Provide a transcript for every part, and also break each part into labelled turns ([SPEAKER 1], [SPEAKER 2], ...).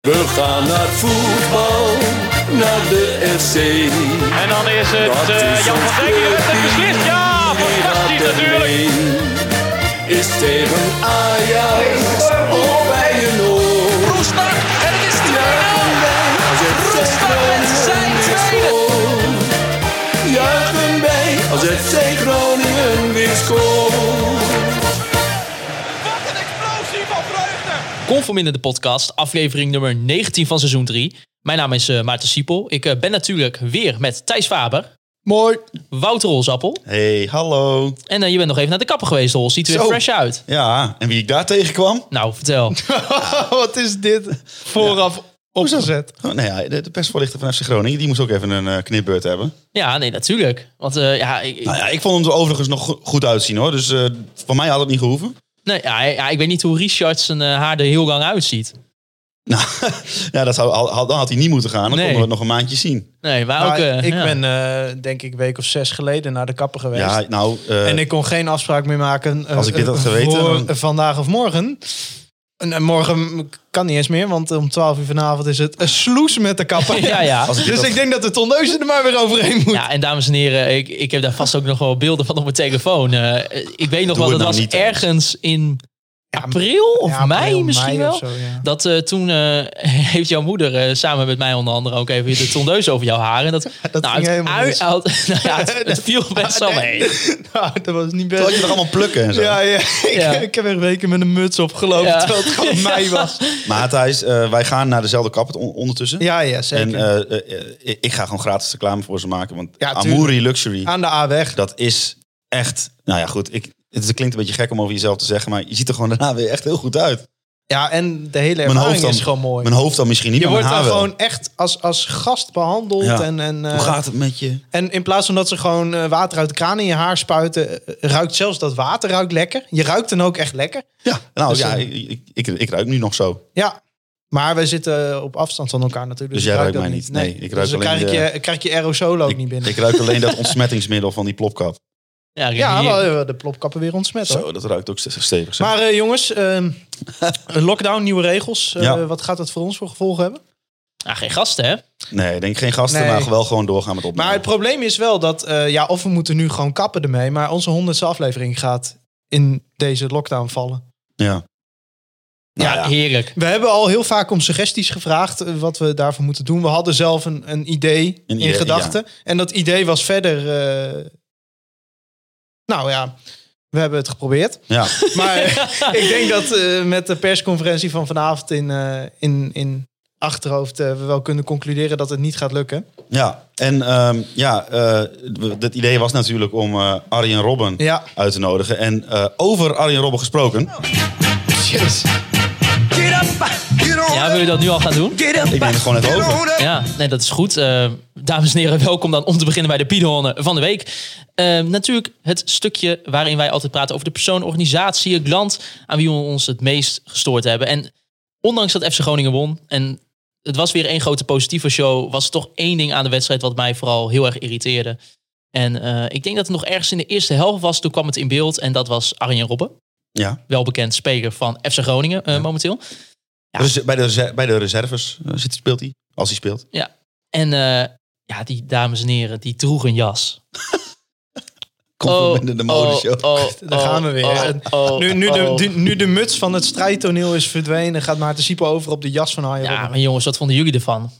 [SPEAKER 1] We gaan naar voetbal, naar de FC.
[SPEAKER 2] En dan is het
[SPEAKER 1] Dat
[SPEAKER 2] eh,
[SPEAKER 1] is
[SPEAKER 2] Jan
[SPEAKER 1] ons
[SPEAKER 2] van Dijk die heeft het beslist. Ja,
[SPEAKER 1] clubje,
[SPEAKER 2] fantastisch
[SPEAKER 1] dat
[SPEAKER 2] natuurlijk.
[SPEAKER 1] alleen Is tegen Ajax of bij je nood.
[SPEAKER 3] Roestak. En het is 2-0.
[SPEAKER 1] Als het
[SPEAKER 3] Roestak met zijn tweede.
[SPEAKER 1] Juichen wij als FC Groningen weer scoort.
[SPEAKER 3] Wat een explosie van vreugde.
[SPEAKER 4] Conform in de podcast, aflevering nummer 19 van seizoen 3. Mijn naam is eh, Maarten Siepel. Ik eh, ben natuurlijk weer met Thijs Faber,
[SPEAKER 5] Mooi.
[SPEAKER 4] Wouter Holzappel.
[SPEAKER 5] Hey, hallo.
[SPEAKER 4] En eh, je bent nog even naar de kapper geweest, Hol. Ziet er weer
[SPEAKER 5] Zo.
[SPEAKER 4] fresh uit.
[SPEAKER 5] Ja, en wie ik daar tegenkwam?
[SPEAKER 4] Nou, vertel.
[SPEAKER 5] Wat is dit?
[SPEAKER 6] vooraf opgezet.
[SPEAKER 5] Nou ja, de, de persvoorlichter van FC Groningen, die moest ook even een eh, knipbeurt hebben.
[SPEAKER 4] ja, nee, natuurlijk. Want eh, ja, ik,
[SPEAKER 5] Nou ja, ik vond hem er overigens nog go- goed uitzien hoor. Dus eh, van mij had het niet gehoeven.
[SPEAKER 4] nee, ja, ja, ik weet niet hoe Richard zijn eh, haar er heel lang uitziet.
[SPEAKER 5] Nou, ja, dat zou, al- had, dan had hij niet moeten gaan. Dan
[SPEAKER 4] Nee.
[SPEAKER 5] konden we het nog een maandje zien.
[SPEAKER 4] Nee, maar ook...
[SPEAKER 6] Maar
[SPEAKER 4] eh,
[SPEAKER 6] ik
[SPEAKER 4] ja.
[SPEAKER 6] ben eh, denk ik een week of zes geleden naar de kapper geweest.
[SPEAKER 5] Ja, nou, eh,
[SPEAKER 6] en ik kon geen afspraak meer maken. eh,
[SPEAKER 5] Als ik dit had
[SPEAKER 6] eh,
[SPEAKER 5] geweten,
[SPEAKER 6] voor
[SPEAKER 5] dan-
[SPEAKER 6] Vandaag of morgen. En, en morgen kan niet eens meer, want om 12 uur vanavond is het een sloes met de kapper.
[SPEAKER 4] Ja, ja.
[SPEAKER 5] Als ik dit
[SPEAKER 6] dus
[SPEAKER 5] had-
[SPEAKER 6] ik denk dat de tondeuze er maar weer overheen moet.
[SPEAKER 4] Ja, en dames en heren, ik, ik heb daar vast ook nog wel beelden van op mijn telefoon. Eh, ik weet nog wel,
[SPEAKER 5] het
[SPEAKER 4] dat
[SPEAKER 5] nou
[SPEAKER 4] was
[SPEAKER 5] niet, Thijs.
[SPEAKER 4] ergens in april of
[SPEAKER 6] Ja, april,
[SPEAKER 4] mei misschien wel.
[SPEAKER 6] of zo, ja.
[SPEAKER 4] Dat eh, toen eh, heeft jouw moeder eh, samen met mij onder andere ook even de tondeus over jouw haren. Dat,
[SPEAKER 6] dat
[SPEAKER 4] nou,
[SPEAKER 6] ging
[SPEAKER 4] het
[SPEAKER 6] helemaal
[SPEAKER 4] ui-
[SPEAKER 6] mis.
[SPEAKER 4] uit- nou ja, het, het viel best wel mee.
[SPEAKER 6] Nou, dat was niet
[SPEAKER 5] Terwijl
[SPEAKER 6] best.
[SPEAKER 5] je er allemaal plukken en zo.
[SPEAKER 6] Ja, ja. Ik,
[SPEAKER 4] Ja.
[SPEAKER 6] ik heb echt weken met een muts opgelopen,
[SPEAKER 4] Ja.
[SPEAKER 6] terwijl het gewoon mei was.
[SPEAKER 5] Maar Thijs, eh, wij gaan naar dezelfde kapper on- ondertussen.
[SPEAKER 6] Ja, ja, zeker.
[SPEAKER 5] En eh, eh, eh, ik ga gewoon gratis reclame voor ze maken. Want
[SPEAKER 6] Ja, tuurlijk.
[SPEAKER 5] Amuri Luxury,
[SPEAKER 6] Aan de A-weg.
[SPEAKER 5] dat is echt... Nou ja, goed. Ik, het klinkt een beetje gek om over jezelf te zeggen. Maar je ziet er gewoon daarna weer echt heel goed uit.
[SPEAKER 6] Ja, en de hele
[SPEAKER 5] Mijn
[SPEAKER 6] ervaring
[SPEAKER 5] hoofd, dan,
[SPEAKER 6] is gewoon mooi.
[SPEAKER 5] mijn hoofd dan misschien niet,
[SPEAKER 6] Je
[SPEAKER 5] maar
[SPEAKER 6] wordt
[SPEAKER 5] mijn
[SPEAKER 6] daar
[SPEAKER 5] haar wel.
[SPEAKER 6] gewoon echt als, als gast behandeld.
[SPEAKER 5] Ja.
[SPEAKER 6] En, en, eh,
[SPEAKER 5] Hoe gaat het met je?
[SPEAKER 6] en in plaats van dat ze gewoon eh, water uit de kraan in je haar spuiten, eh, ruikt zelfs dat water ruikt lekker. Je ruikt dan ook echt lekker.
[SPEAKER 5] Ja, nou
[SPEAKER 6] Dus,
[SPEAKER 5] ja,
[SPEAKER 6] eh,
[SPEAKER 5] ik, ik, ik, ik ruik nu nog zo.
[SPEAKER 6] Ja. Maar we zitten op afstand van elkaar natuurlijk.
[SPEAKER 5] Dus
[SPEAKER 6] ik
[SPEAKER 5] jij
[SPEAKER 6] ruik
[SPEAKER 5] ruikt
[SPEAKER 6] dat
[SPEAKER 5] mij niet. Nee, ik ruik
[SPEAKER 6] dus dan
[SPEAKER 5] alleen
[SPEAKER 6] krijg, ik je, krijg je aerosol ook
[SPEAKER 5] Ik,
[SPEAKER 6] niet binnen.
[SPEAKER 5] ik ruik alleen dat ontsmettingsmiddel van die plopkap.
[SPEAKER 4] Ja,
[SPEAKER 6] ja,
[SPEAKER 4] hier.
[SPEAKER 6] wel, eh, de plopkappen weer ontsmet. hoor.
[SPEAKER 5] Zo, dat ruikt ook ste- stevig. zeg.
[SPEAKER 6] Oh. Maar eh, jongens, ehm, een lockdown, nieuwe regels. Eh,
[SPEAKER 5] Ja.
[SPEAKER 6] Wat gaat dat voor ons voor gevolgen hebben?
[SPEAKER 4] Ah, geen gasten, hè?
[SPEAKER 5] nee, ik denk geen gasten,
[SPEAKER 6] Nee.
[SPEAKER 5] maar wel gewoon doorgaan met opnemen.
[SPEAKER 6] Maar het probleem is wel dat, eh, ja, of we moeten nu gewoon kappen ermee, maar onze honderdste aflevering gaat in deze lockdown vallen.
[SPEAKER 5] ja. Nou
[SPEAKER 4] ja,
[SPEAKER 5] ja.
[SPEAKER 4] heerlijk.
[SPEAKER 6] We hebben al heel vaak om suggesties gevraagd eh, wat we daarvoor moeten doen. We hadden zelf een, een idee
[SPEAKER 5] Een
[SPEAKER 6] in
[SPEAKER 5] idee,
[SPEAKER 6] gedachten. En dat idee was verder. eh, nou ja, we hebben het geprobeerd.
[SPEAKER 5] ja.
[SPEAKER 6] Maar ik denk dat eh, met de persconferentie van vanavond in, eh, in, in achterhoofd eh, we wel kunnen concluderen dat het niet gaat lukken.
[SPEAKER 5] Ja, en ehm, ja, eh, het idee was natuurlijk om eh Arjen Robben
[SPEAKER 6] Ja. Oh.
[SPEAKER 5] uit te nodigen. En eh, over Arjen Robben gesproken,
[SPEAKER 3] Get up. Get on.
[SPEAKER 4] Ja, wil je dat nu al gaan doen?
[SPEAKER 3] Get up.
[SPEAKER 5] ik neem het gewoon even over.
[SPEAKER 3] Get on.
[SPEAKER 4] Ja, nee, dat is goed. Eh, dames en heren, welkom dan om te beginnen bij de Piedhoornen van de Week. Eh, natuurlijk het stukje waarin wij altijd praten over de persoon, organisatie, het land aan wie we ons het meest gestoord hebben. En ondanks dat FC Groningen won en het was weer één grote positieve show, was er toch één ding aan de wedstrijd wat mij vooral heel erg irriteerde. En eh, ik denk dat het nog ergens in de eerste helft was, toen kwam het in beeld en dat was Arjen Robben.
[SPEAKER 5] Ja.
[SPEAKER 4] Welbekend speler van FC Groningen eh, momenteel.
[SPEAKER 5] Dus bij de, reser- bij de reserves eh, zit, speelt hij, als hij speelt.
[SPEAKER 4] En eh, ja, die dames en heren, die droeg een jas.
[SPEAKER 5] Komt
[SPEAKER 4] Oh,
[SPEAKER 6] Oh,
[SPEAKER 5] binnen de modeshow.
[SPEAKER 6] Daar gaan we weer. En nu, nu, de,
[SPEAKER 5] Oh.
[SPEAKER 6] nu- nu de muts van het strijdtoneel is verdwenen, gaat Maarten Siepe over op de jas van Arjen
[SPEAKER 4] ja,
[SPEAKER 6] Robben.
[SPEAKER 4] maar jongens, wat vonden jullie ervan?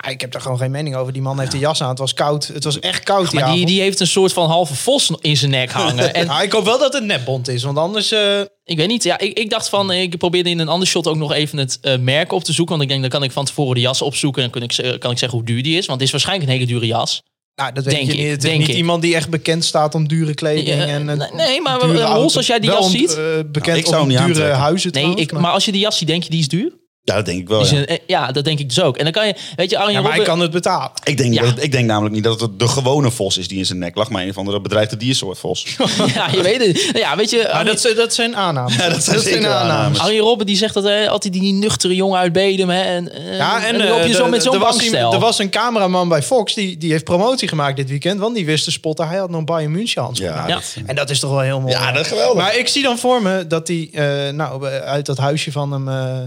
[SPEAKER 6] Ah, ik heb daar gewoon geen mening over. Die man heeft de jas aan. Het was koud. Het was echt koud.
[SPEAKER 4] Maar die,
[SPEAKER 6] avond.
[SPEAKER 4] die heeft een soort van halve vos in zijn nek hangen. En
[SPEAKER 6] Ah, ik hoop wel dat het netbond is, want anders... eh,
[SPEAKER 4] ik weet niet, ja, ik, ik dacht van, eh, ik probeerde in een ander shot ook nog even het eh, merk op te zoeken. Want ik denk, dan kan ik van tevoren de jas opzoeken en dan kan ik, ze- kan ik zeggen hoe duur die is. Want dit is waarschijnlijk een hele dure jas.
[SPEAKER 6] nou, dat weet
[SPEAKER 4] Denk
[SPEAKER 6] je
[SPEAKER 4] ik,
[SPEAKER 6] niet. Het is
[SPEAKER 4] denk
[SPEAKER 6] niet
[SPEAKER 4] ik.
[SPEAKER 6] iemand die echt bekend staat om dure kleding.
[SPEAKER 4] Ja,
[SPEAKER 6] en, eh,
[SPEAKER 4] nee, nee, maar,
[SPEAKER 6] dure
[SPEAKER 4] eh, Hols,
[SPEAKER 6] auto's.
[SPEAKER 4] als jij die
[SPEAKER 6] Wel
[SPEAKER 4] jas
[SPEAKER 6] om-
[SPEAKER 4] ziet?
[SPEAKER 6] eh, bekend
[SPEAKER 5] Nou, ik zou hem
[SPEAKER 6] om
[SPEAKER 5] niet
[SPEAKER 6] dure
[SPEAKER 5] aantrekken.
[SPEAKER 6] huizen
[SPEAKER 4] Nee,
[SPEAKER 6] trouwens,
[SPEAKER 4] ik, maar als je die jas ziet, denk je die is
[SPEAKER 6] Oh,
[SPEAKER 4] duur?
[SPEAKER 5] Ja, dat denk ik wel.
[SPEAKER 4] Die is
[SPEAKER 5] ja.
[SPEAKER 4] een- eh, ja, dat denk ik dus ook. En dan kan je, weet je, Arjen
[SPEAKER 6] Ja, maar hij
[SPEAKER 4] Robben-
[SPEAKER 6] kan het betalen.
[SPEAKER 5] Ik denk,
[SPEAKER 4] Ja.
[SPEAKER 5] dat- ik denk namelijk niet dat het de gewone vos is die in zijn nek lag, maar een of andere bedreigde diersoort vos.
[SPEAKER 4] Ja, je weet het. Ja, weet je,
[SPEAKER 6] Maar
[SPEAKER 4] Arjen-
[SPEAKER 6] dat, zijn- dat zijn aannames.
[SPEAKER 5] Ja, dat zijn zeker aannames.
[SPEAKER 4] Arjen Robben die zegt dat eh, altijd die nuchtere jongen uit Bedem. Hè, en, eh,
[SPEAKER 6] Ja, en,
[SPEAKER 4] dan loop je
[SPEAKER 6] eh,
[SPEAKER 4] zo
[SPEAKER 6] er-
[SPEAKER 4] met zo'n
[SPEAKER 6] er was iemand-
[SPEAKER 4] bankstijl.
[SPEAKER 6] Er was een cameraman bij Fox, die, die heeft promotie gemaakt dit weekend. Want die wist te spotten, hij had nog Bayern München handschoenen
[SPEAKER 5] Ja,
[SPEAKER 6] aan.
[SPEAKER 4] Ja.
[SPEAKER 5] Dat,
[SPEAKER 6] En dat is toch wel heel mooi.
[SPEAKER 5] ja, dat is geweldig.
[SPEAKER 6] Maar ik zie dan voor me dat hij eh, nou, uit dat huisje van hem eh,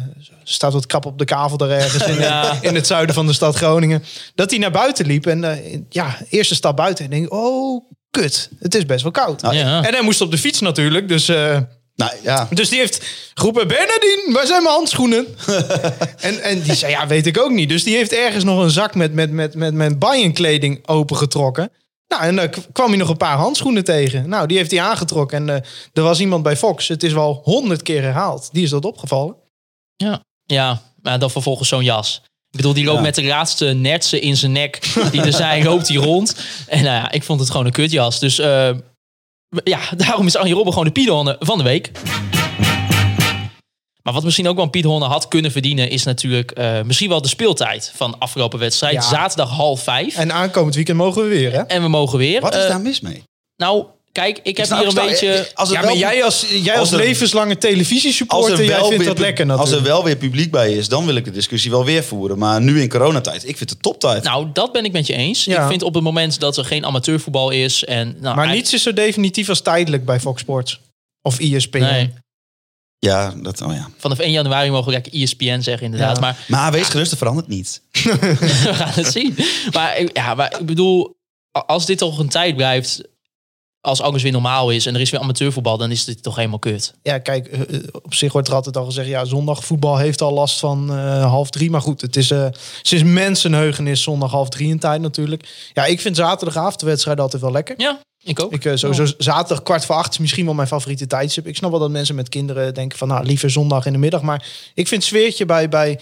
[SPEAKER 6] staat staat wat krap op de kavel daar ergens in, eh,
[SPEAKER 4] Ja.
[SPEAKER 6] in het zuiden van de stad Groningen. Dat hij naar buiten liep en eh, ja, eerste stap buiten. En denk oh kut, het is best wel koud.
[SPEAKER 5] Nou,
[SPEAKER 4] Ja.
[SPEAKER 6] En hij moest op de fiets natuurlijk, dus... eh,
[SPEAKER 5] Nou ja,
[SPEAKER 6] dus die heeft geroepen, Bernardine, waar zijn mijn handschoenen? en, en die zei, ja, weet ik ook niet. Dus die heeft ergens nog een zak met, met, met, met mijn Bayern-kleding opengetrokken. Nou, en dan k- kwam hij nog een paar handschoenen tegen. Nou, die heeft hij aangetrokken. En eh, er was iemand bij Fox, het is wel honderd keer herhaald. Die is dat opgevallen.
[SPEAKER 4] Ja, maar dan vervolgens zo'n jas. Ik bedoel, die loopt met de laatste nertsen in zijn nek. Die er zijn, loopt die rond. En nou ja, ik vond het gewoon een kutjas. Dus eh, ja, daarom is Arjen Robben gewoon de Piedhonne van de week. Maar wat misschien ook wel een Piedhonne had kunnen verdienen... is natuurlijk eh, misschien wel de speeltijd van afgelopen wedstrijd.
[SPEAKER 6] Ja.
[SPEAKER 4] Zaterdag half vijf. En,
[SPEAKER 6] En aankomend weekend mogen we weer, hè?
[SPEAKER 4] we mogen weer.
[SPEAKER 5] wat is
[SPEAKER 4] Eh,
[SPEAKER 5] daar mis mee?
[SPEAKER 4] Nou, kijk, ik heb
[SPEAKER 5] snap-
[SPEAKER 4] hier
[SPEAKER 5] ik
[SPEAKER 4] een
[SPEAKER 5] snap- eh,
[SPEAKER 4] beetje...
[SPEAKER 5] Als het
[SPEAKER 6] Ja,
[SPEAKER 5] wel-
[SPEAKER 6] maar jij als, jij
[SPEAKER 5] als
[SPEAKER 6] als
[SPEAKER 5] er-
[SPEAKER 6] levenslange
[SPEAKER 5] als
[SPEAKER 6] televisiesupporter,
[SPEAKER 5] er,
[SPEAKER 6] jij
[SPEAKER 5] wel
[SPEAKER 6] vindt
[SPEAKER 5] weer,
[SPEAKER 6] dat lekker
[SPEAKER 5] als
[SPEAKER 6] natuurlijk.
[SPEAKER 5] er wel weer publiek bij is, dan wil ik de discussie wel weer voeren. Maar nu in coronatijd, ik vind het toptijd.
[SPEAKER 4] Nou, dat ben ik met je eens.
[SPEAKER 6] Ja.
[SPEAKER 4] Ik vind op het moment dat er geen amateurvoetbal is... En, nou,
[SPEAKER 6] Maar
[SPEAKER 4] eigenlijk-
[SPEAKER 6] niets is zo definitief als tijdelijk bij Fox Sports. Of E ESPN.
[SPEAKER 4] Nee.
[SPEAKER 5] ja, dat, oh ja.
[SPEAKER 4] vanaf 1 januari mogen we lekker E ESPN zeggen, inderdaad.
[SPEAKER 6] Ja.
[SPEAKER 4] Maar
[SPEAKER 5] Maar wees gerust, er verandert niet.
[SPEAKER 4] we gaan het zien. Maar, ik- ja, maar ik bedoel, a- als dit toch een tijd blijft, als alles weer normaal is en er is weer amateurvoetbal, dan is dit toch helemaal kut.
[SPEAKER 6] Ja, kijk, eh, eh, op zich wordt er altijd al gezegd... ja, zondag voetbal heeft al last van eh, half drie. Maar goed, het is eh sinds mensenheugenis zondag half drie in tijd natuurlijk. Ja, ik vind zaterdagavond de wedstrijd altijd wel lekker.
[SPEAKER 4] Ja, ik ook.
[SPEAKER 6] Ik, eh, sowieso zaterdag kwart voor acht is misschien wel mijn favoriete tijdstip. Ik snap wel dat mensen met kinderen denken van... nou, liever zondag in de middag. Maar ik vind sfeertje bij, bij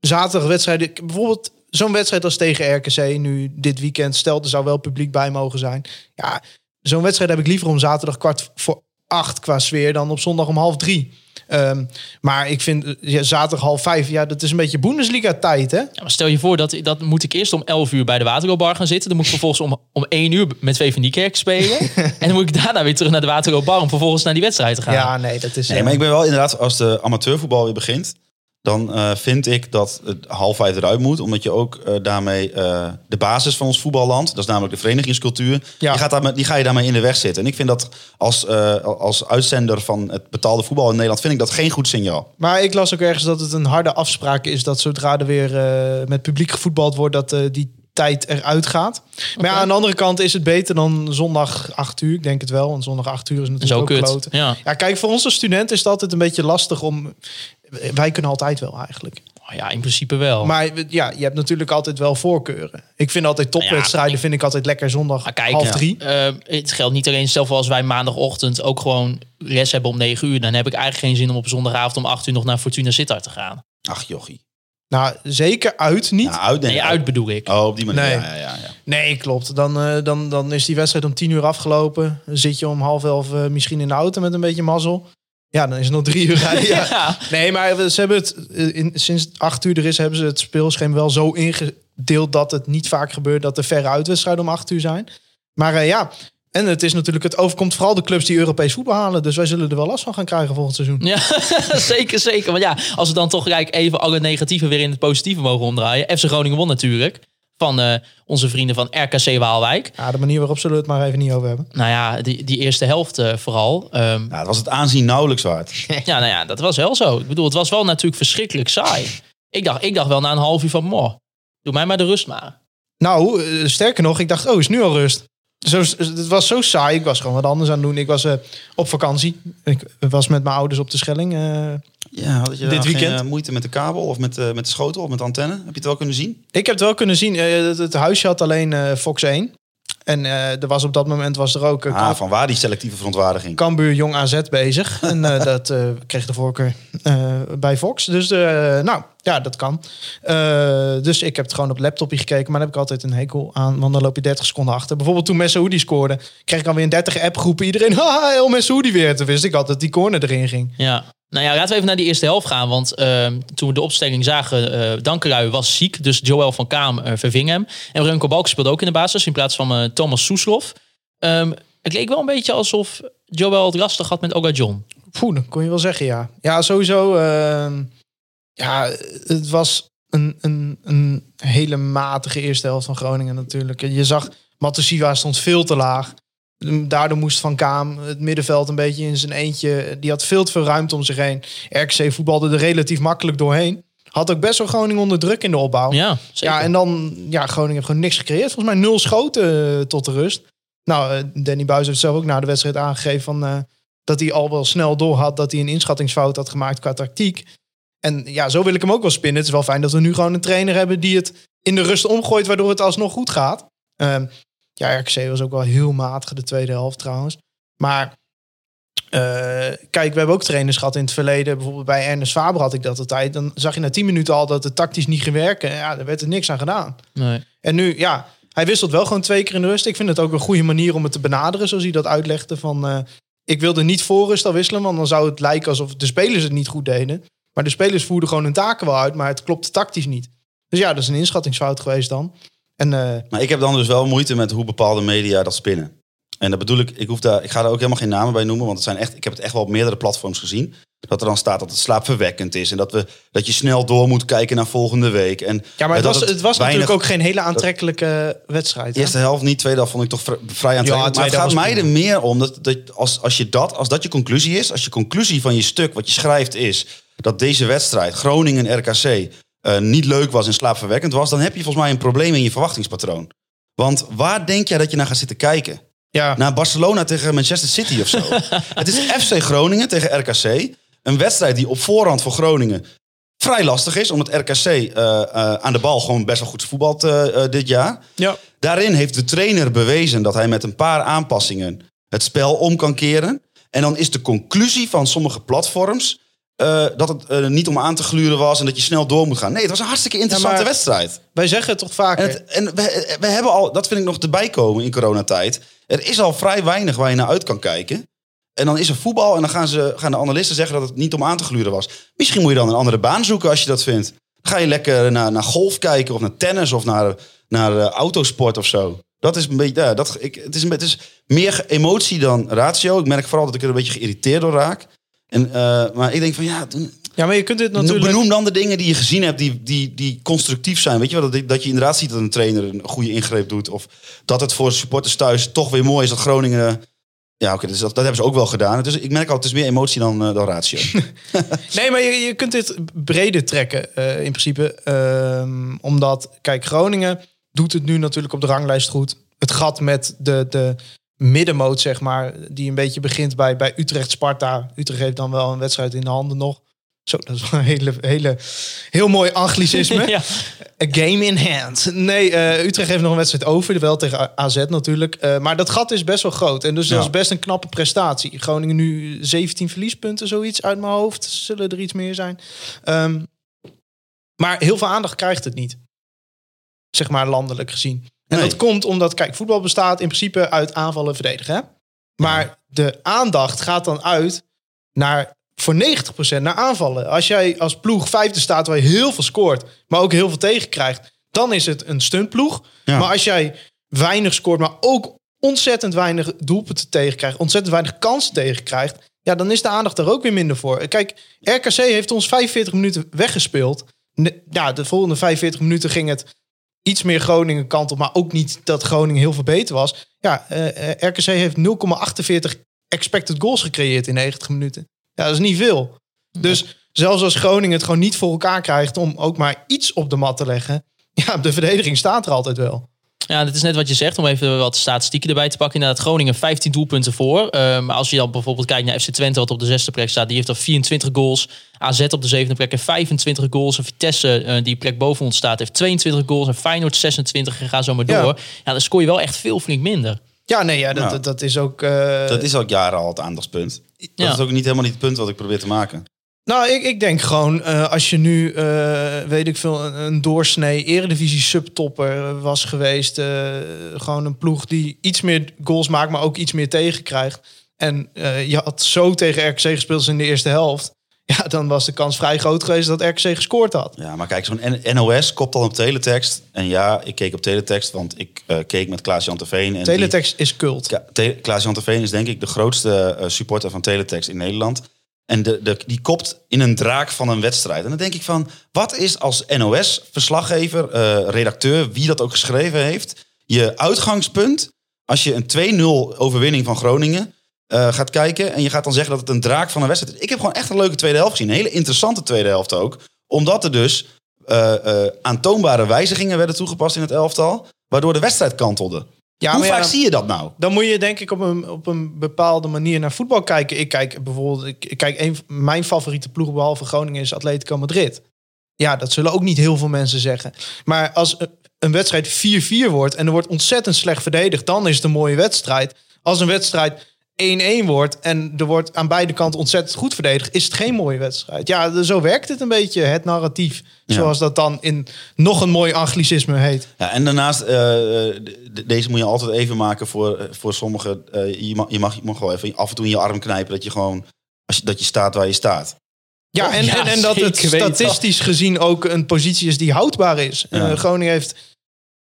[SPEAKER 6] zaterdagwedstrijden... ik- Bijvoorbeeld zo'n wedstrijd als tegen RKC nu dit weekend... stel, er zou wel publiek bij mogen zijn. Ja, zo'n wedstrijd heb ik liever om zaterdag kwart voor acht qua sfeer... dan op zondag om half drie. Ehm, maar ik vind eh, ja, zaterdag half vijf... ja, dat is een beetje Bundesliga-tijd, hè?
[SPEAKER 4] Ja, maar stel je voor, dat, dat moet ik eerst om 11 uur bij de Waterloobar gaan zitten. Dan moet ik vervolgens om, om 1 uur met VV Niekerk spelen. en dan moet ik daarna weer terug naar de Waterloobar om vervolgens naar die wedstrijd te gaan.
[SPEAKER 6] Ja, nee, dat is...
[SPEAKER 5] Nee,
[SPEAKER 6] eh,
[SPEAKER 5] maar ik ben wel inderdaad, als de amateurvoetbal weer begint, dan eh, vind ik dat het half vijf eruit moet. Omdat je ook eh, daarmee eh, de basis van ons voetballand, dat is namelijk de verenigingscultuur,
[SPEAKER 6] Ja.
[SPEAKER 5] die, gaat daarmee- die ga je daarmee in de weg zitten. En ik vind dat als, eh, als uitzender van het betaalde voetbal in Nederland, vind ik dat geen goed signaal.
[SPEAKER 6] Maar ik las ook ergens dat het een harde afspraak is dat zodra er weer eh, met publiek gevoetbald wordt, dat eh, die tijd eruit gaat. Maar ja, aan de andere kant is het beter dan zondag 8 uur. Ik denk het wel, want zondag 8 uur is natuurlijk
[SPEAKER 4] Zo
[SPEAKER 6] ook
[SPEAKER 4] kut.
[SPEAKER 6] kloten.
[SPEAKER 4] Ja.
[SPEAKER 6] ja, kijk, voor ons als student is het altijd een beetje lastig om... Wij kunnen altijd wel eigenlijk.
[SPEAKER 4] Oh ja, in principe wel. Maar,
[SPEAKER 6] Maar ja, je hebt natuurlijk altijd wel voorkeuren. Ik vind altijd
[SPEAKER 4] Nou
[SPEAKER 6] topwedstrijden, vind ik altijd lekker zondag
[SPEAKER 4] kijk,
[SPEAKER 6] half
[SPEAKER 4] ja.
[SPEAKER 6] drie.
[SPEAKER 4] eh, het geldt niet alleen zelf als wij maandagochtend ook gewoon les hebben om 9 uur. Dan heb ik eigenlijk geen zin om op zondagavond om 8 uur nog naar Fortuna Sittard te gaan.
[SPEAKER 5] Ach jochie.
[SPEAKER 6] Nou, zeker uit niet.
[SPEAKER 5] Ja, uit, nee,
[SPEAKER 4] Nee, uit bedoel ik.
[SPEAKER 5] Oh, op die manier.
[SPEAKER 6] Nee.
[SPEAKER 5] Ja, ja, ja, ja.
[SPEAKER 6] Nee, klopt. Dan, eh, dan, dan is die wedstrijd om tien uur afgelopen. Dan zit je om half elf eh, misschien in de auto met een beetje mazzel. Ja, dan is het nog drie uur rijden. ja.
[SPEAKER 4] Ja.
[SPEAKER 6] Nee, maar we- ze hebben het eh, in, sinds het acht uur er is, hebben ze het speelschema wel zo ingedeeld dat het niet vaak gebeurt dat er verre uitwedstrijden om acht uur zijn. Maar eh, ja, en het is natuurlijk, het overkomt vooral de clubs die Europees voetbal halen. Dus wij zullen er wel last van gaan krijgen volgend seizoen.
[SPEAKER 4] Ja, zeker, zeker. Want ja, als we dan toch gelijk even alle negatieve weer in het positieve mogen omdraaien. FC Groningen won natuurlijk. Van eh, onze vrienden van RKC Waalwijk.
[SPEAKER 6] Ja, de manier waarop zullen we het maar even niet over hebben.
[SPEAKER 4] Nou ja, die, die eerste helft eh, vooral. Ehm,
[SPEAKER 5] Ja, Nou, dat was het aanzien nauwelijks waard.
[SPEAKER 4] ja, nou ja, dat was wel zo. Ik bedoel, het was wel natuurlijk verschrikkelijk saai. Ik dacht, ik dacht wel na een half uur van, moh, doe mij maar de rust maar.
[SPEAKER 6] Nou, eh, sterker nog, ik dacht, oh, is nu al rust. Zo, eh, het was zo saai. Ik was gewoon wat anders aan het doen. Ik was eh, op vakantie. Ik was met mijn ouders op de Schelling. eh.
[SPEAKER 5] Ja, had je
[SPEAKER 6] Dit
[SPEAKER 5] dan
[SPEAKER 6] weekend?
[SPEAKER 5] Geen, eh, moeite met de kabel of met, eh, met de schotel of met de antenne? Heb je het wel kunnen zien?
[SPEAKER 6] ik heb het wel kunnen zien. eh, het, het huisje had alleen eh, Fox 1. En eh, er was op dat moment was er ook eh,
[SPEAKER 5] Ah, van waar die selectieve verontwaardiging?
[SPEAKER 6] Cambuur Jong AZ bezig. En eh, dat eh, kreeg de voorkeur eh, bij Fox. Dus eh, nou, ja, dat kan. Eh, dus ik heb het gewoon op laptopje gekeken. Maar daar heb ik altijd een hekel aan. Want dan loop je 30 seconden achter. Bijvoorbeeld toen Messaoudi scoorde. Kreeg ik alweer in 30 appgroepen. Iedereen, haha, El Messaoudi weer. Toen wist ik altijd dat die corner erin ging.
[SPEAKER 4] Ja. Nou ja, laten we even naar die eerste helft gaan. Want ehm, toen we de opstelling zagen, eh Dankelui was ziek. Dus Joël van Kaam eh, verving hem. En Remco Balk speelde ook in de basis in plaats van eh, Thomas Soeslof. Ehm, het leek wel een beetje alsof Joël het lastig had met Ogajon.
[SPEAKER 6] Poeh, dat kon je wel zeggen, ja. Ja, sowieso. ehm, ja, het was een, een, een hele matige eerste helft van Groningen natuurlijk. Je zag, Matusiwa stond veel te laag. Daardoor moest Van Kaam het middenveld een beetje in zijn eentje. Die had veel te veel ruimte om zich heen. RKC voetbalde er relatief makkelijk doorheen. Had ook best wel Groningen onder druk in de opbouw.
[SPEAKER 4] Ja, zeker.
[SPEAKER 6] Oh. Ja, en dan, ja, Groningen heeft gewoon niks gecreëerd. Volgens mij nul schoten eh, tot de rust. Nou, eh, Danny Buis heeft zelf ook na de wedstrijd aangegeven van, eh, dat hij al wel snel door had dat hij een inschattingsfout had gemaakt qua tactiek. En ja, zo wil ik hem ook wel spinnen. Het is wel fijn dat we nu gewoon een trainer hebben die het in de rust omgooit, waardoor het alsnog goed gaat. Ehm, ja, RKC was ook wel heel matig de tweede helft trouwens. Maar eh, kijk, we hebben ook trainers gehad in het verleden. Bijvoorbeeld bij Ernest Faber had ik dat altijd. Dan zag je na 10 minuten al dat het tactisch niet ging werken. Ja, daar werd er niks aan gedaan.
[SPEAKER 4] Nee.
[SPEAKER 6] En nu, ja, hij wisselt wel gewoon twee keer in de rust. Ik vind het ook een goede manier om het te benaderen, zoals hij dat uitlegde. Van, eh, ik wilde niet voor rust al wisselen, want dan zou het lijken alsof de spelers het niet goed deden. Maar de spelers voerden gewoon hun taken wel uit, maar het klopte tactisch niet. Dus ja, dat is een inschattingsfout geweest dan. En eh,
[SPEAKER 5] Maar ik heb dan dus wel moeite met hoe bepaalde media dat spinnen. En dat bedoel ik, ik, hoef daar, ik ga daar ook helemaal geen namen bij noemen, want het zijn echt, ik heb het echt wel op meerdere platforms gezien. Dat er dan staat dat het slaapverwekkend is en dat, we, dat je snel door moet kijken naar volgende week. En
[SPEAKER 6] ja, maar
[SPEAKER 5] eh,
[SPEAKER 6] het
[SPEAKER 5] dat
[SPEAKER 6] was, het was
[SPEAKER 5] weinig-
[SPEAKER 6] natuurlijk ook geen hele aantrekkelijke wedstrijd.
[SPEAKER 5] De
[SPEAKER 6] hè?
[SPEAKER 5] eerste helft niet, tweede helft vond ik toch vri- vrij aantrekkelijk. maar
[SPEAKER 6] tweede
[SPEAKER 5] het gaat
[SPEAKER 6] helft
[SPEAKER 5] mij er meer om dat, dat als, als, je dat, als dat je conclusie is, als je conclusie van je stuk, wat je schrijft, is dat deze wedstrijd, Groningen RKC, eh, niet leuk was en slaapverwekkend was, dan heb je volgens mij een probleem in je verwachtingspatroon. Want waar denk jij dat je naar gaat zitten kijken?
[SPEAKER 6] Ja.
[SPEAKER 5] Naar Barcelona tegen Manchester City of zo. het is FC Groningen tegen RKC. Een wedstrijd die op voorhand voor Groningen vrij lastig is. Omdat RKC eh, eh, aan de bal gewoon best wel goed voetbalt eh, eh, dit jaar.
[SPEAKER 6] ja.
[SPEAKER 5] Daarin heeft de trainer bewezen dat hij met een paar aanpassingen het spel om kan keren. En dan is de conclusie van sommige platforms eh, dat het eh, niet om aan te gluren was en dat je snel door moet gaan. Nee, het was een hartstikke interessante
[SPEAKER 6] Ja, maar-
[SPEAKER 5] wedstrijd.
[SPEAKER 6] Wij zeggen het toch vaker.
[SPEAKER 5] En, het- en we, we hebben al, dat vind ik nog erbij komen in coronatijd. Er is al vrij weinig waar je naar uit kan kijken. En dan is er voetbal en dan gaan, ze, gaan de analisten zeggen dat het niet om aan te gluren was. Misschien moet je dan een andere baan zoeken als je dat vindt. Dan ga je lekker naar, naar golf kijken of naar tennis of naar, naar eh, autosport of zo. Dat is een beetje, ja, dat, ik, het, is, een- het is meer ge- emotie dan ratio. Ik merk vooral dat ik er een beetje geïrriteerd door raak. En, eh, maar ik denk van ja,
[SPEAKER 6] ja, maar je kunt dit natuurlijk...
[SPEAKER 5] Benoem dan de dingen die je gezien hebt die, die, die constructief zijn. Weet je wel, dat, dat je inderdaad ziet dat een trainer een goede ingreep doet. Of dat het voor supporters thuis toch weer mooi is dat Groningen... Ja, oké, dus dat, dat hebben ze ook wel gedaan. Dus ik merk al, het is meer emotie dan, eh, dan ratio.
[SPEAKER 6] Nee, maar je, je kunt dit breder trekken eh, in principe. Ehm, omdat, kijk, Groningen doet het nu natuurlijk op de ranglijst goed. Het gat met de, de middenmoot, zeg maar, die een beetje begint bij, bij Utrecht-Sparta. Utrecht heeft dan wel een wedstrijd in de handen nog. Zo, dat is wel een hele, hele, heel mooi anglicisme.
[SPEAKER 4] ja.
[SPEAKER 6] A game in hand. Nee, eh, Utrecht heeft nog een wedstrijd over. Wel tegen A- AZ natuurlijk. Eh, maar dat gat is best wel groot. En dus dat
[SPEAKER 5] Ja.
[SPEAKER 6] is best een knappe prestatie. Groningen nu 17 verliespunten, zoiets uit mijn hoofd. Zullen er iets meer zijn. Ehm, maar heel veel aandacht krijgt het niet. Zeg maar landelijk gezien. En
[SPEAKER 5] Nee.
[SPEAKER 6] dat komt omdat, kijk, voetbal bestaat in principe uit aanvallen en verdedigen. Hè? Maar de aandacht gaat dan uit naar voor 90% naar aanvallen. Als jij als ploeg vijfde staat waar je heel veel scoort, maar ook heel veel tegenkrijgt, dan is het een stuntploeg.
[SPEAKER 5] Ja.
[SPEAKER 6] Maar als jij weinig scoort, maar ook ontzettend weinig doelpunten tegenkrijgt, ontzettend weinig kansen tegenkrijgt, ja, dan is de aandacht er ook weer minder voor. Kijk, RKC heeft ons 45 minuten weggespeeld. Ne- Ja, de volgende 45 minuten ging het iets meer Groningen kant op, maar ook niet dat Groningen heel veel beter was. Ja, eh, eh, RKC heeft 0,48 expected goals gecreëerd in 90 minuten. Ja, dat is niet veel. Dus zelfs als Groningen het gewoon niet voor elkaar krijgt om ook maar iets op de mat te leggen, ja, de verdediging staat er altijd wel.
[SPEAKER 4] Ja, dat is net wat je zegt, om even wat statistieken erbij te pakken. Inderdaad, Groningen 15 doelpunten voor. Eh, maar als je dan bijvoorbeeld kijkt naar FC Twente, wat op de zesde plek staat, die heeft al 24 goals. AZ op de zevende plek heeft 25 goals. En Vitesse, eh, die plek boven ons staat, heeft 22 goals. En Feyenoord 26 en ga zo maar door.
[SPEAKER 6] Ja.
[SPEAKER 4] Ja, dan scoor je wel echt veel flink minder.
[SPEAKER 6] Ja, nee, ja, dat,
[SPEAKER 5] Ja.
[SPEAKER 6] Dat, dat is ook. eh,
[SPEAKER 5] dat is al jaren al het aandachtspunt. Dat
[SPEAKER 4] Ja.
[SPEAKER 5] is ook niet helemaal niet het punt wat ik probeer te maken.
[SPEAKER 6] Nou, ik, ik denk gewoon, eh, als je nu, eh, weet ik veel, een, een doorsnee eredivisie subtopper was geweest. eh, gewoon een ploeg die iets meer goals maakt, maar ook iets meer tegenkrijgt. En eh, je had zo tegen RKC gespeeld als in de eerste helft. Ja, dan was de kans vrij groot geweest dat RKC gescoord had.
[SPEAKER 5] Ja, maar kijk, zo'n N- NOS kopt al op teletext. En ja, ik keek op teletext, want ik eh, keek met Klaas-Jan Terveen. en die-
[SPEAKER 6] Teletext is cult.
[SPEAKER 5] Ja, Te- Klaas-Jan Terveen is denk ik de grootste eh, supporter van Teletext in Nederland. En de, de, die kopt in een draak van een wedstrijd. En dan denk ik van, wat is als NOS-verslaggever, eh, redacteur, wie dat ook geschreven heeft, je uitgangspunt als je een 2-0 overwinning van Groningen eh, gaat kijken en je gaat dan zeggen dat het een draak van een wedstrijd is. Ik heb gewoon echt een leuke tweede helft gezien. Een hele interessante tweede helft ook. Omdat er dus eh, eh, aantoonbare wijzigingen werden toegepast in het elftal, waardoor de wedstrijd kantelde.
[SPEAKER 6] Ja,
[SPEAKER 5] Hoe
[SPEAKER 6] maar ja,
[SPEAKER 5] vaak
[SPEAKER 6] dan-
[SPEAKER 5] zie je dat nou?
[SPEAKER 6] Dan moet je denk ik op een, op een bepaalde manier naar voetbal kijken. Ik kijk bijvoorbeeld, ik, ik kijk een, van- mijn favoriete ploeg behalve Groningen is Atletico Madrid. Ja, dat zullen ook niet heel veel mensen zeggen. Maar als een- een wedstrijd 4-4 wordt en er wordt ontzettend slecht verdedigd, dan is het een mooie wedstrijd. Als een wedstrijd 1-1 wordt en er wordt aan beide kanten ontzettend goed verdedigd, is het geen mooie wedstrijd. Ja, de- zo werkt het een beetje, het narratief.
[SPEAKER 5] Ja.
[SPEAKER 6] Zoals dat dan in nog een mooi anglicisme heet.
[SPEAKER 5] Ja, en daarnaast, eh, eh, de- deze moet je altijd even maken voor, eh, voor sommigen. Eh, je, mag, je, mag, je mag wel even af en toe in je arm knijpen dat je gewoon als je, dat je staat waar je staat.
[SPEAKER 6] Ja, en,
[SPEAKER 4] Ja,
[SPEAKER 6] en, en dat het
[SPEAKER 4] zeker weten.
[SPEAKER 6] statistisch gezien ook een positie is die houdbaar is.
[SPEAKER 5] Ja.
[SPEAKER 6] Eh, Groningen heeft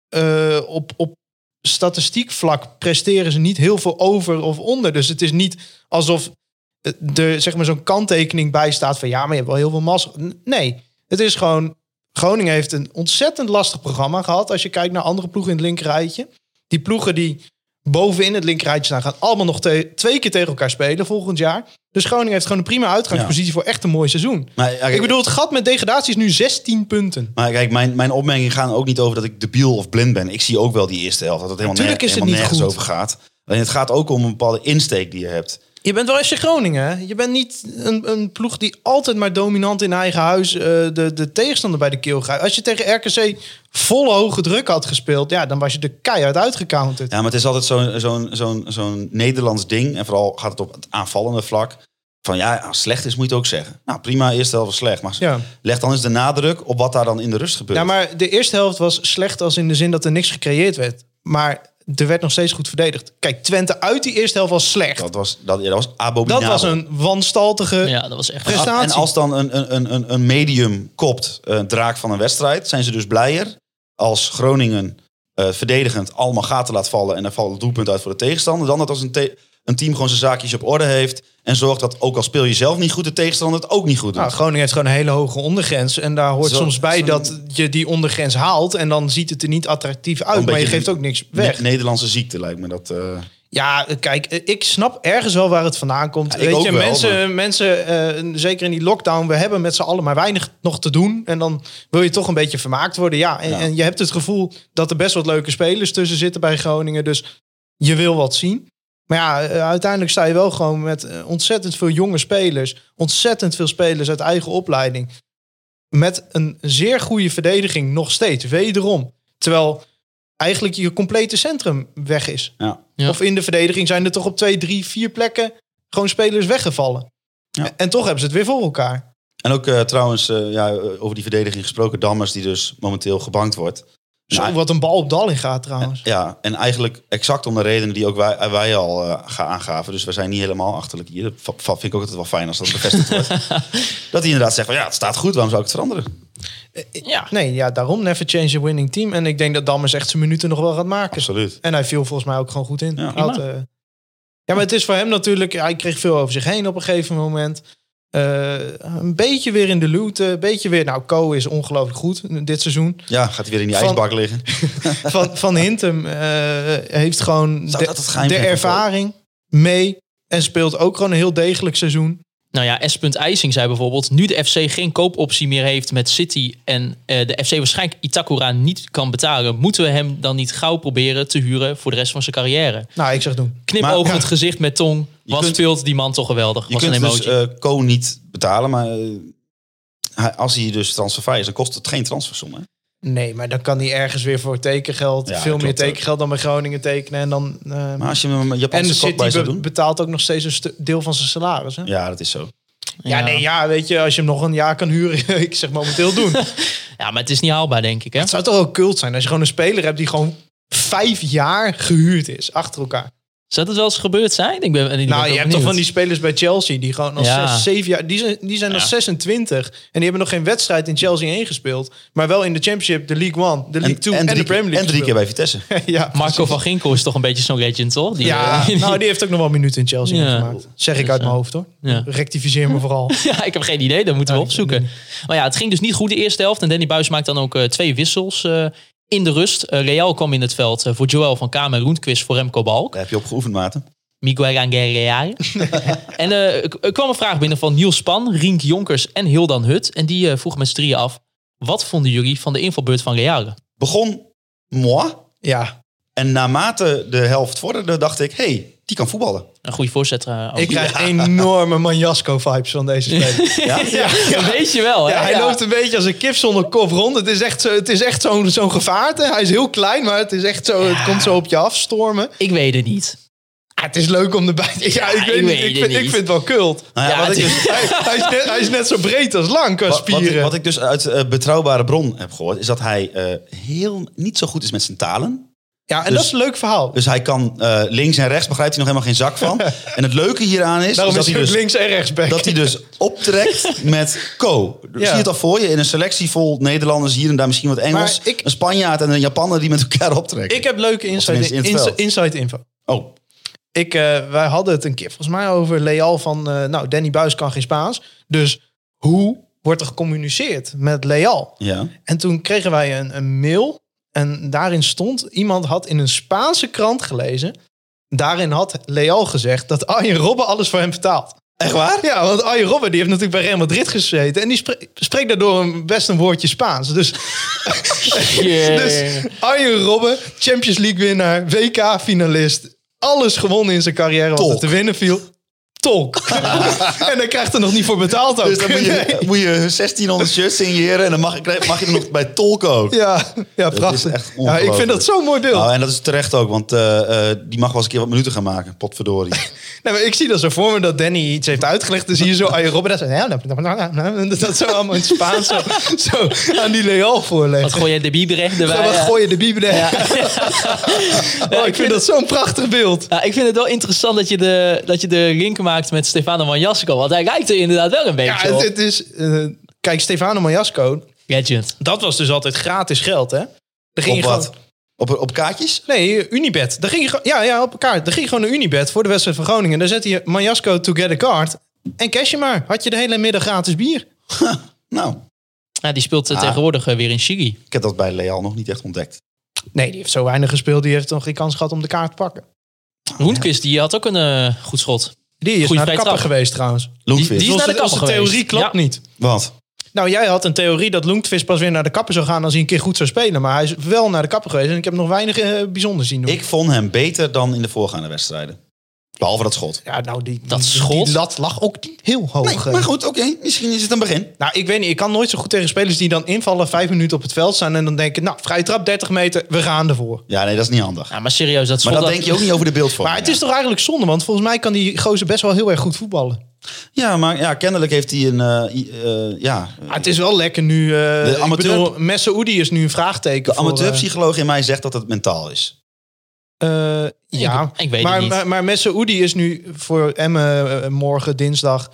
[SPEAKER 6] eh, op, op statistiek vlak presteren ze niet heel veel over of onder. Dus het is niet alsof eh, er zeg maar, zo'n kanttekening bij staat van ja, maar je hebt wel heel veel massa. N- Nee, het is gewoon... Groningen heeft een ontzettend lastig programma gehad als je kijkt naar andere ploegen in het linkerrijtje. Die ploegen die bovenin het linkerrijtje staan gaan allemaal nog te- twee keer tegen elkaar spelen volgend jaar. Dus Groningen heeft gewoon een prima uitgangspositie voor echt een mooi seizoen.
[SPEAKER 5] Maar, ja, kijk,
[SPEAKER 6] Ik bedoel, het gat met degradatie is nu 16 punten.
[SPEAKER 5] maar kijk, mijn, mijn opmerkingen gaan ook niet over dat ik debiel of blind ben. Ik zie ook wel die eerste helft, dat het helemaal,
[SPEAKER 6] Natuurlijk
[SPEAKER 5] nerg-
[SPEAKER 6] is het
[SPEAKER 5] helemaal
[SPEAKER 6] niet
[SPEAKER 5] nergens
[SPEAKER 6] goed.
[SPEAKER 5] over gaat. Alleen het gaat ook om een bepaalde insteek die je hebt.
[SPEAKER 6] Je bent wel FC Groningen. hè? Je bent niet een, een ploeg die altijd maar dominant in eigen huis eh, de, de tegenstander bij de keel gaat. Als je tegen RKC volle hoge druk had gespeeld, ja, dan was je de keihard uitgecounterd.
[SPEAKER 5] Ja, maar het is altijd zo'n zo'n zo'n zo'n Nederlands ding. En vooral gaat het op het aanvallende vlak. Van ja, als slecht is moet je het ook zeggen. Nou prima, eerste helft was slecht. Maar
[SPEAKER 6] Ja.
[SPEAKER 5] leg dan eens de nadruk op wat daar dan in de rust gebeurt.
[SPEAKER 6] Ja, maar de eerste helft was slecht als in de zin dat er niks gecreëerd werd. Maar er werd nog steeds goed verdedigd. Kijk, Twente uit die eerste helft was slecht.
[SPEAKER 5] Dat was, dat, ja, dat was abominabel.
[SPEAKER 6] Dat was een wanstaltige.
[SPEAKER 4] Ja, dat was echt...
[SPEAKER 6] Eh, Prestatie.
[SPEAKER 5] Als- En als dan een, een- een, een, een medium kopt, eh, een draak van een wedstrijd, zijn ze dus blijer als Groningen eh, verdedigend allemaal gaten laat vallen en er valt het doelpunt uit voor de tegenstander. Dan dat als een, te- een team gewoon zijn zaakjes op orde heeft en zorgt dat ook al speel je zelf niet goed, de tegenstander het ook niet goed doet.
[SPEAKER 6] Nou, Groningen heeft gewoon een hele hoge ondergrens. En daar hoort
[SPEAKER 5] Zo-
[SPEAKER 6] soms bij
[SPEAKER 5] zo'n-
[SPEAKER 6] dat je die ondergrens haalt. En dan ziet het er niet attractief uit.
[SPEAKER 5] Een
[SPEAKER 6] Maar je
[SPEAKER 5] beetje
[SPEAKER 6] geeft ook niks weg.
[SPEAKER 5] Ne- Nederlandse ziekte lijkt me dat. eh.
[SPEAKER 6] Ja, eh, kijk, eh, ik snap ergens wel waar het vandaan komt.
[SPEAKER 5] Ja, ik
[SPEAKER 6] Weet
[SPEAKER 5] ook
[SPEAKER 6] je,
[SPEAKER 5] wel,
[SPEAKER 6] mensen,
[SPEAKER 5] maar-
[SPEAKER 6] mensen eh, zeker in die lockdown, we hebben met z'n allen maar weinig nog te doen. En dan wil je toch een beetje vermaakt worden. Ja, en,
[SPEAKER 5] Ja.
[SPEAKER 6] en je hebt het gevoel dat er best wat leuke spelers tussen zitten bij Groningen. Dus je wil wat zien. Maar ja, eh, uiteindelijk sta je wel gewoon met eh, ontzettend veel jonge spelers. Ontzettend veel spelers uit eigen opleiding. Met een zeer goede verdediging nog steeds, wederom. Terwijl eigenlijk je complete centrum weg is.
[SPEAKER 5] ja.
[SPEAKER 4] Ja.
[SPEAKER 6] Of in de verdediging zijn er toch op twee, drie, vier plekken gewoon spelers weggevallen.
[SPEAKER 5] Ja.
[SPEAKER 6] En toch hebben ze het weer voor elkaar.
[SPEAKER 5] En ook eh, trouwens, eh, ja, eh, over die verdediging gesproken, Dammers die dus momenteel gebankt wordt.
[SPEAKER 6] Zo,
[SPEAKER 5] Nou,
[SPEAKER 6] wat een bal op dal in gaat trouwens.
[SPEAKER 5] Ja, en eigenlijk exact om de redenen die ook wij, wij al eh, ga aangaven. Dus we zijn niet helemaal achterlijk hier. Dat va- va- vind ik ook altijd wel fijn als dat bevestigd wordt. dat hij inderdaad zegt van ja, het staat goed, waarom zou ik het veranderen?
[SPEAKER 4] Ja.
[SPEAKER 6] Nee, ja, daarom never change a winning team. En ik denk dat Dammers echt zijn minuten nog wel gaat maken.
[SPEAKER 5] Absoluut.
[SPEAKER 6] En hij viel volgens mij ook gewoon goed in.
[SPEAKER 5] Ja,
[SPEAKER 6] Hij had, eh, ja, maar het is voor hem natuurlijk... Hij kreeg veel over zich heen op een gegeven moment. Eh, een beetje weer in de loot. eh, Een beetje weer... Nou, Co is ongelooflijk goed dit seizoen.
[SPEAKER 5] Ja, gaat hij weer in die
[SPEAKER 6] Van-
[SPEAKER 5] ijsbak liggen.
[SPEAKER 6] Van, van Hintem eh, heeft gewoon
[SPEAKER 5] Zou dat het
[SPEAKER 6] de,
[SPEAKER 5] geheim
[SPEAKER 6] de
[SPEAKER 5] zijn van Ko?
[SPEAKER 6] ervaring mee. En speelt ook gewoon een heel degelijk seizoen.
[SPEAKER 4] Nou ja, S. IJsing zei bijvoorbeeld... nu de FC geen koopoptie meer heeft met City... en eh, de FC waarschijnlijk Itakura niet kan betalen... moeten we hem dan niet gauw proberen te huren... voor de rest van zijn carrière.
[SPEAKER 6] Nou, ik zeg doen.
[SPEAKER 4] Knipoogend
[SPEAKER 5] Maar-
[SPEAKER 4] het gezicht met tong. Wat
[SPEAKER 5] kunt-
[SPEAKER 4] speelt die man toch geweldig.
[SPEAKER 5] Je
[SPEAKER 4] Was een
[SPEAKER 5] kunt
[SPEAKER 4] emoji.
[SPEAKER 5] dus eh Co niet betalen, maar eh, hij- als hij dus transfervrij is, dan kost het geen transfersom. Hè?
[SPEAKER 6] Nee, maar dan kan hij ergens weer voor tekengeld.
[SPEAKER 5] Ja,
[SPEAKER 6] veel meer
[SPEAKER 5] klopt ook.
[SPEAKER 6] tekengeld dan bij Groningen tekenen. En dan. eh,
[SPEAKER 5] Maar als je hem een
[SPEAKER 6] en
[SPEAKER 5] Japanse kop bij
[SPEAKER 6] City
[SPEAKER 5] zou
[SPEAKER 6] be-
[SPEAKER 5] doen...
[SPEAKER 6] betaalt ook nog steeds een stu- deel van zijn salaris. Hè? Ja.
[SPEAKER 5] Ja, dat is zo.
[SPEAKER 6] nee, ja, weet je, als je hem nog een jaar kan huren, ik zeg momenteel doen. het
[SPEAKER 4] Ja, maar het is niet haalbaar, denk ik. Hè?
[SPEAKER 6] zou toch wel cult zijn als je gewoon een speler hebt die gewoon vijf jaar gehuurd is achter elkaar.
[SPEAKER 4] Zou dat wel eens gebeurd zijn? Ik ben, ik ben
[SPEAKER 6] nou,
[SPEAKER 4] ook
[SPEAKER 6] je hebt toch
[SPEAKER 4] benieuwd.
[SPEAKER 6] van die spelers bij Chelsea die gewoon al
[SPEAKER 4] Ja.
[SPEAKER 6] zes, zeven jaar, die zijn, die zijn nog 26 en die hebben nog geen wedstrijd in Chelsea 1 gespeeld, maar wel in de Championship, de League One, de League Two en,
[SPEAKER 5] drie,
[SPEAKER 6] de Premier League.
[SPEAKER 5] en drie keer bij Vitesse.
[SPEAKER 6] gespeeld. ja,
[SPEAKER 4] Marco van Ginkel is toch een beetje zo'n legend, toch? Die,
[SPEAKER 6] Ja,
[SPEAKER 4] eh,
[SPEAKER 6] nou, die heeft ook nog wel minuten in Chelsea
[SPEAKER 4] Ja.
[SPEAKER 6] gemaakt. Zeg ik uit mijn hoofd hoor.
[SPEAKER 4] Ja.
[SPEAKER 6] Rectificeer me vooral.
[SPEAKER 4] Ja, ik heb geen idee. Dat moeten we
[SPEAKER 6] Ja, ik-
[SPEAKER 4] opzoeken. Maar ja, het ging dus niet goed de eerste helft. En Danny Buis maakt dan ook eh, twee wissels eh, in de rust. Eh, Real kwam in het veld eh, voor Joel van Kamer en Roentquist voor Remco Balk.
[SPEAKER 5] Daar heb je op geoefend, Maarten.
[SPEAKER 4] Miguel Angel. en eh, er kwam een vraag binnen van Niels Span, Rienk Jonkers en Hildan Hut. En die eh vroeg met z'n drieën af, wat vonden jullie van de invalbeurt van Real?
[SPEAKER 5] Begon moi.
[SPEAKER 6] Ja,
[SPEAKER 5] En naarmate de helft vorderde, dacht ik, hé, hey, die kan voetballen.
[SPEAKER 4] Een goede voorzet. eh, ook.
[SPEAKER 6] ik krijg enorme Manjasko-vibes van deze speler.
[SPEAKER 5] Ja?
[SPEAKER 6] ja.
[SPEAKER 4] Dat weet je wel, hè?
[SPEAKER 6] Ja, hij loopt een beetje als een kip zonder kop rond. Het is echt, zo, het is echt zo'n zo'n gevaarte. Hij is heel klein, maar het, is echt zo, het komt zo op je afstormen.
[SPEAKER 4] Ik weet het niet.
[SPEAKER 6] Ah, het is leuk om erbij te... Ja, ik, weet niet,
[SPEAKER 4] weet
[SPEAKER 6] ik,
[SPEAKER 4] het
[SPEAKER 6] vind,
[SPEAKER 4] niet.
[SPEAKER 6] ik vind het wel kult.
[SPEAKER 5] Nou ja,
[SPEAKER 4] Ja,
[SPEAKER 5] wat,
[SPEAKER 4] het
[SPEAKER 5] ik
[SPEAKER 4] is-
[SPEAKER 5] dus,
[SPEAKER 6] Hij, hij is net, hij is net zo breed als lang qua
[SPEAKER 5] wat, wat ik,
[SPEAKER 6] spieren.
[SPEAKER 5] wat ik dus uit eh, betrouwbare bron heb gehoord, is dat hij eh, heel niet zo goed is met zijn talen.
[SPEAKER 6] ja, en
[SPEAKER 5] dus-
[SPEAKER 6] dat is een leuk verhaal.
[SPEAKER 5] Dus hij kan eh, links en rechts, begrijpt hij nog helemaal geen zak van. en het leuke hieraan is,
[SPEAKER 6] Daarom
[SPEAKER 5] dat
[SPEAKER 6] is hij
[SPEAKER 5] hij dus
[SPEAKER 6] links en rechts back.
[SPEAKER 5] dat hij dus optrekt met Co.
[SPEAKER 6] Ja.
[SPEAKER 5] Zie je het al voor je? In een selectie vol Nederlanders hier en daar misschien wat Engels.
[SPEAKER 6] Maar ik-
[SPEAKER 5] Een Spanjaard en een Japanner die met elkaar optrekken.
[SPEAKER 6] Ik heb leuke inside,
[SPEAKER 5] tenminste in het
[SPEAKER 6] ins-
[SPEAKER 5] veld.
[SPEAKER 6] inside info.
[SPEAKER 5] Oh,
[SPEAKER 6] Ik, eh, wij hadden het een keer volgens mij over Leal van... eh, nou, Danny Buis kan geen Spaans. Dus hoe wordt er gecommuniceerd met Leal?
[SPEAKER 5] ja.
[SPEAKER 6] En toen kregen wij een, een mail. En daarin stond, iemand had in een Spaanse krant gelezen. Daarin had Leal gezegd dat Arjen Robben alles voor hem betaalt.
[SPEAKER 5] Echt waar?
[SPEAKER 6] Ja, want Arjen Robben die heeft natuurlijk bij Real Madrid gezeten. En die spre- spreekt daardoor een, best een woordje Spaans. Dus, dus Arjen Robben, Champions League winnaar, WK-finalist. Alles gewonnen in zijn carrière wat
[SPEAKER 5] Tolk.
[SPEAKER 6] er te winnen viel. Tolk. en hij krijgt er nog niet voor betaald ook.
[SPEAKER 5] Dus dan moet je, moet je 1600 shirts signeren en dan mag, krijg- mag je er nog bij tolken ook.
[SPEAKER 6] Ja, ja prachtig.
[SPEAKER 5] echt
[SPEAKER 6] ja, ik vind
[SPEAKER 5] ongelooflijk.
[SPEAKER 6] dat zo'n mooi beeld.
[SPEAKER 5] Nou, en dat is terecht ook, want eh, eh, die mag wel eens een keer wat minuten gaan maken. Potverdorie.
[SPEAKER 6] Nee, maar ik zie dat zo voor me dat Danny iets heeft uitgelegd. Dan zie je zo aan je Robben dat ze- ja, nou, nou, nou, nou, dat dat zo allemaal in het Spaans zo, zo aan die Leal voorlegt.
[SPEAKER 4] Wat gooi je de bieberecht
[SPEAKER 6] Zo,
[SPEAKER 4] erbij?
[SPEAKER 6] Wat
[SPEAKER 4] ja.
[SPEAKER 6] gooi je de bibel ja.
[SPEAKER 4] ik
[SPEAKER 6] oh, Ik
[SPEAKER 4] vind
[SPEAKER 6] vind dat zo'n prachtig beeld.
[SPEAKER 4] Ja, ik vind het wel interessant dat je de, dat je de link maakt met Stefano Manjasko. Want hij lijkt er inderdaad wel een
[SPEAKER 6] Ja,
[SPEAKER 4] beetje
[SPEAKER 6] het,
[SPEAKER 4] op.
[SPEAKER 6] het is... eh, kijk, Stefano Majasco,
[SPEAKER 4] Legend.
[SPEAKER 6] dat was dus altijd gratis geld, hè? Daar ging
[SPEAKER 5] Op
[SPEAKER 6] je
[SPEAKER 5] wat?
[SPEAKER 6] gewoon-
[SPEAKER 5] Op, op kaartjes?
[SPEAKER 6] Nee, Unibet. Daar ging je, gewoon- ja, ja, op elkaar. Daar ging je gewoon naar Unibet voor de wedstrijd van Groningen. Daar zette je Majasco to get a card. En cash je maar. Had je de hele middag gratis bier.
[SPEAKER 5] Nou,
[SPEAKER 4] Ja, die speelt eh,
[SPEAKER 5] Ah.
[SPEAKER 4] tegenwoordig eh, weer in Chili.
[SPEAKER 5] ik heb dat bij Leal nog niet echt ontdekt.
[SPEAKER 6] Nee, die heeft zo weinig gespeeld. Die heeft nog geen kans gehad om de kaart te pakken. Ah,
[SPEAKER 4] Roentquist, die had ook een eh, goed schot.
[SPEAKER 6] Die is
[SPEAKER 4] Goeie
[SPEAKER 6] naar de
[SPEAKER 4] vrije
[SPEAKER 6] kapper
[SPEAKER 4] trap.
[SPEAKER 6] geweest trouwens.
[SPEAKER 5] Loenvis.
[SPEAKER 4] die is- naar de kapper
[SPEAKER 6] onze
[SPEAKER 4] geweest.
[SPEAKER 6] theorie klopt
[SPEAKER 4] Ja.
[SPEAKER 6] niet.
[SPEAKER 5] Wat?
[SPEAKER 6] Nou, jij had een theorie dat Loentvist pas weer naar de kapper zou gaan als hij een keer goed zou spelen. Maar hij is wel naar de kapper geweest en ik heb nog weinig eh, bijzonder zien doen.
[SPEAKER 5] Ik vond hem beter dan in de voorgaande wedstrijden. Behalve dat schot.
[SPEAKER 6] ja, nou, die,
[SPEAKER 4] Dat
[SPEAKER 6] die,
[SPEAKER 4] schot.
[SPEAKER 6] die lat lag ook niet heel
[SPEAKER 5] Nee,
[SPEAKER 6] hoog. eh.
[SPEAKER 5] maar goed, oké. Misschien is het een begin.
[SPEAKER 6] Nou, ik weet niet. Ik kan nooit zo goed tegen spelers die dan invallen, vijf minuten op het veld staan en dan denken, nou, vrije trap 30 meter, we gaan ervoor.
[SPEAKER 5] Ja, nee, dat is niet handig.
[SPEAKER 4] Ja, maar serieus, dat
[SPEAKER 5] Maar
[SPEAKER 4] schot...
[SPEAKER 5] dat denk je ook niet over de beeldvorming.
[SPEAKER 6] Maar het is toch eigenlijk zonde, want volgens mij kan die gozer best wel heel erg goed voetballen.
[SPEAKER 5] Ja, maar ja, kennelijk heeft hij een... eh, i- eh, ja,
[SPEAKER 6] Maar het is wel lekker nu. eh,
[SPEAKER 5] De amateur-
[SPEAKER 6] Ik bedoel, Messaoudi is nu een vraagteken.
[SPEAKER 5] de
[SPEAKER 6] voor, eh,
[SPEAKER 5] amateurpsycholoog in mij zegt dat het mentaal is.
[SPEAKER 6] Eh, ja,
[SPEAKER 4] ik weet het
[SPEAKER 6] maar,
[SPEAKER 4] niet.
[SPEAKER 6] maar, maar Messaoudi is nu voor Emmen eh, morgen, dinsdag.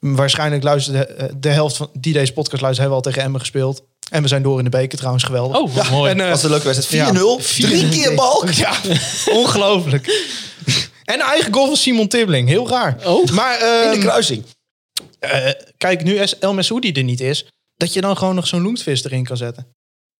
[SPEAKER 6] Waarschijnlijk luistert de, eh, de helft van die deze podcast luistert, hebben we al tegen Emmen gespeeld. En we zijn door in de beker trouwens, geweldig.
[SPEAKER 4] Oh, wat mooi.
[SPEAKER 6] en, eh,
[SPEAKER 5] Dat was een leuke wedstrijd.
[SPEAKER 6] ja.
[SPEAKER 5] 4-0. Drie keer balk.
[SPEAKER 6] Ja, ongelooflijk. En een eigen goal van Simon Tibbling, heel raar.
[SPEAKER 4] Oh.
[SPEAKER 6] Maar
[SPEAKER 5] In de
[SPEAKER 6] ehm,
[SPEAKER 5] kruising.
[SPEAKER 6] eh, kijk, nu es- El Messaoudi er niet is, dat je dan gewoon nog zo'n loentvis erin kan zetten.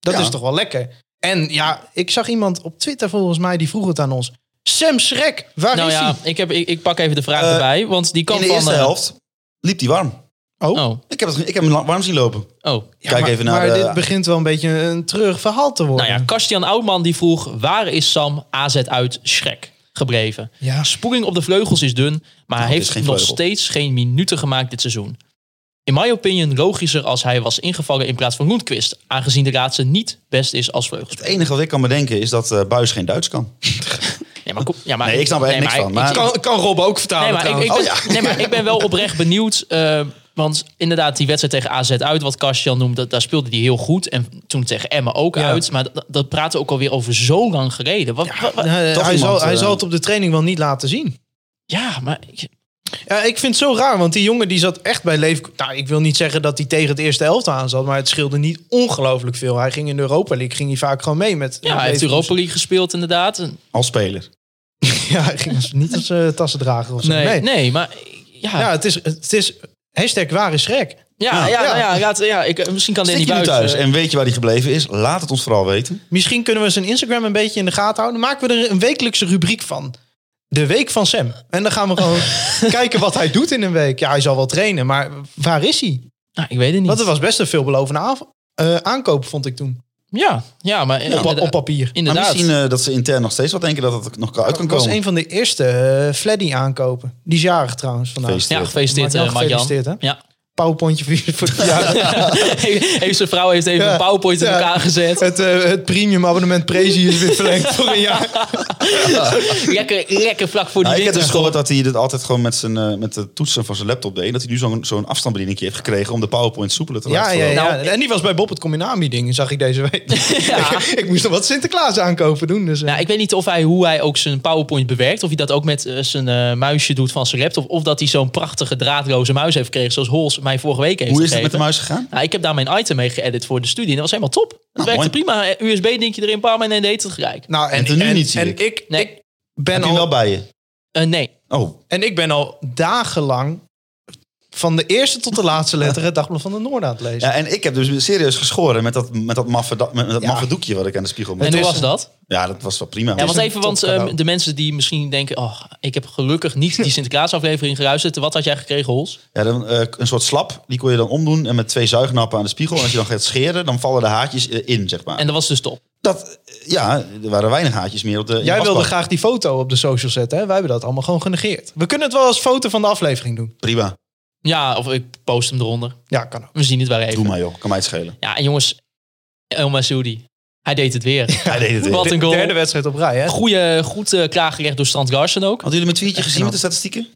[SPEAKER 6] Dat
[SPEAKER 5] Ja.
[SPEAKER 6] is toch wel lekker. En ja, ik zag iemand op Twitter volgens mij, die vroeg het aan ons. Sam Schrek, waar
[SPEAKER 4] nou
[SPEAKER 6] is hij?
[SPEAKER 4] ja, ik, heb, ik, ik pak even de vraag
[SPEAKER 5] Eh,
[SPEAKER 4] erbij. Want die kan
[SPEAKER 5] In de
[SPEAKER 4] van...
[SPEAKER 5] eerste
[SPEAKER 4] eh,
[SPEAKER 5] helft liep hij warm.
[SPEAKER 4] Oh,
[SPEAKER 5] Ik heb, het, ik heb hem la- warm zien lopen.
[SPEAKER 4] oh.
[SPEAKER 6] Ja,
[SPEAKER 5] Kijk
[SPEAKER 6] maar,
[SPEAKER 5] even naar
[SPEAKER 6] Maar
[SPEAKER 5] de-
[SPEAKER 6] dit begint wel een beetje een treurig verhaal te worden.
[SPEAKER 4] Nou ja, Kastian Oudman die vroeg... Waar is Sam AZ uit Schrek gebleven?
[SPEAKER 6] Ja.
[SPEAKER 4] Spoeling op de vleugels is dun... maar hij
[SPEAKER 5] Nou, het
[SPEAKER 4] heeft
[SPEAKER 5] is geen
[SPEAKER 4] nog
[SPEAKER 5] vleugel.
[SPEAKER 4] steeds geen minuten gemaakt dit seizoen. In my opinion logischer als hij was ingevallen in plaats van Roentquist... aangezien de laatste niet best is als vleugelspeler.
[SPEAKER 5] Het enige wat ik kan bedenken is dat eh, Buis geen Duits kan.
[SPEAKER 4] Nee, maar, kom- ja, maar,
[SPEAKER 5] Nee, ik snap er echt niks
[SPEAKER 4] maar
[SPEAKER 5] van,
[SPEAKER 4] ik-
[SPEAKER 5] maar-
[SPEAKER 6] kan, kan Rob ook vertalen
[SPEAKER 4] Nee, maar ik, ik ben,
[SPEAKER 6] trouwens.
[SPEAKER 4] nee, maar ik ben wel oprecht benieuwd. eh, want inderdaad, die wedstrijd tegen AZ uit, wat Kastjan noemde, dat- daar speelde hij heel goed. En toen tegen Emmen ook
[SPEAKER 6] Ja.
[SPEAKER 4] uit. Maar dat, dat praten we ook alweer over zo lang geleden. Wat, wat- wat-
[SPEAKER 6] Eh,
[SPEAKER 4] ja.
[SPEAKER 5] Toch
[SPEAKER 6] hij,
[SPEAKER 5] iemand,
[SPEAKER 6] zal, hij
[SPEAKER 5] eh,
[SPEAKER 6] zal het op de training wel niet laten zien.
[SPEAKER 4] maar ik-
[SPEAKER 6] Ja, ik vind het zo raar, want die jongen die zat echt bij Leef... Nou, ik wil niet zeggen dat hij tegen het eerste helft aan zat... maar het scheelde niet ongelooflijk veel. Hij ging in de Europa League ging hij vaak gewoon mee met...
[SPEAKER 4] ja,
[SPEAKER 6] met
[SPEAKER 4] hij heeft
[SPEAKER 6] Leverkusen.
[SPEAKER 4] Europa League gespeeld inderdaad. En-
[SPEAKER 5] Als speler.
[SPEAKER 6] Ja, hij ging als- niet als eh, tassendrager of zo.
[SPEAKER 4] Nee,
[SPEAKER 6] Nee.
[SPEAKER 4] nee. maar ja.
[SPEAKER 6] Ja,
[SPEAKER 4] Ja,
[SPEAKER 6] het is, het is hashtag waar is Schrek.
[SPEAKER 4] ja, ja,
[SPEAKER 6] ja.
[SPEAKER 4] ja, laat- ja, ik, eh, misschien kan
[SPEAKER 5] Zit
[SPEAKER 4] Danny
[SPEAKER 5] je nu
[SPEAKER 4] Buis...
[SPEAKER 5] thuis
[SPEAKER 4] eh,
[SPEAKER 5] en weet je waar hij gebleven is? Laat het ons vooral weten.
[SPEAKER 6] Misschien kunnen we zijn Instagram een beetje in de gaten houden. Maken we er een wekelijkse rubriek van. De week van Sam. En dan gaan we gewoon kijken wat hij doet in een week. Ja, hij zal wel trainen, maar waar is hij?
[SPEAKER 4] Nou, ik weet het niet.
[SPEAKER 6] Want het was best een veelbelovende av- eh, aankoop, vond ik toen.
[SPEAKER 4] Ja, ja, maar
[SPEAKER 6] Op,
[SPEAKER 4] inderdaad.
[SPEAKER 6] op papier.
[SPEAKER 5] Maar
[SPEAKER 4] inderdaad.
[SPEAKER 5] misschien eh, dat ze intern nog steeds wat denken dat het nog uit kan
[SPEAKER 6] Dat was
[SPEAKER 5] komen.
[SPEAKER 6] een van de eerste eh Fleddy aankopen. Die is jarig trouwens vandaag.
[SPEAKER 5] Feest.
[SPEAKER 4] ja, gefeliciteerd,
[SPEAKER 6] Mark-Jan,
[SPEAKER 4] eh, Mark-Jan.
[SPEAKER 6] gefeliciteerd, hè?
[SPEAKER 4] Ja.
[SPEAKER 6] Powerpointje voor, voor die jaren.
[SPEAKER 4] heeft zijn vrouw heeft even
[SPEAKER 6] Ja.
[SPEAKER 4] een powerpoint in
[SPEAKER 6] Ja.
[SPEAKER 4] elkaar gezet.
[SPEAKER 6] Het, eh, het premium abonnement Prezi is weer verlengd voor een jaar.
[SPEAKER 4] Lekker, lekker vlak voor de
[SPEAKER 5] Nou, ik heb
[SPEAKER 4] winter.
[SPEAKER 5] dus gehoord dat hij dit altijd gewoon met, zijn, eh, met de toetsen van zijn laptop deed. En dat hij nu zo'n zo'n afstandsbediening heeft gekregen om de PowerPoint soepeler te
[SPEAKER 6] Ja,
[SPEAKER 5] laten
[SPEAKER 6] ja, ja.
[SPEAKER 5] verlopen.
[SPEAKER 4] Nou,
[SPEAKER 6] en die was bij Bob het Combinami ding, zag ik deze week.
[SPEAKER 4] Ja.
[SPEAKER 6] ik moest nog wat Sinterklaas aankopen doen. Dus, eh.
[SPEAKER 4] Nou, ik weet niet of hij, hoe hij ook zijn PowerPoint bewerkt. Of hij dat ook met eh, zijn eh, muisje doet van zijn laptop. Of dat hij zo'n prachtige draadloze muis heeft gekregen. Zoals Hols mij vorige week heeft
[SPEAKER 5] Hoe is het
[SPEAKER 4] gegeven.
[SPEAKER 5] met de muis gegaan?
[SPEAKER 4] Nou, ik heb daar mijn item mee geëdit voor de studie. En dat was helemaal top. Het werkte
[SPEAKER 5] mooi.
[SPEAKER 4] prima. Eh, USB-dingetje erin, bam, en hij deed het gelijk.
[SPEAKER 6] Nou, en,
[SPEAKER 5] Het er nu
[SPEAKER 6] en,
[SPEAKER 5] niet, zie
[SPEAKER 6] en
[SPEAKER 5] ik.
[SPEAKER 6] ik.
[SPEAKER 4] Nee.
[SPEAKER 6] ik ben
[SPEAKER 5] Heb je
[SPEAKER 6] al,
[SPEAKER 5] hem wel bij je?
[SPEAKER 4] Eh, nee.
[SPEAKER 5] Oh,
[SPEAKER 6] en ik ben al dagenlang van de eerste tot de laatste letter het dagblad van de Noord aan het lezen.
[SPEAKER 5] ja, en ik heb dus serieus geschoren met dat, met dat, maffe, da- met dat
[SPEAKER 6] Ja.
[SPEAKER 5] maffe doekje wat ik aan de spiegel
[SPEAKER 4] En
[SPEAKER 5] maakte.
[SPEAKER 4] hoe
[SPEAKER 6] is
[SPEAKER 4] was
[SPEAKER 6] een-
[SPEAKER 4] dat?
[SPEAKER 5] Ja, dat was wel prima.
[SPEAKER 4] Ja, want
[SPEAKER 6] een
[SPEAKER 4] even, want
[SPEAKER 6] topcadeau.
[SPEAKER 4] ehm, de mensen die misschien denken... Oh, ik heb gelukkig niet die Sinterklaasaflevering geluisterd. Wat had jij gekregen, Hols?
[SPEAKER 5] Ja, dan, eh, een soort slap, die kon je dan omdoen en met twee zuignappen aan de spiegel. En als je dan gaat scheren, dan vallen de haartjes eh, in, zeg maar.
[SPEAKER 4] En dat was dus top.
[SPEAKER 5] dat, eh, ja, er waren weinig haartjes meer op de in de
[SPEAKER 6] Jij wilde
[SPEAKER 5] wasbak.
[SPEAKER 6] graag die foto op de social zetten, hè? Wij hebben dat allemaal gewoon genegeerd. We kunnen het wel als foto van de aflevering doen.
[SPEAKER 5] Prima,
[SPEAKER 4] Ja, of ik post hem eronder.
[SPEAKER 6] Ja, kan ook.
[SPEAKER 4] We zien het wel even.
[SPEAKER 5] doe maar joh, kan mij het schelen.
[SPEAKER 4] Ja, en jongens, El Masoudi. Hij deed het weer.
[SPEAKER 5] Hij deed het weer.
[SPEAKER 4] Wat een goal.
[SPEAKER 6] Derde wedstrijd op rij, hè?
[SPEAKER 4] Goeie, goed eh, klaargerecht door Strand Garsen ook.
[SPEAKER 5] Hadden jullie mijn tweetje gezien met de statistieken?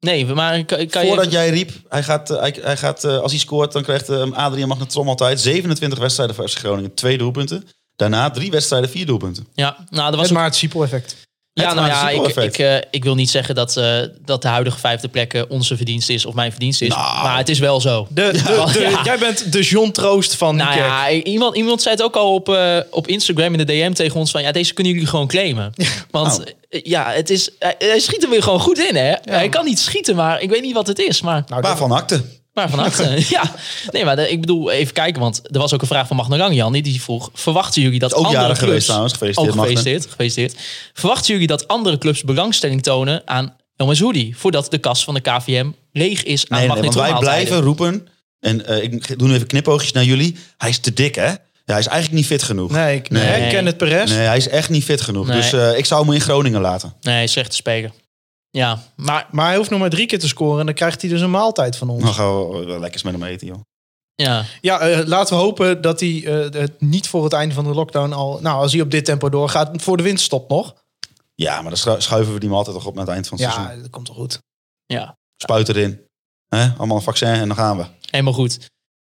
[SPEAKER 4] Nee, maar kan, kan
[SPEAKER 5] Voordat
[SPEAKER 4] je...
[SPEAKER 5] jij riep, hij gaat, eh, hij, hij gaat, eh, als hij scoort, dan krijgt eh, Adriaan Magnetrom altijd 27 wedstrijden voor FC Groningen, twee doelpunten. Daarna drie wedstrijden, vier doelpunten.
[SPEAKER 4] Ja, nou, dat was
[SPEAKER 6] Het maar het Siepel-effect.
[SPEAKER 4] Ja,
[SPEAKER 5] Het
[SPEAKER 4] nou ja, ik,
[SPEAKER 5] Maarten
[SPEAKER 4] ik, eh, ik wil niet zeggen dat, eh, dat de huidige vijfde plek eh, onze verdienste is of mijn verdienste is.
[SPEAKER 5] Nou.
[SPEAKER 4] Maar het is wel zo.
[SPEAKER 6] De, de, de-
[SPEAKER 4] Ja.
[SPEAKER 6] Jij bent de John Troost van
[SPEAKER 4] nou
[SPEAKER 6] die kerk.
[SPEAKER 4] ja, iemand, iemand zei het ook al op, eh, op Instagram in de DM tegen ons van... ja, deze kunnen jullie gewoon claimen. Want
[SPEAKER 5] Oh.
[SPEAKER 4] eh, ja, het is, hij, hij schiet er weer gewoon goed in, hè. hij kan niet schieten, maar ik weet niet wat het is. Maar,
[SPEAKER 6] Nou, dat-
[SPEAKER 5] Waarvan akte?
[SPEAKER 4] maar van achteren, ja. Nee, maar de- ik bedoel, even kijken, want er was ook een vraag van Magne Rangjan... die- die vroeg, verwachten jullie dat
[SPEAKER 5] Ook
[SPEAKER 4] andere
[SPEAKER 5] jarig
[SPEAKER 4] clubs...
[SPEAKER 5] geweest trouwens, gefeliciteerd,
[SPEAKER 4] Ook
[SPEAKER 5] Magne.
[SPEAKER 4] Oh, gefeliciteerd, gefeliciteerd. Verwachten jullie dat andere clubs belangstelling tonen aan El Mazoudi... voordat de kas van de KVM leeg is aan
[SPEAKER 5] Nee, nee, want
[SPEAKER 4] magnetronmaaltijden?
[SPEAKER 5] wij blijven roepen, en eh, ik doe nu even knipoogjes naar jullie, hij is te dik hè? Ja, hij is eigenlijk niet fit genoeg.
[SPEAKER 6] Nee, ik
[SPEAKER 5] Nee.
[SPEAKER 6] nee. ken het Perez.
[SPEAKER 5] Nee, hij is echt niet fit genoeg.
[SPEAKER 4] Nee.
[SPEAKER 5] Dus eh, ik zou hem in Groningen laten.
[SPEAKER 4] Nee, slechte speler. Ja, maar
[SPEAKER 6] Maar hij hoeft nog maar drie keer te scoren en dan krijgt hij dus een maaltijd van ons.
[SPEAKER 5] Dan gaan we wel lekker eens met hem eten, joh.
[SPEAKER 4] ja,
[SPEAKER 6] Ja, eh, laten we hopen dat hij eh, het niet voor het einde van de lockdown al... Nou, als hij op dit tempo doorgaat, voor de winst stopt nog.
[SPEAKER 5] Ja, maar dan schu- schuiven we die maar altijd nog op naar het eind van het
[SPEAKER 6] Ja,
[SPEAKER 5] seizoen.
[SPEAKER 6] dat komt toch goed.
[SPEAKER 4] ja,
[SPEAKER 5] Spuit erin. hè? Allemaal een vaccin en dan gaan we.
[SPEAKER 4] helemaal goed.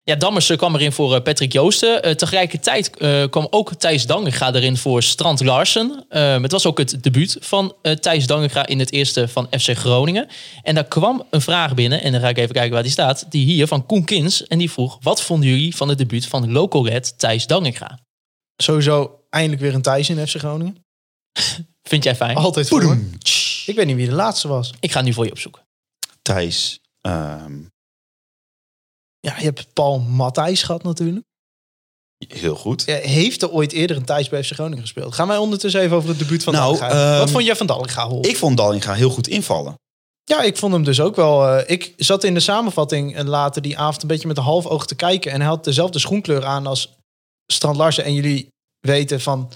[SPEAKER 4] Ja, Dammers eh, kwam erin voor eh, Patrick Joosten. Eh, tegelijkertijd eh, kwam ook Thijs Dangenga erin voor Strand Larsen. Ehm, het was ook het debuut van eh, Thijs Dangenga in het eerste van FC Groningen. En daar kwam een vraag binnen, en dan ga ik even kijken waar die staat. Die hier van Koen Kins. En die vroeg, wat vonden jullie van het debuut van Locoret Thijs Dangenga?
[SPEAKER 6] Sowieso eindelijk weer een Thijs in FC Groningen.
[SPEAKER 4] Vind jij
[SPEAKER 5] Oh.
[SPEAKER 4] fijn?
[SPEAKER 6] Altijd voor me. Ik weet niet wie de laatste was.
[SPEAKER 4] Ik ga nu voor je opzoeken.
[SPEAKER 5] Thijs. ehm,
[SPEAKER 6] Ja, je hebt Paul Matthijs gehad natuurlijk.
[SPEAKER 5] heel goed.
[SPEAKER 6] Ja, heeft er ooit eerder een Thijs bij FC Groningen gespeeld? Gaan wij ondertussen even over het debuut van
[SPEAKER 5] Nou,
[SPEAKER 6] Dallinga. Wat
[SPEAKER 5] ehm,
[SPEAKER 6] vond jij van Dallinga, Hol?
[SPEAKER 5] Ik vond Dallinga heel goed invallen.
[SPEAKER 6] Ja, ik vond hem dus ook wel... eh, ik zat in de samenvatting eh, later die avond een beetje met een half oog te kijken. En hij had dezelfde schoenkleur aan als Strand Larsen. En jullie weten van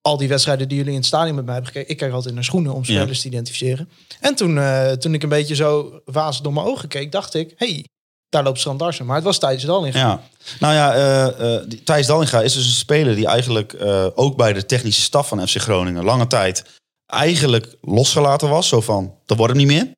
[SPEAKER 6] al die wedstrijden die jullie in het stadion met mij hebben gekeken. Ik kijk altijd naar schoenen om spelers te identificeren. En toen, eh, toen ik een beetje zo waas door mijn ogen keek, dacht ik... hey, daar loopt Strand Larsen. Maar het was Thijs Dallinga.
[SPEAKER 5] Ja. Nou ja, eh, eh, die- Thijs Dallinga is dus een speler die eigenlijk eh, ook bij de technische staf van FC Groningen lange tijd eigenlijk losgelaten was. Zo van, dat wordt hem niet meer.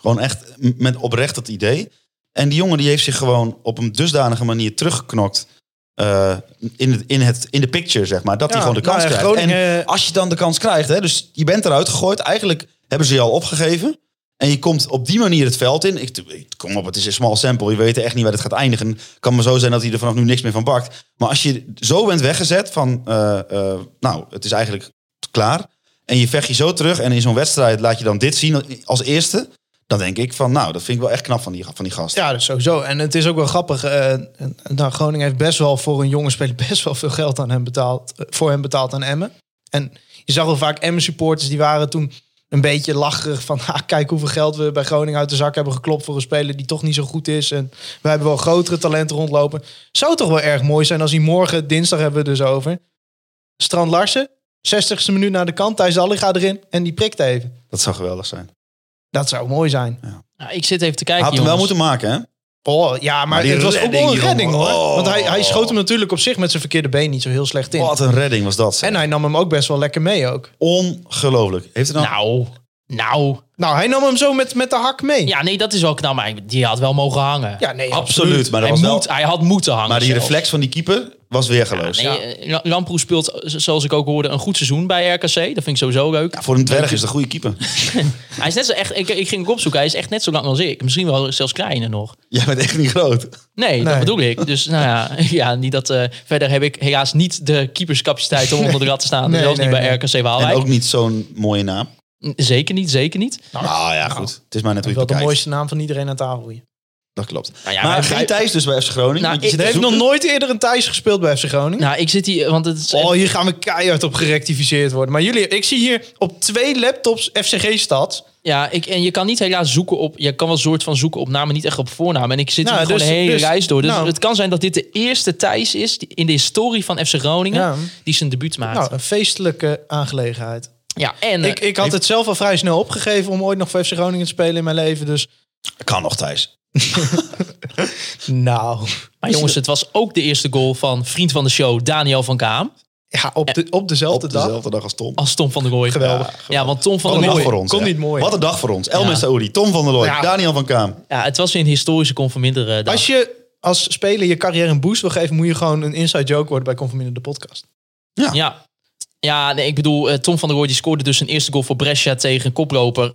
[SPEAKER 5] Gewoon echt m- met oprecht het idee. En die jongen die heeft zich gewoon op een dusdanige manier teruggeknokt eh, in, het, in, het, in de picture, zeg maar. Dat hij gewoon de kans
[SPEAKER 6] nou ja,
[SPEAKER 5] krijgt.
[SPEAKER 6] Groningen-
[SPEAKER 5] En als je dan de kans krijgt, hè, dus je bent eruit gegooid. Eigenlijk hebben ze je al opgegeven. En je komt op die manier het veld in. Ik, ik- kom op, het is een small sample. Je weet echt niet waar het gaat eindigen. Kan maar zo zijn dat hij er vanaf nu niks meer van bakt. Maar als je zo bent weggezet van... eh, eh, nou, het is eigenlijk klaar. En je vecht je zo terug. En in zo'n wedstrijd laat je dan dit zien als eerste. Dan denk ik van, nou, dat vind ik wel echt knap van die, van die gast.
[SPEAKER 6] Ja, dat sowieso. En het is ook wel grappig. eh, nou, Groningen heeft best wel voor een jonge speler best wel veel geld aan hem betaald, eh, voor hem betaald aan Emmen. En je zag wel vaak Emmen supporters die waren toen een beetje lacherig van... "Ha, kijk hoeveel geld we bij Groningen uit de zak hebben geklopt... voor een speler die toch niet zo goed is. En we hebben wel grotere talenten rondlopen. Zou toch wel erg mooi zijn als hij morgen, dinsdag hebben we het dus over... Strand Larsen, 60ste minuut naar de kant, Thijs Alliga erin en die prikt even.
[SPEAKER 5] Dat zou geweldig zijn.
[SPEAKER 6] Dat zou mooi zijn.
[SPEAKER 4] Nou, ik zit even te kijken,
[SPEAKER 5] Had hem wel
[SPEAKER 4] jongens.
[SPEAKER 5] moeten maken, hè?
[SPEAKER 6] Oh, ja, maar,
[SPEAKER 5] Maar die
[SPEAKER 6] het was ook wel een
[SPEAKER 5] redding,
[SPEAKER 6] redding hoor.
[SPEAKER 5] jongen. Oh.
[SPEAKER 6] Want hij, hij schoot hem natuurlijk op zich met zijn verkeerde been niet zo heel slecht in.
[SPEAKER 5] Wat een redding was dat. zeg.
[SPEAKER 6] En hij nam hem ook best wel lekker mee ook.
[SPEAKER 5] Ongelooflijk. Heeft hij dan...
[SPEAKER 4] Nou, nou.
[SPEAKER 6] Nou, hij nam hem zo met, met de hak mee.
[SPEAKER 4] Ja, nee, dat is wel knap. Maar die had wel mogen hangen.
[SPEAKER 6] Ja, nee,
[SPEAKER 5] absoluut. Maar,
[SPEAKER 4] hij,
[SPEAKER 5] dat was wel-
[SPEAKER 4] moet, hij had moeten hangen.
[SPEAKER 5] maar die
[SPEAKER 4] zelfs.
[SPEAKER 5] reflex van die keeper was weergeloos. Ja,
[SPEAKER 4] Nee, eh, La- Lamproe speelt, zoals ik ook hoorde, een goed seizoen bij RKC. Dat vind ik sowieso leuk.
[SPEAKER 5] voor een dwerg is dat een goede keeper.
[SPEAKER 4] Hij is net zo echt, ik, ik ging ook opzoeken, hij is echt net zo lang als ik. Misschien wel zelfs kleiner nog.
[SPEAKER 5] Jij bent echt niet groot.
[SPEAKER 4] Nee, dat
[SPEAKER 6] Nee.
[SPEAKER 4] bedoel ik. Dus nou ja, ja niet dat, eh, verder heb ik helaas niet de keeperscapaciteit om onder de lat te staan.
[SPEAKER 6] Nee,
[SPEAKER 4] zelfs
[SPEAKER 6] nee,
[SPEAKER 4] niet bij
[SPEAKER 6] nee.
[SPEAKER 4] RKC
[SPEAKER 5] En
[SPEAKER 4] Waalwijk.
[SPEAKER 5] ook niet zo'n mooie naam.
[SPEAKER 4] Zeker niet, zeker niet.
[SPEAKER 5] Nou ja, goed. Het is maar net hoe je het
[SPEAKER 6] Wel de
[SPEAKER 5] bekijkt.
[SPEAKER 6] mooiste naam van iedereen aan tafel hier.
[SPEAKER 5] Dat klopt.
[SPEAKER 4] ja,
[SPEAKER 5] maar
[SPEAKER 4] maar
[SPEAKER 5] geen
[SPEAKER 4] hij-
[SPEAKER 5] Thijs dus bij FC Groningen.
[SPEAKER 4] Nou,
[SPEAKER 5] want je
[SPEAKER 4] ik-
[SPEAKER 5] zit
[SPEAKER 6] Er
[SPEAKER 5] te
[SPEAKER 6] heeft nog
[SPEAKER 5] zoeken.
[SPEAKER 6] nooit eerder een Thijs gespeeld bij FC Groningen.
[SPEAKER 4] Nou, ik zit hier, want het is
[SPEAKER 6] oh, hier gaan we keihard op gerectificeerd worden. Maar jullie, ik zie hier op twee laptops FCG-stad.
[SPEAKER 4] Ja, ik, en je kan niet helaas zoeken op... Je kan wel soort van zoeken op namen, niet echt op voornamen. En ik zit
[SPEAKER 6] Nou,
[SPEAKER 4] hier gewoon
[SPEAKER 6] dus-
[SPEAKER 4] de hele
[SPEAKER 6] dus-
[SPEAKER 4] reis door. Dus
[SPEAKER 6] nou.
[SPEAKER 4] het kan zijn dat dit de eerste Thijs is die- in de historie van FC Groningen...
[SPEAKER 6] Ja.
[SPEAKER 4] die zijn debuut maakt.
[SPEAKER 6] Nou, een feestelijke aangelegenheid.
[SPEAKER 4] ja, en eh,
[SPEAKER 6] Ik, ik had het zelf al vrij snel opgegeven om ooit nog voor FC Groningen te spelen in mijn leven. Dus
[SPEAKER 5] Kan nog Thijs.
[SPEAKER 6] nou,
[SPEAKER 4] Maar jongens, het was ook de eerste goal van vriend van de show Daniel van Kaam.
[SPEAKER 6] ja, op, de, op dezelfde
[SPEAKER 5] Op
[SPEAKER 6] dag.
[SPEAKER 5] dezelfde dag als Tom.
[SPEAKER 4] Als Tom van der Gooi.
[SPEAKER 6] Geweldig.
[SPEAKER 4] Ja, Ja, want Tom van
[SPEAKER 5] Wat
[SPEAKER 4] der
[SPEAKER 5] een dag
[SPEAKER 4] Gooi.
[SPEAKER 5] voor ons.
[SPEAKER 6] Kon
[SPEAKER 5] hè.
[SPEAKER 6] niet mooi.
[SPEAKER 5] Wat een dag voor ons. Elmen
[SPEAKER 4] Ja.
[SPEAKER 5] Saoudi, Tom van der Looy,
[SPEAKER 6] Ja.
[SPEAKER 5] Daniel van Kaam.
[SPEAKER 4] Ja, het was weer een historische conforminder eh dag.
[SPEAKER 6] Als je als speler je carrière een boost wil geven, moet je gewoon een inside joke worden bij Conforminder de podcast.
[SPEAKER 4] Ja. Ja, nee, ik bedoel, eh, Tom van der Gooi die scoorde dus een eerste goal voor Brescia tegen koploper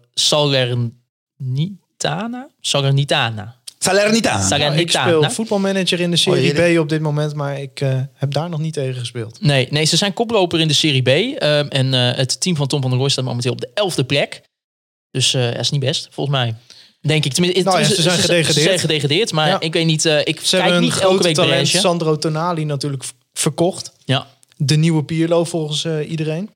[SPEAKER 4] Salernitana? Salernitana.
[SPEAKER 5] Salernitana.
[SPEAKER 6] Nou, ik
[SPEAKER 4] Salernitana.
[SPEAKER 6] speel voetbalmanager in de
[SPEAKER 5] Oh,
[SPEAKER 6] Serie
[SPEAKER 5] jee.
[SPEAKER 6] B op dit moment, maar ik eh, heb daar nog niet tegen gespeeld.
[SPEAKER 4] Nee, nee, ze zijn koploper in de Serie B. ehm, en eh, het team van Tom van der Gooi staat momenteel op de elfde plek. Dus eh, dat is niet best, volgens mij. Denk ik. Tenminste,
[SPEAKER 6] Nou ja, ze zijn
[SPEAKER 4] Ze
[SPEAKER 6] gedegradeerd.
[SPEAKER 4] zijn gedegradeerd, maar
[SPEAKER 6] Ja.
[SPEAKER 4] ik weet niet. eh, ik
[SPEAKER 6] Ze
[SPEAKER 4] kijk
[SPEAKER 6] hebben een
[SPEAKER 4] niet elke
[SPEAKER 6] groot
[SPEAKER 4] week
[SPEAKER 6] talent,
[SPEAKER 4] Brescia.
[SPEAKER 6] Sandro Tonali natuurlijk v- verkocht.
[SPEAKER 4] Ja.
[SPEAKER 6] De nieuwe Pierlo volgens eh, iedereen.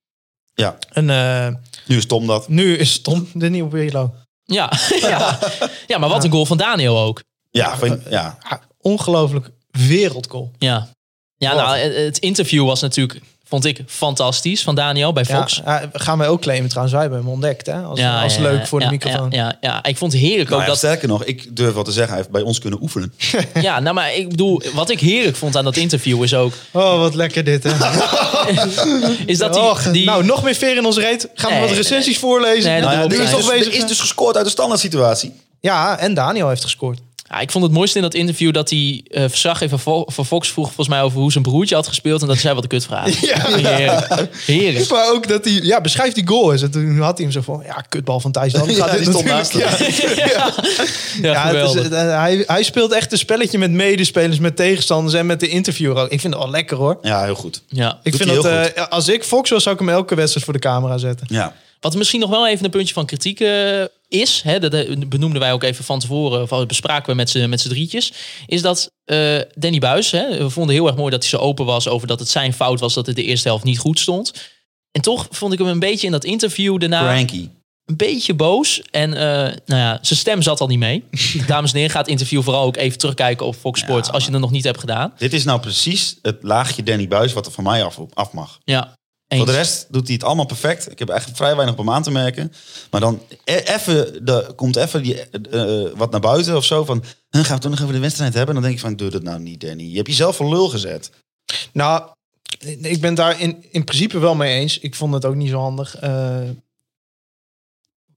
[SPEAKER 5] Ja,
[SPEAKER 6] En eh,
[SPEAKER 5] nu is Tom dat.
[SPEAKER 6] nu is Tom de nieuwe Pierlo.
[SPEAKER 4] Ja. ja. ja, maar wat een goal van Daniel ook.
[SPEAKER 5] Ja, vind- ja.
[SPEAKER 6] Ah, ongelooflijk wereldgoal.
[SPEAKER 4] Ja, ja
[SPEAKER 6] Wat?
[SPEAKER 4] nou, eh, het interview was natuurlijk, vond ik, fantastisch van Daniel bij
[SPEAKER 6] Ja,
[SPEAKER 4] Fox.
[SPEAKER 6] eh, gaan wij ook claimen trouwens. Wij hebben hem ontdekt hè? als,
[SPEAKER 4] Ja,
[SPEAKER 6] als
[SPEAKER 4] ja,
[SPEAKER 6] leuk voor
[SPEAKER 4] ja,
[SPEAKER 6] de microfoon.
[SPEAKER 4] Ja, ja, ja. ik vond het heerlijk
[SPEAKER 5] Nou
[SPEAKER 4] ook
[SPEAKER 5] ja,
[SPEAKER 4] dat.
[SPEAKER 5] Sterker nog, ik durf wel te zeggen, hij heeft bij ons kunnen oefenen.
[SPEAKER 4] Ja, nou, maar ik bedoel, wat ik heerlijk vond aan dat interview is ook,
[SPEAKER 6] Oh, wat lekker dit hè.
[SPEAKER 4] is dat
[SPEAKER 6] Och,
[SPEAKER 4] die, die
[SPEAKER 6] Nou, nog meer veer in ons reet. Gaan we
[SPEAKER 4] Nee,
[SPEAKER 6] wat
[SPEAKER 4] nee,
[SPEAKER 6] recensies voorlezen?
[SPEAKER 4] Nee, dat
[SPEAKER 5] Nou
[SPEAKER 4] klopt.
[SPEAKER 5] ja, nu is,
[SPEAKER 4] Hij
[SPEAKER 5] dus,
[SPEAKER 6] toch
[SPEAKER 5] er
[SPEAKER 6] bezig.
[SPEAKER 5] is dus gescoord uit de standaard situatie.
[SPEAKER 6] Ja, en Daniel heeft gescoord.
[SPEAKER 4] ja, ik vond het mooiste in dat interview dat die eh verslaggever Vo- van Fox vroeg volgens mij over hoe zijn broertje had gespeeld en dat zij wat een kutvraag.
[SPEAKER 6] Ja.
[SPEAKER 4] Heerlijk. Heerlijk.
[SPEAKER 6] Maar ook dat hij... Ja, beschrijf die goal eens. En toen had hij hem zo van... Ja, kutbal van Thijs. Dan
[SPEAKER 5] Ja, die stond naast hem.
[SPEAKER 4] Ja,
[SPEAKER 6] Ja, het is-
[SPEAKER 4] geweldig.
[SPEAKER 6] eh, hij, hij speelt echt een spelletje met medespelers, met tegenstanders en met de interviewer ook. Ik vind het wel lekker hoor.
[SPEAKER 5] Ja, heel goed.
[SPEAKER 4] Ja.
[SPEAKER 6] Ik
[SPEAKER 5] Doet
[SPEAKER 6] vind
[SPEAKER 5] hij
[SPEAKER 6] dat,
[SPEAKER 5] heel
[SPEAKER 6] eh, als ik Fox was, zou ik hem elke wedstrijd voor de camera zetten.
[SPEAKER 5] Ja.
[SPEAKER 4] Wat misschien nog wel even een puntje van kritiek eh, is, hè, dat eh, benoemden wij ook even van tevoren, of dat bespraken we met z'n met z'n drietjes, is dat eh, Danny Buis, hè, we vonden heel erg mooi dat hij zo open was over dat het zijn fout was dat het de eerste helft niet goed stond. En toch vond ik hem een beetje in dat interview daarna
[SPEAKER 5] Cranky.
[SPEAKER 4] een beetje boos. En eh, nou ja, zijn stem zat al niet mee. Dames en heren, ga het interview vooral ook even terugkijken op Fox Sports als je het nog niet hebt gedaan.
[SPEAKER 5] Dit is nou precies het laagje Danny Buis wat er van mij af, af mag.
[SPEAKER 4] Ja,
[SPEAKER 5] Voor
[SPEAKER 4] eens.
[SPEAKER 5] de rest doet hij het allemaal perfect. Ik heb eigenlijk vrij weinig op hem aan te merken. Maar dan e- even, de- komt even die, eh, eh, wat naar buiten of zo. Van, "Huh, gaan we toch nog even de wedstrijd hebben? En dan denk ik van, doe dat nou niet, Danny. Je hebt jezelf voor lul gezet.
[SPEAKER 6] Nou, ik ben daar in, in principe wel mee eens. Ik vond het ook niet zo handig. eh,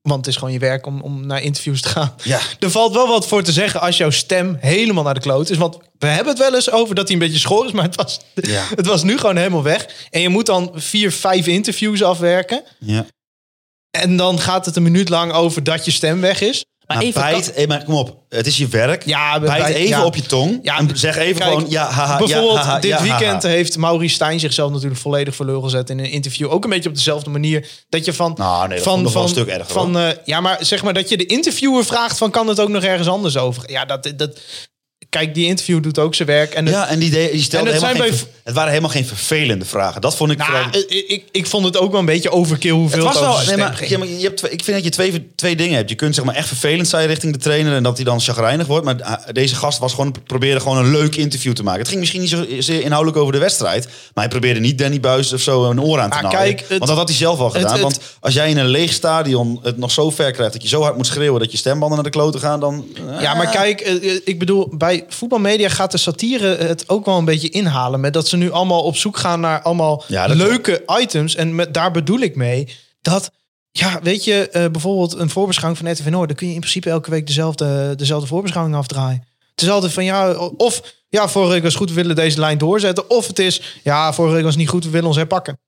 [SPEAKER 6] want het is gewoon je werk om, om naar interviews te gaan.
[SPEAKER 5] Ja.
[SPEAKER 6] Er valt wel wat voor te zeggen als jouw stem helemaal naar de kloot is. Want we hebben het wel eens over dat hij een beetje schor is. Maar het was,
[SPEAKER 5] Ja.
[SPEAKER 6] het was nu gewoon helemaal weg. En je moet dan vier, vijf interviews afwerken.
[SPEAKER 5] ja.
[SPEAKER 6] En dan gaat het een minuut lang over dat je stem weg is.
[SPEAKER 4] maar
[SPEAKER 5] Maar
[SPEAKER 4] even,
[SPEAKER 5] bijt, eh, maar kom op, het is je werk.
[SPEAKER 6] Ja,
[SPEAKER 5] bijt,
[SPEAKER 6] bij-
[SPEAKER 5] even
[SPEAKER 6] ja.
[SPEAKER 5] op je tong.
[SPEAKER 6] Ja,
[SPEAKER 5] en zeg even
[SPEAKER 6] Kijk,
[SPEAKER 5] gewoon, ja, haha, ja,
[SPEAKER 6] bijvoorbeeld
[SPEAKER 5] haha,
[SPEAKER 6] dit
[SPEAKER 5] ja, haha.
[SPEAKER 6] weekend heeft Maurice Stijn zichzelf natuurlijk volledig voor lul gezet in een interview. Ook een beetje op dezelfde manier dat je van...
[SPEAKER 5] Nou, nee, dat
[SPEAKER 6] van,
[SPEAKER 5] vond ik nog wel
[SPEAKER 6] van-
[SPEAKER 5] een stuk erger,
[SPEAKER 6] Van, eh, ja, maar zeg maar dat je de interviewer vraagt van kan het ook nog ergens anders over? Ja, dat, dat kijk, die interview doet ook zijn werk. En het-
[SPEAKER 5] Ja, en die, de- die stelde
[SPEAKER 6] En het
[SPEAKER 5] helemaal
[SPEAKER 6] zijn
[SPEAKER 5] geen,
[SPEAKER 6] bij
[SPEAKER 5] ver- het waren helemaal geen vervelende vragen. Dat vond ik
[SPEAKER 6] Nou,
[SPEAKER 5] vooral...
[SPEAKER 6] ik, ik, ik vond het ook wel een beetje overkill hoeveel
[SPEAKER 5] Het
[SPEAKER 6] het,
[SPEAKER 5] was
[SPEAKER 6] over
[SPEAKER 5] wel,
[SPEAKER 6] zijn
[SPEAKER 5] nee,
[SPEAKER 6] stem
[SPEAKER 5] maar,
[SPEAKER 6] ging.
[SPEAKER 5] ja, maar je hebt, twee- ik vind dat je twee, twee dingen hebt. Je kunt zeg maar echt vervelend zijn richting de trainer en dat hij dan chagrijnig wordt. Maar ah, deze gast was gewoon, probeerde gewoon een leuk interview te maken. Het ging misschien niet zozeer inhoudelijk over de wedstrijd. Maar hij probeerde niet Danny Buis of zo een oor aan te
[SPEAKER 6] Ah,
[SPEAKER 5] naaien.
[SPEAKER 6] kijk, het-
[SPEAKER 5] want dat had hij zelf al gedaan.
[SPEAKER 6] het-
[SPEAKER 5] want als jij in een leeg stadion het nog zo ver krijgt dat je zo hard moet schreeuwen dat je stembanden naar de kloten gaan, dan... eh,
[SPEAKER 6] Ja, maar kijk, eh, eh, ik bedoel, bij voetbalmedia gaat de satire het ook wel een beetje inhalen. Met dat ze nu allemaal op zoek gaan naar allemaal
[SPEAKER 5] Ja, dat
[SPEAKER 6] leuke items. En met, daar bedoel ik mee dat, ja, weet je, eh, bijvoorbeeld een voorbeschouwing van RTV Noord. Dan kun je in principe elke week dezelfde, dezelfde voorbeschouwing afdraaien. Het is altijd van, ja, of, ja, vorige week was goed, we willen deze lijn doorzetten. Of het is, ja, vorige week was niet goed, we willen ons herpakken.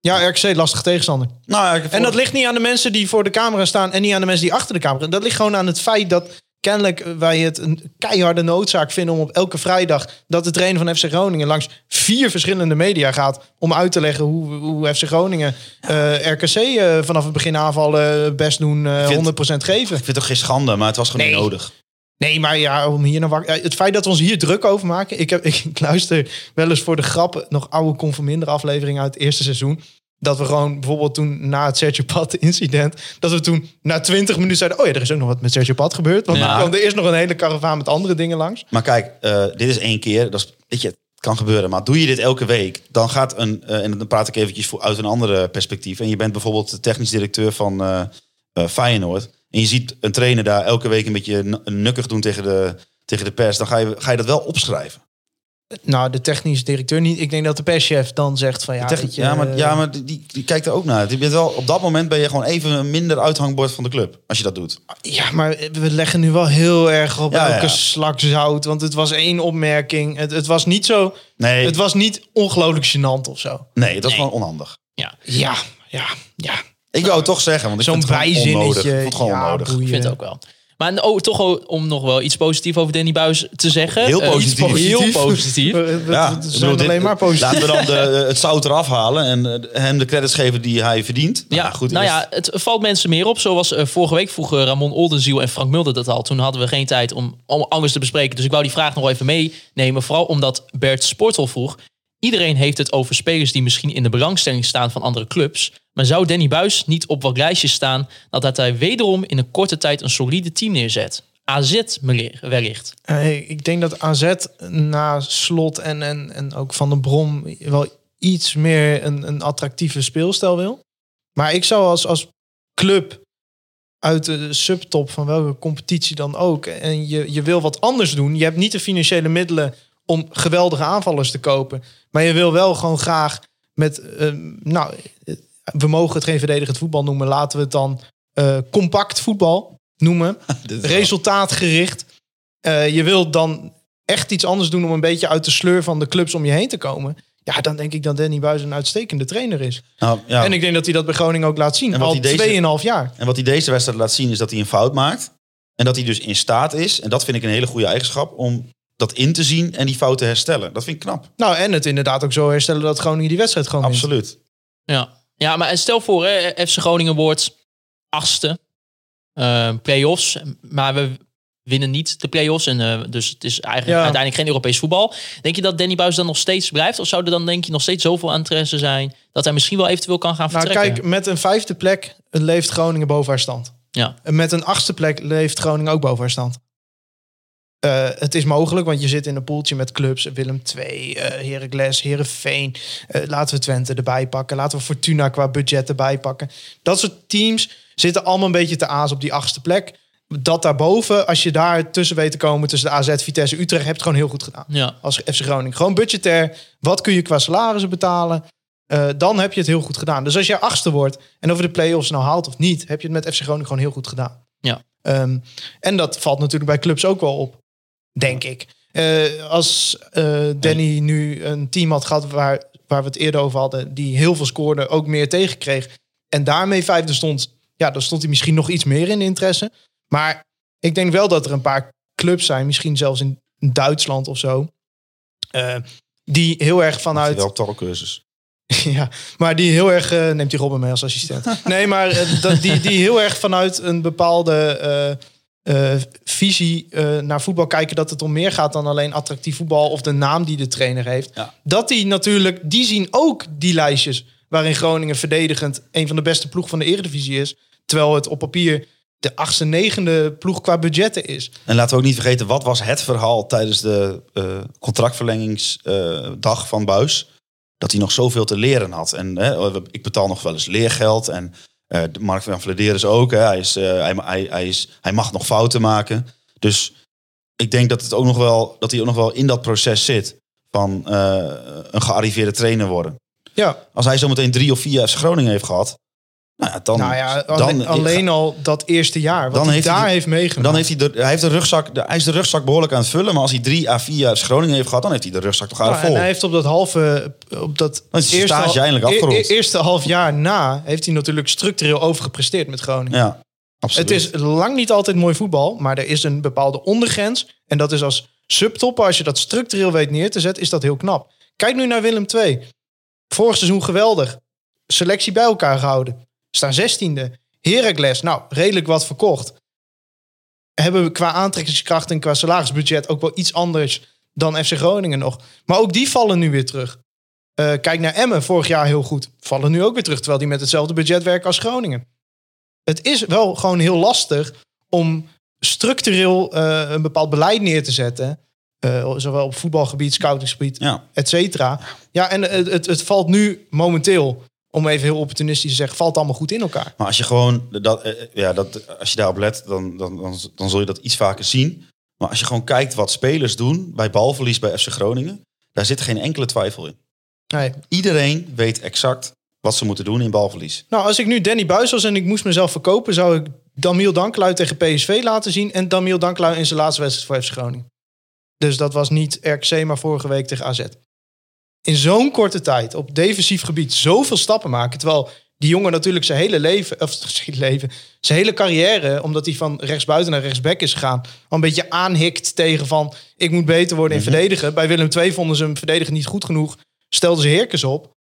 [SPEAKER 6] Ja, RKC, lastige tegenstander.
[SPEAKER 5] nou, ja, ik heb
[SPEAKER 6] En dat
[SPEAKER 5] voor-
[SPEAKER 6] ligt niet aan de mensen die voor de camera staan en niet aan de mensen die achter de camera. Dat ligt gewoon aan het feit dat kennelijk wij het een keiharde noodzaak vinden om op elke vrijdag dat de trainer van FC Groningen langs vier verschillende media gaat om uit te leggen hoe, hoe FC Groningen eh, RKC eh, vanaf het begin aanvallen eh, best doen, eh,
[SPEAKER 5] vind-
[SPEAKER 6] 100% geven.
[SPEAKER 5] ik vind het toch geen schande, maar het was gewoon niet
[SPEAKER 6] Nee.
[SPEAKER 5] nodig.
[SPEAKER 6] Nee, maar ja, om hier naar wakker. ja, Het feit dat we ons hier druk over maken. Ik, heb, ik, luister wel eens voor de grap nog oude Conforminder afleveringen uit het eerste seizoen. Dat we gewoon bijvoorbeeld toen na het Sergio Pat incident. Dat we toen na twintig minuten zeiden. Oh ja, er is ook nog wat met Sergio Pat gebeurd. Want
[SPEAKER 5] Ja.
[SPEAKER 6] er kwam er eerst nog een hele karavaan met andere dingen langs.
[SPEAKER 5] Maar kijk, eh, dit is één keer. Dat is, weet je, het kan gebeuren. Maar doe je dit elke week, dan gaat een... eh, en dan praat ik eventjes voor, uit een andere perspectief. En je bent bijvoorbeeld de technisch directeur van eh eh, Feyenoord. En je ziet een trainer daar elke week een beetje n- nukkig doen tegen de, tegen de pers. Dan ga je, ga je dat wel opschrijven.
[SPEAKER 6] Nou, de technische directeur niet. Ik denk dat de perschef dan zegt van ja.
[SPEAKER 5] Techni-
[SPEAKER 6] weet je,
[SPEAKER 5] ja, maar, ja,
[SPEAKER 6] eh,
[SPEAKER 5] maar die- die, die kijkt er ook naar. Je bent wel, op dat moment ben je gewoon even een minder uithangbord van de club. Als je dat doet.
[SPEAKER 6] Ja, maar we leggen nu wel heel erg op
[SPEAKER 5] Ja, ja,
[SPEAKER 6] elke
[SPEAKER 5] ja.
[SPEAKER 6] slak zout. Want het was één opmerking. Het, het was niet zo.
[SPEAKER 5] Nee,
[SPEAKER 6] Het was niet ongelooflijk gênant of zo.
[SPEAKER 5] nee dat is gewoon onhandig.
[SPEAKER 6] Ja, ja, ja.
[SPEAKER 5] Ik wou het toch zeggen, want ik
[SPEAKER 6] Zo'n
[SPEAKER 5] vind het gewoon onnodig. Ik
[SPEAKER 6] bijzinnetje.
[SPEAKER 5] vond het gewoon
[SPEAKER 6] ja,
[SPEAKER 5] onnodig.
[SPEAKER 6] boeien.
[SPEAKER 4] Ik vind het ook wel. Maar oh, toch o- om nog wel iets positiefs over Danny Buis te zeggen.
[SPEAKER 5] Heel
[SPEAKER 4] Eh,
[SPEAKER 5] positief.
[SPEAKER 4] iets Heel positief.
[SPEAKER 6] We- we- we
[SPEAKER 5] Ja, ik
[SPEAKER 6] zijn
[SPEAKER 5] bedoel, dit-
[SPEAKER 6] alleen maar positief.
[SPEAKER 5] Laten we dan de, eh, het zout eraf halen en eh, hem de credits geven die hij verdient.
[SPEAKER 4] Ja,
[SPEAKER 5] Nou, goed.
[SPEAKER 4] nou
[SPEAKER 5] eerst-
[SPEAKER 4] ja, het valt mensen meer op. Zoals eh, vorige week vroegen Ramon Oldenziel en Frank Mulder dat al. Toen hadden we geen tijd om, om anders te bespreken. Dus ik wou die vraag nog wel even meenemen. Vooral omdat Bert Sportel vroeg. Iedereen heeft het over spelers die misschien in de belangstelling staan van andere clubs. Maar zou Danny Buis niet op wat lijstjes staan dat dat hij wederom in een korte tijd een solide team neerzet? AZ meneer, wellicht.
[SPEAKER 6] Eh, ik denk dat AZ na Slot en, en, en ook Van den Brom wel iets meer een, een attractieve speelstijl wil. Maar ik zou als, als club uit de subtop van welke competitie dan ook... en je, je wil wat anders doen. Je hebt niet de financiële middelen om geweldige aanvallers te kopen. Maar je wil wel gewoon graag met... eh, nou, eh, we mogen het geen verdedigend voetbal noemen. Laten we het dan eh, compact voetbal noemen.
[SPEAKER 5] Dit is wel-
[SPEAKER 6] resultaatgericht. Eh, je wilt dan echt iets anders doen om een beetje uit de sleur van de clubs om je heen te komen. Ja, dan denk ik dat Danny Buis een uitstekende trainer is.
[SPEAKER 5] Nou, ja.
[SPEAKER 6] En ik denk dat hij dat bij Groningen ook laat zien.
[SPEAKER 5] En wat
[SPEAKER 6] Al
[SPEAKER 5] hij deze-
[SPEAKER 6] 2,5 jaar.
[SPEAKER 5] En wat hij deze wedstrijd laat zien is dat hij een fout maakt. En dat hij dus in staat is, en dat vind ik een hele goede eigenschap, om dat in te zien en die fout te herstellen. Dat vind ik knap.
[SPEAKER 6] Nou, en het inderdaad ook zo herstellen dat Groningen die wedstrijd gewoon wint.
[SPEAKER 5] Absoluut.
[SPEAKER 4] Ja, ja maar stel voor, hè, FC Groningen wordt achtste. eh playoffs, maar we winnen niet de playoffs. En, eh, dus het is eigenlijk
[SPEAKER 6] Ja.
[SPEAKER 4] uiteindelijk geen Europees voetbal. Denk je dat Danny Buis dan nog steeds blijft? Of zou er dan denk je nog steeds zoveel interesse zijn... dat hij misschien wel eventueel kan gaan
[SPEAKER 6] Nou,
[SPEAKER 4] vertrekken?
[SPEAKER 6] kijk, met een vijfde plek leeft Groningen boven haar stand.
[SPEAKER 4] Ja.
[SPEAKER 6] En Eh, met een achtste plek leeft Groningen ook boven haar stand. Eh, het is mogelijk, want je zit in een poeltje met clubs. Willem II, eh Heracles, Herenveen. laten we Twente erbij pakken. Laten we Fortuna qua budget erbij pakken. Dat soort teams zitten allemaal een beetje te aas op die achtste plek. Dat daarboven, als je daar tussen weet te komen tussen de AZ, Vitesse, Utrecht, heb je het gewoon heel goed gedaan
[SPEAKER 4] ja.
[SPEAKER 6] als FC Groningen. Gewoon budgetair. Wat kun je qua salarissen betalen? Eh, dan heb je het heel goed gedaan. Dus als jij achtste wordt en of je de play-offs nou haalt of niet, heb je het met FC Groningen gewoon heel goed gedaan.
[SPEAKER 4] Ja.
[SPEAKER 6] Ehm, en dat valt natuurlijk bij clubs ook wel op, denk ik. Eh, als eh, Danny nu een team had gehad waar, waar we het eerder over hadden, die heel veel scoorde, ook meer tegenkreeg en daarmee vijfde stond, ja, dan stond hij misschien nog iets meer in de interesse. Maar ik denk wel dat er een paar clubs zijn, misschien zelfs in Duitsland of zo, eh, die heel erg vanuit
[SPEAKER 5] Wel taalkursus.
[SPEAKER 6] ja, maar die heel erg... eh, neemt die Robben mee als assistent. Nee, maar eh, dat, die, die heel erg vanuit een bepaalde eh, eh, visie eh, naar voetbal kijken dat het om meer gaat dan alleen attractief voetbal of de naam die de trainer heeft.
[SPEAKER 5] Ja.
[SPEAKER 6] Dat die natuurlijk, die zien ook die lijstjes waarin Groningen verdedigend een van de beste ploeg van de Eredivisie is. Terwijl het op papier de achtste, negende ploeg qua budgetten is.
[SPEAKER 5] En laten we ook niet vergeten, wat was het verhaal tijdens de eh, contractverlengingsdag eh, van Buis? Dat hij nog zoveel te leren had. En hè, oh, ik betaal nog wel eens leergeld. En eh, de Mark van Vlederis ook. Hè. Hij, is, eh, hij, hij, hij, is, hij mag nog fouten maken. Dus ik denk dat, het ook nog wel, dat hij ook nog wel in dat proces zit. Van eh, een gearriveerde trainer worden.
[SPEAKER 6] Ja,
[SPEAKER 5] Als hij zometeen drie of vier FC Groningen heeft gehad. Nou ja, dan,
[SPEAKER 6] nou ja,
[SPEAKER 5] dan,
[SPEAKER 6] alleen, alleen al dat eerste jaar. Wat
[SPEAKER 5] Dan
[SPEAKER 6] hij
[SPEAKER 5] heeft hij
[SPEAKER 6] daar
[SPEAKER 5] de-
[SPEAKER 6] heeft meegemaakt.
[SPEAKER 5] maar Dan heeft hij, de, hij, heeft de rugzak, de, hij is de rugzak behoorlijk aan het vullen. Maar als hij drie à vier jaar uit Groningen heeft gehad, dan heeft hij de rugzak toch aardig
[SPEAKER 6] Ja,
[SPEAKER 5] vol.
[SPEAKER 6] Nou, en hij heeft op dat halve, op dat
[SPEAKER 5] Dan is de stage
[SPEAKER 6] hal-
[SPEAKER 5] eindelijk
[SPEAKER 6] e- e-
[SPEAKER 5] afgerond.
[SPEAKER 6] eerste half jaar na heeft hij natuurlijk structureel overgepresteerd met Groningen.
[SPEAKER 5] Ja, absoluut.
[SPEAKER 6] het is lang niet altijd mooi voetbal, maar er is een bepaalde ondergrens. En dat is als subtopper, als je dat structureel weet neer te zetten, is dat heel knap. Kijk nu naar Willem II. Vorig seizoen geweldig. Selectie bij elkaar gehouden. Staan zestiende. Heracles, nou, redelijk wat verkocht. Hebben we qua aantrekkingskracht en qua salarisbudget ook wel iets anders dan FC Groningen nog. Maar ook die vallen nu weer terug. Eh, kijk naar Emmen, vorig jaar heel goed. Vallen nu ook weer terug, terwijl die met hetzelfde budget werken als Groningen het is wel gewoon heel lastig om structureel eh, een bepaald beleid neer te zetten. Eh, zowel op voetbalgebied, scoutingsgebied,
[SPEAKER 5] ja.
[SPEAKER 6] et cetera. Ja, en het, het, het valt nu momenteel, om even heel opportunistisch te zeggen, valt allemaal goed in elkaar.
[SPEAKER 5] Maar als je gewoon dat, eh, ja, dat, als je daarop let, dan, dan, dan, dan zul je dat iets vaker zien. Maar als je gewoon kijkt wat spelers doen bij balverlies bij FC Groningen, daar zit geen enkele twijfel in.
[SPEAKER 6] Nee.
[SPEAKER 5] Iedereen weet exact wat ze moeten doen in balverlies.
[SPEAKER 6] Nou, als ik nu Danny Buis was en ik moest mezelf verkopen, zou ik Damiel Danklui tegen PSV laten zien en Damiel Danklui in zijn laatste wedstrijd voor FC Groningen. Dus dat was niet RKC, maar vorige week tegen AZ. In zo'n korte tijd op defensief gebied zoveel stappen maken, terwijl die jongen natuurlijk zijn hele leven, of zijn hele leven, zijn hele carrière, omdat hij van rechtsbuiten naar rechtsback is gegaan, al een beetje aanhikt tegen van ik moet beter worden in verdedigen. Bij Willem II vonden ze hem verdedigen niet goed genoeg, stelden ze Heerkens op.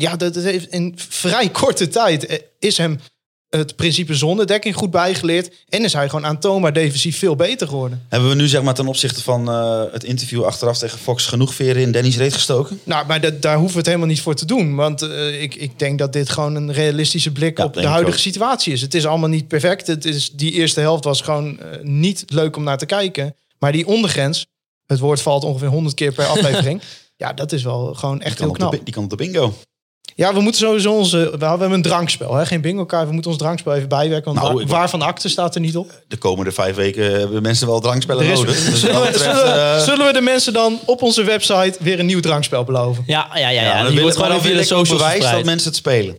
[SPEAKER 6] Ja, dat, dat heeft in vrij korte tijd eh, is hem het principe zonnedekking goed bijgeleerd. En is hij gewoon aantoonbaar defensief veel beter geworden.
[SPEAKER 5] Hebben we nu zeg maar ten opzichte van eh, het interview achteraf tegen Fox genoeg veren in Danny's reet gestoken?
[SPEAKER 6] Nou, maar dat, daar hoeven we het helemaal niet voor te doen. Want eh, ik, ik denk dat dit gewoon een realistische blik
[SPEAKER 5] Ja,
[SPEAKER 6] op de
[SPEAKER 5] denk ik
[SPEAKER 6] huidige
[SPEAKER 5] ook.
[SPEAKER 6] situatie is. Het is allemaal niet perfect. Het is, die eerste helft was gewoon eh, niet leuk om naar te kijken. Maar die ondergrens, het woord valt ongeveer 100 keer per aflevering. ja, dat is wel gewoon echt
[SPEAKER 5] Die kan
[SPEAKER 6] heel
[SPEAKER 5] op
[SPEAKER 6] knap.
[SPEAKER 5] de bi- die kan op de bingo.
[SPEAKER 6] Ja, we moeten sowieso onze. We hebben een drankspel, hè? geen bingo kaart. We moeten ons drankspel even bijwerken. Want
[SPEAKER 5] Nou,
[SPEAKER 6] waar,
[SPEAKER 5] ik-
[SPEAKER 6] waar van de akte staat er niet op?
[SPEAKER 5] de komende vijf weken hebben mensen wel drankspellen
[SPEAKER 6] Er is-
[SPEAKER 5] nodig. Dus wat
[SPEAKER 6] zullen,
[SPEAKER 5] dat
[SPEAKER 6] we,
[SPEAKER 5] betreft,
[SPEAKER 6] zullen we-
[SPEAKER 5] eh,
[SPEAKER 6] zullen we de mensen dan op onze website weer een nieuw drankspel beloven?
[SPEAKER 4] Ja, ja, ja. ja,
[SPEAKER 5] ja, dan
[SPEAKER 4] die
[SPEAKER 5] eh, wil-
[SPEAKER 4] wordt gewoon
[SPEAKER 5] maar
[SPEAKER 4] over
[SPEAKER 5] dan
[SPEAKER 4] de
[SPEAKER 5] wil ik ook
[SPEAKER 4] socials
[SPEAKER 5] bewijs dat
[SPEAKER 4] verspreid.
[SPEAKER 5] mensen het spelen.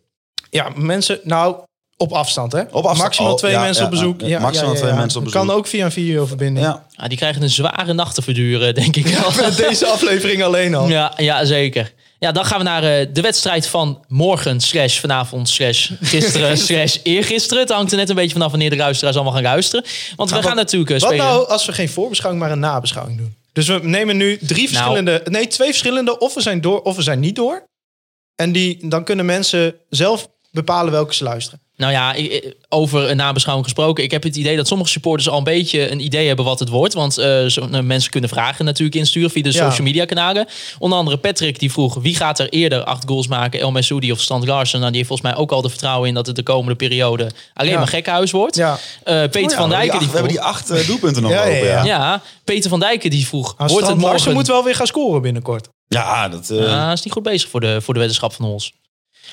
[SPEAKER 6] Ja, mensen, nou, op afstand hè?
[SPEAKER 5] Op afstand.
[SPEAKER 6] Maximaal
[SPEAKER 5] Oh,
[SPEAKER 6] twee
[SPEAKER 5] ja,
[SPEAKER 6] mensen
[SPEAKER 5] ja,
[SPEAKER 6] op bezoek.
[SPEAKER 5] ja, ja. Maximaal twee mensen op
[SPEAKER 6] Kan
[SPEAKER 5] bezoek.
[SPEAKER 6] ook via een videoverbinding.
[SPEAKER 5] Ja.
[SPEAKER 4] Ja, Ah, die krijgen een zware nacht te verduren, denk ik wel.
[SPEAKER 6] Met Deze aflevering alleen al.
[SPEAKER 4] Ja, ja, zeker. Ja, dan gaan we naar eh, de wedstrijd van morgen, slash vanavond, slash gisteren, slash eergisteren. Het hangt er net een beetje vanaf wanneer de luisteraars allemaal gaan luisteren. Want we
[SPEAKER 6] wat-
[SPEAKER 4] gaan natuurlijk eh,
[SPEAKER 6] Wat
[SPEAKER 4] spelen.
[SPEAKER 6] nou als we geen voorbeschouwing, maar een nabeschouwing doen? Dus we nemen nu
[SPEAKER 4] Nou.
[SPEAKER 6] drie verschillende, nee, twee verschillende, of we zijn door of we zijn niet door. En die, dan kunnen mensen zelf bepalen welke ze luisteren.
[SPEAKER 4] Nou ja, ik- ik- over een nabeschouwing gesproken. Ik heb het idee dat sommige supporters al een beetje een idee hebben wat het wordt. Want eh, zo- nou, mensen kunnen vragen natuurlijk insturen via de
[SPEAKER 6] Ja.
[SPEAKER 4] social media kanalen. Onder andere Patrick die vroeg wie gaat er eerder acht goals maken. El Messoudi of Stant Larsen. Nou, die heeft volgens mij ook al de vertrouwen in dat het de komende periode alleen
[SPEAKER 6] Ja.
[SPEAKER 4] maar gekkenhuis wordt.
[SPEAKER 6] Ja.
[SPEAKER 4] Eh, Peter
[SPEAKER 5] Oh ja,
[SPEAKER 4] van
[SPEAKER 5] we hebben die
[SPEAKER 4] Dijken
[SPEAKER 5] acht-
[SPEAKER 4] die
[SPEAKER 5] we hebben
[SPEAKER 4] vroeg.
[SPEAKER 5] die acht eh, doelpunten nog
[SPEAKER 6] Ja,
[SPEAKER 5] lopen.
[SPEAKER 6] ja,
[SPEAKER 5] Ja,
[SPEAKER 6] ja.
[SPEAKER 5] ja.
[SPEAKER 4] Ja, Peter van Dijken die vroeg. wordt het
[SPEAKER 6] Strand Larsen
[SPEAKER 4] morgen?
[SPEAKER 6] moet wel weer gaan scoren binnenkort.
[SPEAKER 5] dat, eh,
[SPEAKER 4] Ja, is niet goed bezig voor de, voor de weddenschap van ons.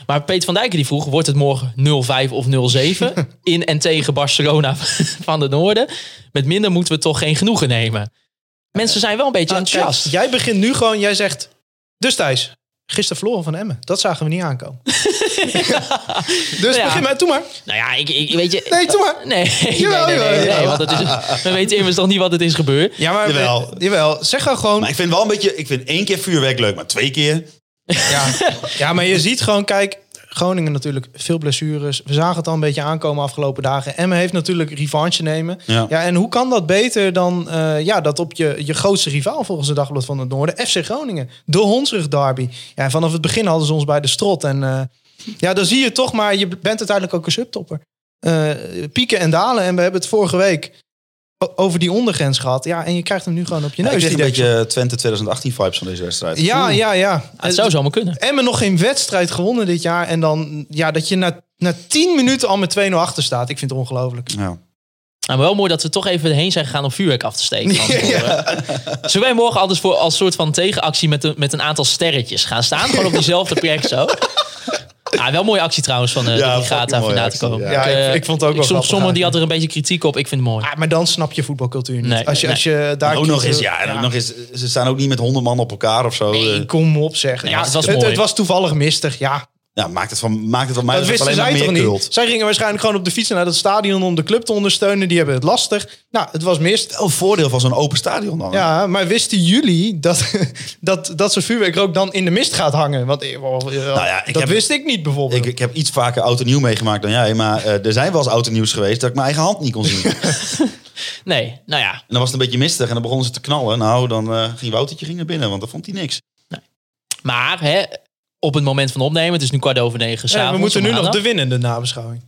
[SPEAKER 4] Maar Peter van Dijken die vroeg, wordt het morgen 0-5 of 0-7 in en tegen Barcelona van de Noorden? Met minder moeten we toch geen genoegen nemen. Mensen zijn wel een beetje
[SPEAKER 6] Ah, kijk,
[SPEAKER 4] enthousiast.
[SPEAKER 6] jij begint nu gewoon, jij zegt. Dus Thijs, gisteren verloren van Emmen. Dat zagen we niet aankomen. dus
[SPEAKER 4] Ja.
[SPEAKER 6] begin maar, doe maar.
[SPEAKER 4] Nou ja, ik, ik weet je...
[SPEAKER 6] Nee, doe maar.
[SPEAKER 4] Nee, nee,
[SPEAKER 6] Jawel,
[SPEAKER 4] nee, nee,
[SPEAKER 6] jawel,
[SPEAKER 4] nee,
[SPEAKER 6] jawel.
[SPEAKER 4] want het is, we weten immers nog niet wat het is gebeurd.
[SPEAKER 6] Ja, maar
[SPEAKER 5] Jawel.
[SPEAKER 6] jawel zeg dan gewoon.
[SPEAKER 5] Maar ik vind wel een beetje, ik vind één keer vuurwerk leuk, maar twee keer.
[SPEAKER 6] Ja. ja, maar je ziet gewoon, kijk, Groningen natuurlijk veel blessures. We zagen het al een beetje aankomen afgelopen dagen. Emmen heeft natuurlijk revanche nemen.
[SPEAKER 5] Ja.
[SPEAKER 6] en hoe kan dat beter dan eh, ja, dat op je, je grootste rivaal volgens de Dagblad van het Noorden, FC Groningen. De Hondsrug derby. Ja, en vanaf het begin hadden ze ons bij de strot. En eh, ja, dan zie je toch maar, je bent uiteindelijk ook een subtopper. Eh, pieken en dalen. En we hebben het vorige week o- over die ondergrens gehad. Ja, en je krijgt hem nu gewoon op je
[SPEAKER 5] Ja,
[SPEAKER 6] neus.
[SPEAKER 5] ik kreeg
[SPEAKER 6] die
[SPEAKER 5] een
[SPEAKER 6] deksel.
[SPEAKER 5] beetje Twente 2018 vibes van deze wedstrijd.
[SPEAKER 6] Ja, ja, ja.
[SPEAKER 4] het zou zomaar kunnen.
[SPEAKER 6] Emmen nog geen wedstrijd gewonnen dit jaar. En dan ja, dat je na, na 10 minuten al met 2-0 achter staat. Ik vind het ongelooflijk.
[SPEAKER 5] Ja.
[SPEAKER 4] Nou, maar wel mooi dat we toch even heen zijn gegaan om vuurwerk af te steken. van tevoren. eh, Zullen wij morgen anders voor als soort van tegenactie met, een- met een aantal sterretjes gaan staan? Gewoon op diezelfde plek zo. Ah, wel een mooie actie trouwens van eh
[SPEAKER 5] Ja,
[SPEAKER 4] de Brigata
[SPEAKER 5] fucking
[SPEAKER 4] van
[SPEAKER 5] mooie
[SPEAKER 4] na te
[SPEAKER 5] actie,
[SPEAKER 4] komen.
[SPEAKER 5] ja.
[SPEAKER 6] Ja,
[SPEAKER 4] eh,
[SPEAKER 6] ik, ik vond het ook wel
[SPEAKER 4] Ik- som-
[SPEAKER 6] grappig
[SPEAKER 4] Sommigen die
[SPEAKER 6] eigenlijk.
[SPEAKER 4] hadden er een beetje kritiek op. Ik vind het mooi.
[SPEAKER 6] Ah, maar dan snap je voetbalcultuur niet.
[SPEAKER 4] Nee,
[SPEAKER 6] als, je,
[SPEAKER 4] nee.
[SPEAKER 6] als je daar
[SPEAKER 5] En ook nog
[SPEAKER 6] kiest-
[SPEAKER 5] eens, ja, en ook nog eens, ze staan ook niet met honderd man op elkaar of zo.
[SPEAKER 6] Nee,
[SPEAKER 5] Eh,
[SPEAKER 6] kom op zeg. ja,
[SPEAKER 4] het was
[SPEAKER 6] het,
[SPEAKER 4] mooi.
[SPEAKER 6] het was toevallig mistig, ja.
[SPEAKER 5] Ja, maakt het van, maakt het van mij
[SPEAKER 6] Dat
[SPEAKER 5] dat het
[SPEAKER 6] wisten
[SPEAKER 5] alleen maar
[SPEAKER 6] zij
[SPEAKER 5] meer
[SPEAKER 6] toch niet?
[SPEAKER 5] kult.
[SPEAKER 6] Zij gingen waarschijnlijk gewoon op de fiets naar dat stadion om de club te ondersteunen. Die hebben het lastig. Nou, het was mist.
[SPEAKER 5] Wel een voordeel van zo'n open stadion dan. hè?
[SPEAKER 6] Ja, maar wisten jullie dat, dat, dat zo'n vuurwerk ook dan in de mist gaat hangen? Want eh,
[SPEAKER 5] Nou ja, ik
[SPEAKER 6] dat
[SPEAKER 5] heb-
[SPEAKER 6] wist ik niet bijvoorbeeld.
[SPEAKER 5] Ik, ik heb iets vaker oud en nieuw meegemaakt dan jij, maar eh, er zijn wel eens oud en nieuws geweest dat ik mijn eigen hand niet kon zien. en
[SPEAKER 4] Nee, nou ja.
[SPEAKER 5] dan was het een beetje mistig en dan begonnen ze te knallen. Nou, dan eh, ging Woutertje ging naar binnen, want dan vond hij niks.
[SPEAKER 4] Maar hè, op het moment van opnemen, het is nu kwart over negen.
[SPEAKER 6] Ja,
[SPEAKER 4] s'avonds,
[SPEAKER 6] we moeten
[SPEAKER 4] op
[SPEAKER 6] nu nog
[SPEAKER 4] maandag.
[SPEAKER 6] de winnende nabeschouwing.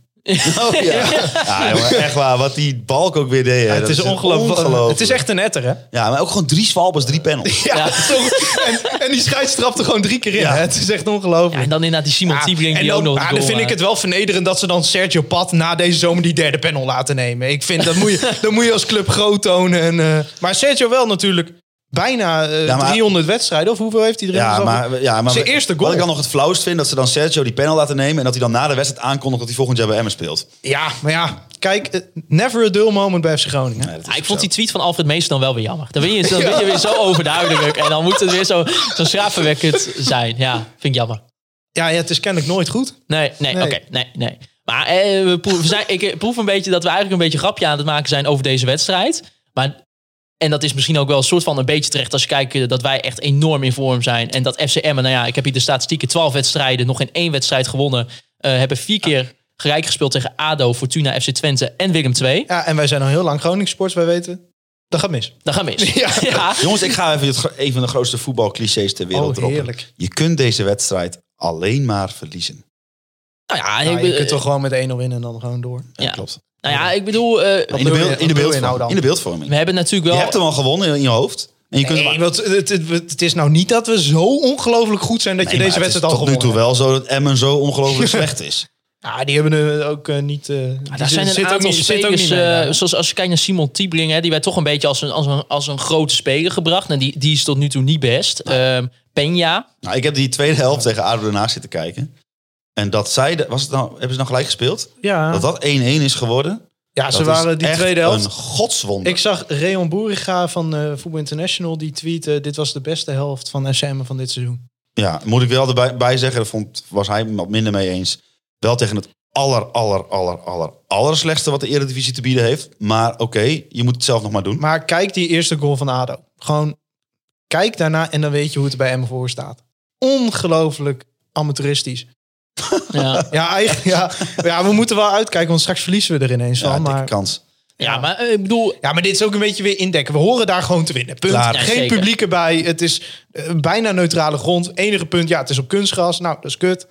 [SPEAKER 5] Oh, ja. ja, jongen, echt waar. Wat die balk ook weer deed. hè,
[SPEAKER 6] het
[SPEAKER 5] dat
[SPEAKER 6] is ongelooflijk. Het is echt een netter, hè?
[SPEAKER 5] Ja, maar ook gewoon drie zwalbers, drie panels.
[SPEAKER 4] Ja.
[SPEAKER 6] en, en die scheidsstrapte gewoon drie keer in. hè? Het is echt ongelooflijk.
[SPEAKER 4] Ja, en dan inderdaad die Simon
[SPEAKER 6] Ja,
[SPEAKER 4] Tiebring
[SPEAKER 6] en
[SPEAKER 4] die
[SPEAKER 6] dan,
[SPEAKER 4] ook nog
[SPEAKER 6] ah,
[SPEAKER 4] een
[SPEAKER 6] dan
[SPEAKER 4] goal
[SPEAKER 6] vind ik
[SPEAKER 4] maakt.
[SPEAKER 6] het wel vernederend dat ze dan Sergio Pat na deze zomer die derde panel laten nemen. Ik vind dat moet je, dat moet je als club groot tonen. En, eh, maar Sergio wel natuurlijk bijna eh,
[SPEAKER 5] Ja, maar-
[SPEAKER 6] 300 wedstrijden. Of hoeveel heeft hij erin?
[SPEAKER 5] Ja,
[SPEAKER 6] gezet?
[SPEAKER 5] maar, ja, maar
[SPEAKER 6] Zijn eerste goal.
[SPEAKER 5] wat ik dan nog het flauwst vind, dat ze dan Sergio die panel laten nemen... en dat hij dan na de wedstrijd aankondigt dat hij volgend jaar bij Emmen speelt.
[SPEAKER 6] ja, maar ja. Kijk, eh, never a dull moment bij FC Groningen.
[SPEAKER 5] Nee, dat is
[SPEAKER 4] Ah, ik
[SPEAKER 5] ook
[SPEAKER 4] vond
[SPEAKER 5] zo.
[SPEAKER 4] die tweet van Alfred Meester dan wel weer jammer. Dan ben je, dan ben je weer zo overduidelijk. En dan moet het weer zo, zo schrapenwekkend zijn. Ja, vind ik jammer.
[SPEAKER 6] Ja, ja, het is kennelijk nooit goed.
[SPEAKER 4] Nee, nee,
[SPEAKER 6] Nee.
[SPEAKER 4] oké. nee, nee. Maar eh, we proe- we zijn, ik eh, proef een beetje dat we eigenlijk een beetje grapje aan het maken zijn over deze wedstrijd. Maar, en dat is misschien ook wel een soort van een beetje terecht als je kijkt eh, dat wij echt enorm in vorm zijn. En dat FCM, nou ja, ik heb hier de statistieken, 12 wedstrijden, nog geen één wedstrijd gewonnen. eh, hebben vier keer gelijk gespeeld tegen ADO, Fortuna, FC Twente en Willem II.
[SPEAKER 6] Ja, en wij zijn al heel lang Groningen sports. Wij weten, dat gaat mis.
[SPEAKER 4] Dat gaan we Nou mis.
[SPEAKER 6] Ja.
[SPEAKER 5] Jongens, ik ga even het, gro- een van de grootste voetbalclichés ter wereld
[SPEAKER 6] Oh,
[SPEAKER 5] droppen.
[SPEAKER 6] heerlijk.
[SPEAKER 5] Je kunt deze wedstrijd alleen maar verliezen.
[SPEAKER 4] Nou ja,
[SPEAKER 6] Ja,
[SPEAKER 4] ik,
[SPEAKER 6] je
[SPEAKER 4] eh,
[SPEAKER 6] kunt toch gewoon met 1-0 winnen en dan gewoon door.
[SPEAKER 4] Ja.
[SPEAKER 5] klopt.
[SPEAKER 4] Nou ja, ik bedoel, eh,
[SPEAKER 5] In de,
[SPEAKER 6] bedoel
[SPEAKER 5] beeld,
[SPEAKER 6] je-
[SPEAKER 5] in, de
[SPEAKER 6] wat bedoel je nou
[SPEAKER 5] beeldvorming,
[SPEAKER 6] dan?
[SPEAKER 5] in de beeldvorming.
[SPEAKER 4] we hebben natuurlijk
[SPEAKER 5] Je
[SPEAKER 4] wel...
[SPEAKER 5] hebt hem al gewonnen in je hoofd. En je kunt hem-
[SPEAKER 6] Nee, want het, het, het is nou niet dat we zo ongelooflijk goed zijn dat
[SPEAKER 5] Nee,
[SPEAKER 6] je
[SPEAKER 5] maar
[SPEAKER 6] deze
[SPEAKER 5] het is
[SPEAKER 6] wedstrijd al
[SPEAKER 5] tot nu
[SPEAKER 6] gewonnen
[SPEAKER 5] toe wel zo dat Emmen zo ongelooflijk slecht is.
[SPEAKER 6] Ja, die hebben eh, ook eh, niet... eh die
[SPEAKER 4] Ah, Daar
[SPEAKER 6] zit-
[SPEAKER 4] zijn een
[SPEAKER 6] zit ook
[SPEAKER 4] aantal
[SPEAKER 6] niet- zit ook
[SPEAKER 4] spelers,
[SPEAKER 6] niet mee,
[SPEAKER 4] eh,
[SPEAKER 6] ja.
[SPEAKER 4] zoals als je kijkt naar Simon Tiebling, hè, die werd toch een beetje als een, als een, als een grote speler gebracht. En die, die is tot nu toe niet best. Ehm Peña,
[SPEAKER 5] Nou, ik heb die tweede helft tegen ADO Den Haag zitten kijken. En dat zij, de- was het nou, hebben ze nou gelijk gespeeld?
[SPEAKER 6] ja.
[SPEAKER 5] Dat dat 1-1 is geworden.
[SPEAKER 6] ja, ze
[SPEAKER 5] dat is
[SPEAKER 6] waren die
[SPEAKER 5] echt
[SPEAKER 6] tweede helft.
[SPEAKER 5] een godswonder.
[SPEAKER 6] Ik zag Reon Boeriga van eh Voetbal International die tweeten... dit was de beste helft van SM van dit seizoen.
[SPEAKER 5] Ja, moet ik wel erbij bij zeggen, daar vond, was hij wat minder mee eens. Wel tegen het aller, aller, aller, aller, aller slechtste wat de Eredivisie te bieden heeft. Maar oké, je moet het zelf nog maar doen.
[SPEAKER 6] Maar kijk die eerste goal van ADO. Gewoon kijk daarna en dan weet je hoe het er bij M voor staat. Ongelooflijk amateuristisch.
[SPEAKER 4] ja.
[SPEAKER 6] Ja, eigenlijk, ja, ja, we moeten wel uitkijken, want straks verliezen we er ineens
[SPEAKER 5] Ja,
[SPEAKER 6] van.
[SPEAKER 5] dikke
[SPEAKER 6] maar
[SPEAKER 5] kans.
[SPEAKER 4] ja, maar eh, ik bedoel,
[SPEAKER 6] Ja, maar dit is ook een beetje weer indekken. We horen daar gewoon te winnen. Punt.
[SPEAKER 5] Klaar.
[SPEAKER 4] Ja,
[SPEAKER 6] Geen
[SPEAKER 4] zeker.
[SPEAKER 6] publiek erbij. Het is eh, bijna neutrale grond. Enige punt, ja, het is op kunstgras. Nou, dat is kut.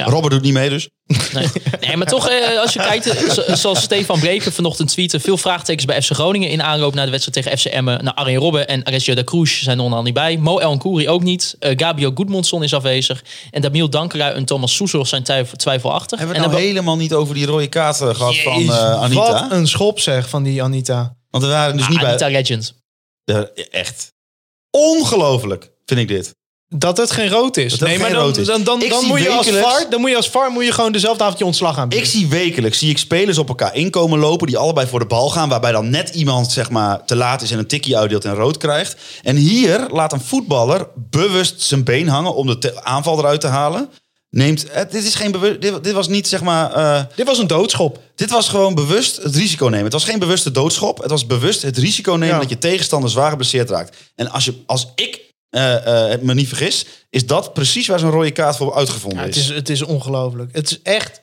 [SPEAKER 4] Ja.
[SPEAKER 5] Robert doet niet mee dus.
[SPEAKER 4] Nee, nee maar toch, eh, als je kijkt, eh, zo- zoals Stefan Breken vanochtend tweette, veel vraagtekens bij FC Groningen in aanloop naar de wedstrijd tegen FC Emmen. Nou, Arjen Robben en Arestio da Cruz zijn er onderhand niet bij. Mo El Nkouri ook niet. Eh, Gabriel Goedmondson is afwezig. En Damiel Dankerui en Thomas Soesel zijn twijf- twijfelachtig.
[SPEAKER 5] Hebben
[SPEAKER 4] en
[SPEAKER 5] we het
[SPEAKER 4] dan
[SPEAKER 5] nou
[SPEAKER 4] be-
[SPEAKER 5] helemaal niet over die rode kaart eh, gehad van
[SPEAKER 6] Jezus,
[SPEAKER 5] eh, Anita?
[SPEAKER 6] Wat een schop zeg van die Anita.
[SPEAKER 5] Want we waren dus
[SPEAKER 4] Ah,
[SPEAKER 5] niet bij...
[SPEAKER 4] Anita Legend.
[SPEAKER 5] Ja, Eh, echt. Ongelooflijk vind ik dit.
[SPEAKER 6] Dat het geen rood is.
[SPEAKER 5] Dat het
[SPEAKER 6] nee, maar
[SPEAKER 5] geen
[SPEAKER 6] dan,
[SPEAKER 5] rood is.
[SPEAKER 6] dan, dan,
[SPEAKER 5] Ik
[SPEAKER 6] dan,
[SPEAKER 5] zie
[SPEAKER 6] moet je als
[SPEAKER 5] wekelijks-
[SPEAKER 6] VAR, dan moet je als VAR moet je gewoon dezelfde avond je ontslag
[SPEAKER 5] Ik
[SPEAKER 6] aanbieden.
[SPEAKER 5] zie wekelijks zie ik spelers op elkaar inkomen lopen die allebei voor de bal gaan, waarbij dan net iemand zeg maar te laat is en een tikkie uitdeelt en rood krijgt. En hier laat een voetballer bewust zijn been hangen om de te- aanval eruit te halen. Neemt, eh, dit is geen bewust, dit, dit was niet zeg maar, eh,
[SPEAKER 6] Dit was een doodschop.
[SPEAKER 5] dit was gewoon bewust het risico nemen. Het was geen bewuste doodschop, het was bewust het risico nemen
[SPEAKER 6] Ja.
[SPEAKER 5] dat je tegenstander zwaar geblesseerd raakt. En als je, als ik eh, eh, me niet vergis, is dat precies waar zo'n rode kaart voor uitgevonden
[SPEAKER 6] Ja,
[SPEAKER 5] is.
[SPEAKER 6] het, is, het is ongelooflijk. Het is echt...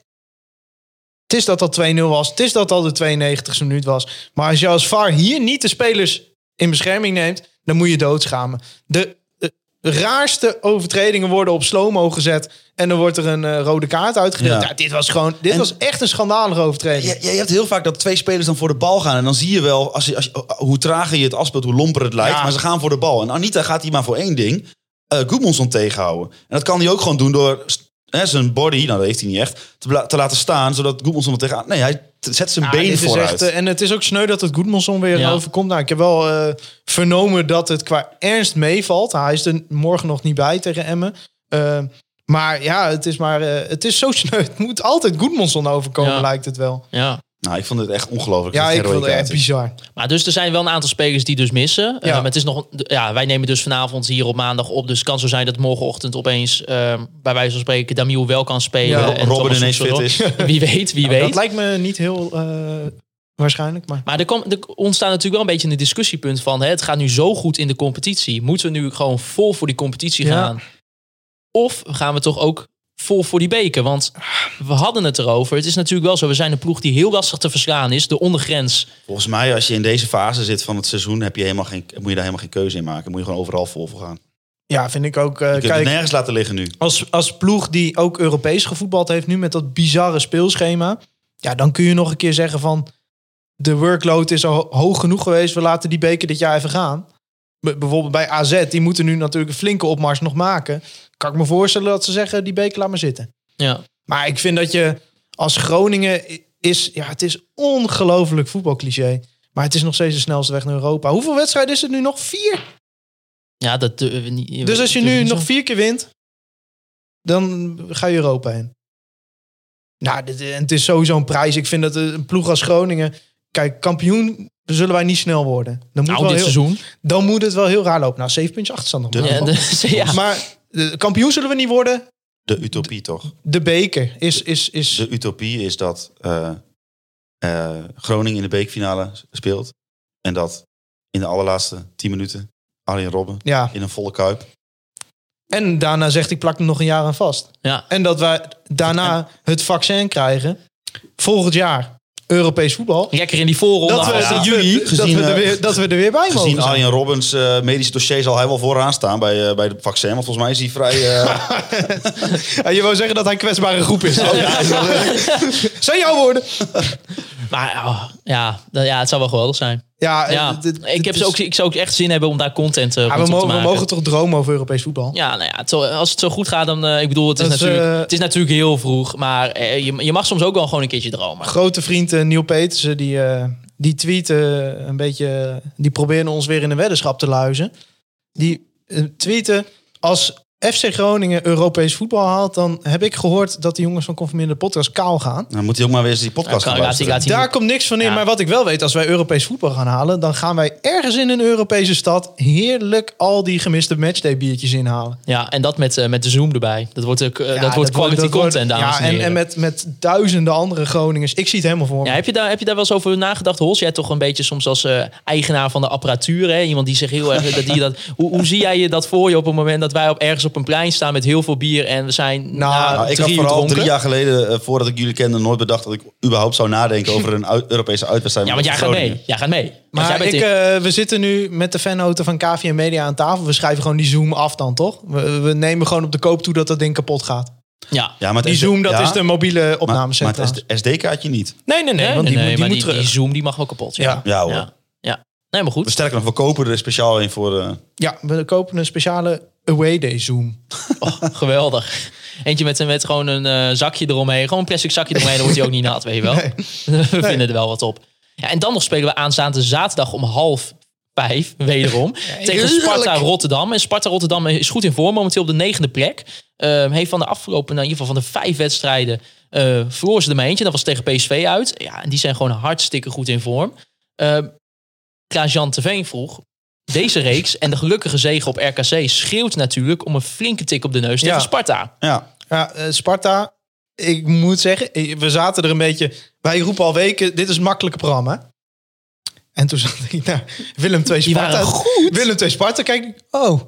[SPEAKER 6] Het is dat dat 2-0 was. Het is dat dat de 92e minuut was. Maar als je als VAR hier niet de spelers in bescherming neemt... dan moet je doodschamen. De, eh, raarste overtredingen worden op slow-mo gezet. En dan wordt er een eh, rode kaart uitgedeeld.
[SPEAKER 5] Ja.
[SPEAKER 6] Ja. dit was gewoon, dit
[SPEAKER 5] En-
[SPEAKER 6] was echt een schandalige overtreding.
[SPEAKER 5] Je, je hebt heel vaak dat twee spelers dan voor de bal gaan. En dan zie je wel, als je, als je- hoe trager je het afspeelt, hoe lomper het lijkt.
[SPEAKER 6] Ja.
[SPEAKER 5] Maar ze gaan voor de bal. En Anita gaat hier maar voor één ding. eh Goedmondson tegenhouden. En dat kan hij ook gewoon doen door st- hè, zijn body, nou dat heeft hij niet echt, te, bla- te laten staan. Zodat Goedmondson er tegenaan... Nee, hij t- zet zijn
[SPEAKER 6] Ja,
[SPEAKER 5] been
[SPEAKER 6] dit is
[SPEAKER 5] vooruit.
[SPEAKER 6] echt, eh, en het is ook sneu dat het Goedmanson weer
[SPEAKER 4] Ja.
[SPEAKER 6] overkomt. Nou, ik heb wel eh, vernomen dat het qua ernst meevalt. Hij is er morgen nog niet bij tegen Emmen. Eh, maar ja, het is, maar, eh, het is zo sneu. Het moet altijd Goedmanson overkomen,
[SPEAKER 4] Ja.
[SPEAKER 6] lijkt het wel.
[SPEAKER 4] Ja.
[SPEAKER 5] Nou, ik vond het echt ongelooflijk.
[SPEAKER 6] Ja,
[SPEAKER 5] dat
[SPEAKER 6] ik
[SPEAKER 5] Gerway
[SPEAKER 6] vond het
[SPEAKER 5] kaart
[SPEAKER 6] echt
[SPEAKER 5] is.
[SPEAKER 6] bizar.
[SPEAKER 4] Maar dus er zijn wel een aantal spelers die dus missen.
[SPEAKER 6] Ja.
[SPEAKER 4] Ja. het is nog, een- d- ja, wij nemen dus vanavond hier op maandag op. Dus het kan zo zijn dat morgenochtend opeens, ehm, bij wijze van spreken, Damiel wel kan spelen.
[SPEAKER 6] Ja.
[SPEAKER 4] en
[SPEAKER 5] Robben
[SPEAKER 4] Thomas
[SPEAKER 5] ineens
[SPEAKER 4] Soetelo.
[SPEAKER 5] fit is.
[SPEAKER 4] Wie weet, wie
[SPEAKER 6] Dat
[SPEAKER 4] weet.
[SPEAKER 6] lijkt me niet heel eh, waarschijnlijk, maar...
[SPEAKER 4] Maar er, kwam, er ontstaat natuurlijk wel een beetje een discussiepunt van... Hè, het gaat nu zo goed in de competitie. Moeten we nu gewoon vol voor die competitie
[SPEAKER 6] Ja.
[SPEAKER 4] gaan? Of gaan we toch ook vol voor die beker? Want we hadden het erover. Het is natuurlijk wel zo. We zijn een ploeg die heel lastig te verslaan is. De ondergrens.
[SPEAKER 5] Volgens mij, als je in deze fase zit van het seizoen, heb je helemaal geen, moet je daar helemaal geen keuze in maken. Moet je gewoon overal vol voor gaan.
[SPEAKER 6] Ja, vind ik ook. eh,
[SPEAKER 5] Je kunt het
[SPEAKER 6] kijk,
[SPEAKER 5] nergens laten liggen nu.
[SPEAKER 6] als, als ploeg die ook Europees gevoetbald heeft nu met dat bizarre speelschema. Ja, dan kun je nog een keer zeggen van de workload is al ho- hoog genoeg geweest. We laten die beker dit jaar even gaan. B- bijvoorbeeld bij AZ, die moeten nu natuurlijk een flinke opmars nog maken. Kan ik me voorstellen dat ze zeggen, die beker laat maar zitten.
[SPEAKER 4] Ja.
[SPEAKER 6] Maar ik vind dat je als Groningen is, ja, het is ongelooflijk voetbalcliché. Maar het is nog steeds de snelste weg naar Europa. Hoeveel wedstrijden is het nu nog? Vier?
[SPEAKER 4] Ja, dat durven we niet.
[SPEAKER 6] Dus als je
[SPEAKER 4] durven we
[SPEAKER 6] nu
[SPEAKER 4] niet
[SPEAKER 6] nog
[SPEAKER 4] zo.
[SPEAKER 6] vier keer wint, dan ga je Europa heen. Nou, dit, en het is sowieso een prijs. Ik vind dat een ploeg als Groningen... Kijk, kampioen zullen wij niet snel worden. Dan moet,
[SPEAKER 4] Nou,
[SPEAKER 6] wel
[SPEAKER 4] dit
[SPEAKER 6] heel-
[SPEAKER 4] seizoen.
[SPEAKER 6] dan moet het wel heel raar lopen. Nou, 7 puntjes achterstand nog.
[SPEAKER 4] Ja,
[SPEAKER 6] maar.
[SPEAKER 4] dus, ja.
[SPEAKER 6] Maar eh, kampioen zullen we niet worden.
[SPEAKER 5] De utopie toch?
[SPEAKER 6] De beker is... is, is
[SPEAKER 5] de utopie is dat eh, eh, Groningen in de beekfinale speelt. En dat in de allerlaatste tien minuten Arjen Robben
[SPEAKER 6] ja.
[SPEAKER 5] in een volle
[SPEAKER 4] Oh,
[SPEAKER 5] kuip.
[SPEAKER 6] En daarna zegt ik plak hem nog een jaar aan vast.
[SPEAKER 4] Ja.
[SPEAKER 6] En dat wij daarna het vaccin krijgen. Volgend jaar Europees voetbal.
[SPEAKER 4] Lekker in die voorronde.
[SPEAKER 6] Dat we,
[SPEAKER 4] houden.
[SPEAKER 6] dat,
[SPEAKER 5] ja. Juli,
[SPEAKER 6] we, dat,
[SPEAKER 5] gezien,
[SPEAKER 6] we er
[SPEAKER 5] eh,
[SPEAKER 6] weer, dat we er weer bij mogen
[SPEAKER 5] Gezien
[SPEAKER 6] zijn.
[SPEAKER 5] Arjen Robbens eh, medische dossier zal hij wel vooraan staan bij, eh, bij de vaccin. Want volgens mij is hij vrij... eh,
[SPEAKER 6] Ja, je wou zeggen dat hij een kwetsbare groep is. Oh, Zijn jouw woorden?
[SPEAKER 4] Maar oh, ja, dat- ja, het zou wel geweldig zijn.
[SPEAKER 6] Ja, eh,
[SPEAKER 4] Ja.
[SPEAKER 6] dit- dit
[SPEAKER 4] ik, heb
[SPEAKER 6] is-
[SPEAKER 4] ze ook, ik zou ook echt zin hebben om daar content eh
[SPEAKER 6] Ja,
[SPEAKER 4] rondom
[SPEAKER 6] we,
[SPEAKER 4] te
[SPEAKER 6] mogen, we
[SPEAKER 4] maken.
[SPEAKER 6] mogen toch dromen over Europees voetbal?
[SPEAKER 4] Ja, nou ja, het zal- als het zo goed gaat, dan... eh, ik bedoel, het is,
[SPEAKER 6] Dat is,
[SPEAKER 4] natuurlijk,
[SPEAKER 6] eh,
[SPEAKER 4] het is natuurlijk heel vroeg. Maar eh, je, je mag soms ook wel gewoon een keertje dromen.
[SPEAKER 6] Grote vriend eh, Neil Petersen, die, eh, die tweet eh, een beetje... eh, Die probeerde ons weer in de weddenschap te luizen. Die eh, tweette... Als FC Groningen Europees voetbal haalt... dan heb ik gehoord dat de jongens van Conformeerde Podcast kaal gaan.
[SPEAKER 5] dan moet hij ook maar weer eens die podcast
[SPEAKER 4] Ja, kan-
[SPEAKER 5] gaan
[SPEAKER 4] laat hij-
[SPEAKER 5] luisteren.
[SPEAKER 4] laat hij-
[SPEAKER 6] Daar komt niks van in.
[SPEAKER 4] Ja.
[SPEAKER 6] Maar wat ik wel weet, als wij Europees voetbal gaan halen, dan gaan wij ergens in een Europese stad heerlijk al die gemiste matchday biertjes inhalen.
[SPEAKER 4] Ja, en dat met, eh, met de Zoom erbij. Dat wordt, ook, eh,
[SPEAKER 6] Ja,
[SPEAKER 4] dat wordt quality
[SPEAKER 6] dat wordt-
[SPEAKER 4] content, dames
[SPEAKER 6] ja,
[SPEAKER 4] en
[SPEAKER 6] en,
[SPEAKER 4] heren.
[SPEAKER 6] en met, met duizenden andere Groningers. Ik zie het helemaal voor me.
[SPEAKER 4] Ja, heb, je daar, heb je daar wel eens over nagedacht, Hols? Jij toch een beetje soms als eh, eigenaar van de apparatuur, hè? iemand die zich heel erg... dat, die dat, hoe, hoe zie jij je dat voor je op het moment dat wij op, ergens op een plein staan met heel veel bier en we zijn na
[SPEAKER 5] Nou, ik had
[SPEAKER 4] drie uur
[SPEAKER 5] vooral
[SPEAKER 4] dronken?
[SPEAKER 5] drie jaar geleden, eh, voordat ik jullie kende, nooit bedacht dat ik überhaupt zou nadenken over een uit- Europese uitwedstrijd.
[SPEAKER 4] Ja, want jij gaat
[SPEAKER 5] Groningen.
[SPEAKER 4] mee. Jij gaat mee. Want jij
[SPEAKER 6] maar
[SPEAKER 4] bent
[SPEAKER 6] ik,
[SPEAKER 4] in-
[SPEAKER 6] eh, we zitten nu met de fanhoten van KVM Media aan tafel. We schrijven gewoon die Zoom af dan, toch? We, we nemen gewoon op de koop toe dat dat ding kapot gaat.
[SPEAKER 4] ja.
[SPEAKER 5] Ja, maar het
[SPEAKER 6] Die
[SPEAKER 5] SD
[SPEAKER 6] Zoom, dat
[SPEAKER 5] ja,
[SPEAKER 6] is de mobiele
[SPEAKER 5] maar- Maar,
[SPEAKER 6] opnamecentra.
[SPEAKER 5] het SD-kaartje niet.
[SPEAKER 6] Nee, nee, nee,
[SPEAKER 4] Nee,
[SPEAKER 6] want die,
[SPEAKER 4] nee,
[SPEAKER 6] moet, die
[SPEAKER 4] maar
[SPEAKER 6] moet terug.
[SPEAKER 4] die Zoom die mag wel kapot. Ja,
[SPEAKER 6] Ja.
[SPEAKER 4] ja.
[SPEAKER 5] Ja hoor.
[SPEAKER 4] Ja. Nee, maar goed.
[SPEAKER 5] Sterker nog, we kopen er speciaal een voor... eh,
[SPEAKER 6] Ja, we kopen een speciale away day Zoom.
[SPEAKER 4] Geweldig. Eentje met, met gewoon een eh, zakje eromheen. Gewoon een plastic zakje eromheen. Dan wordt hij ook niet nat, weet je wel. We vinden er wel wat op. Ja, en dan nog spelen we aanstaande zaterdag om half vijf, wederom. tegen Sparta Rotterdam. En Sparta Rotterdam is goed in vorm. Momenteel op de negende plek. Eh, heeft van de afgelopen, nou, in ieder geval van de vijf wedstrijden... eh verloor ze er maar eentje. Dat was tegen PSV uit. Ja, en die zijn gewoon hartstikke goed in vorm. Eh Klaas-Jan Teveen vroeg... Deze reeks en de gelukkige zege op RKC schreeuwt natuurlijk om een flinke tik op de neus tegen
[SPEAKER 6] Ja.
[SPEAKER 4] Sparta.
[SPEAKER 5] ja,
[SPEAKER 6] Ja, eh, Sparta, ik moet zeggen, eh, we zaten er een beetje... Wij roepen al weken, dit is een makkelijk programma. En toen zat ik naar Willem 2
[SPEAKER 4] Die
[SPEAKER 6] Sparta.
[SPEAKER 4] waren
[SPEAKER 6] Willem 2 Sparta, kijk, ik, oh.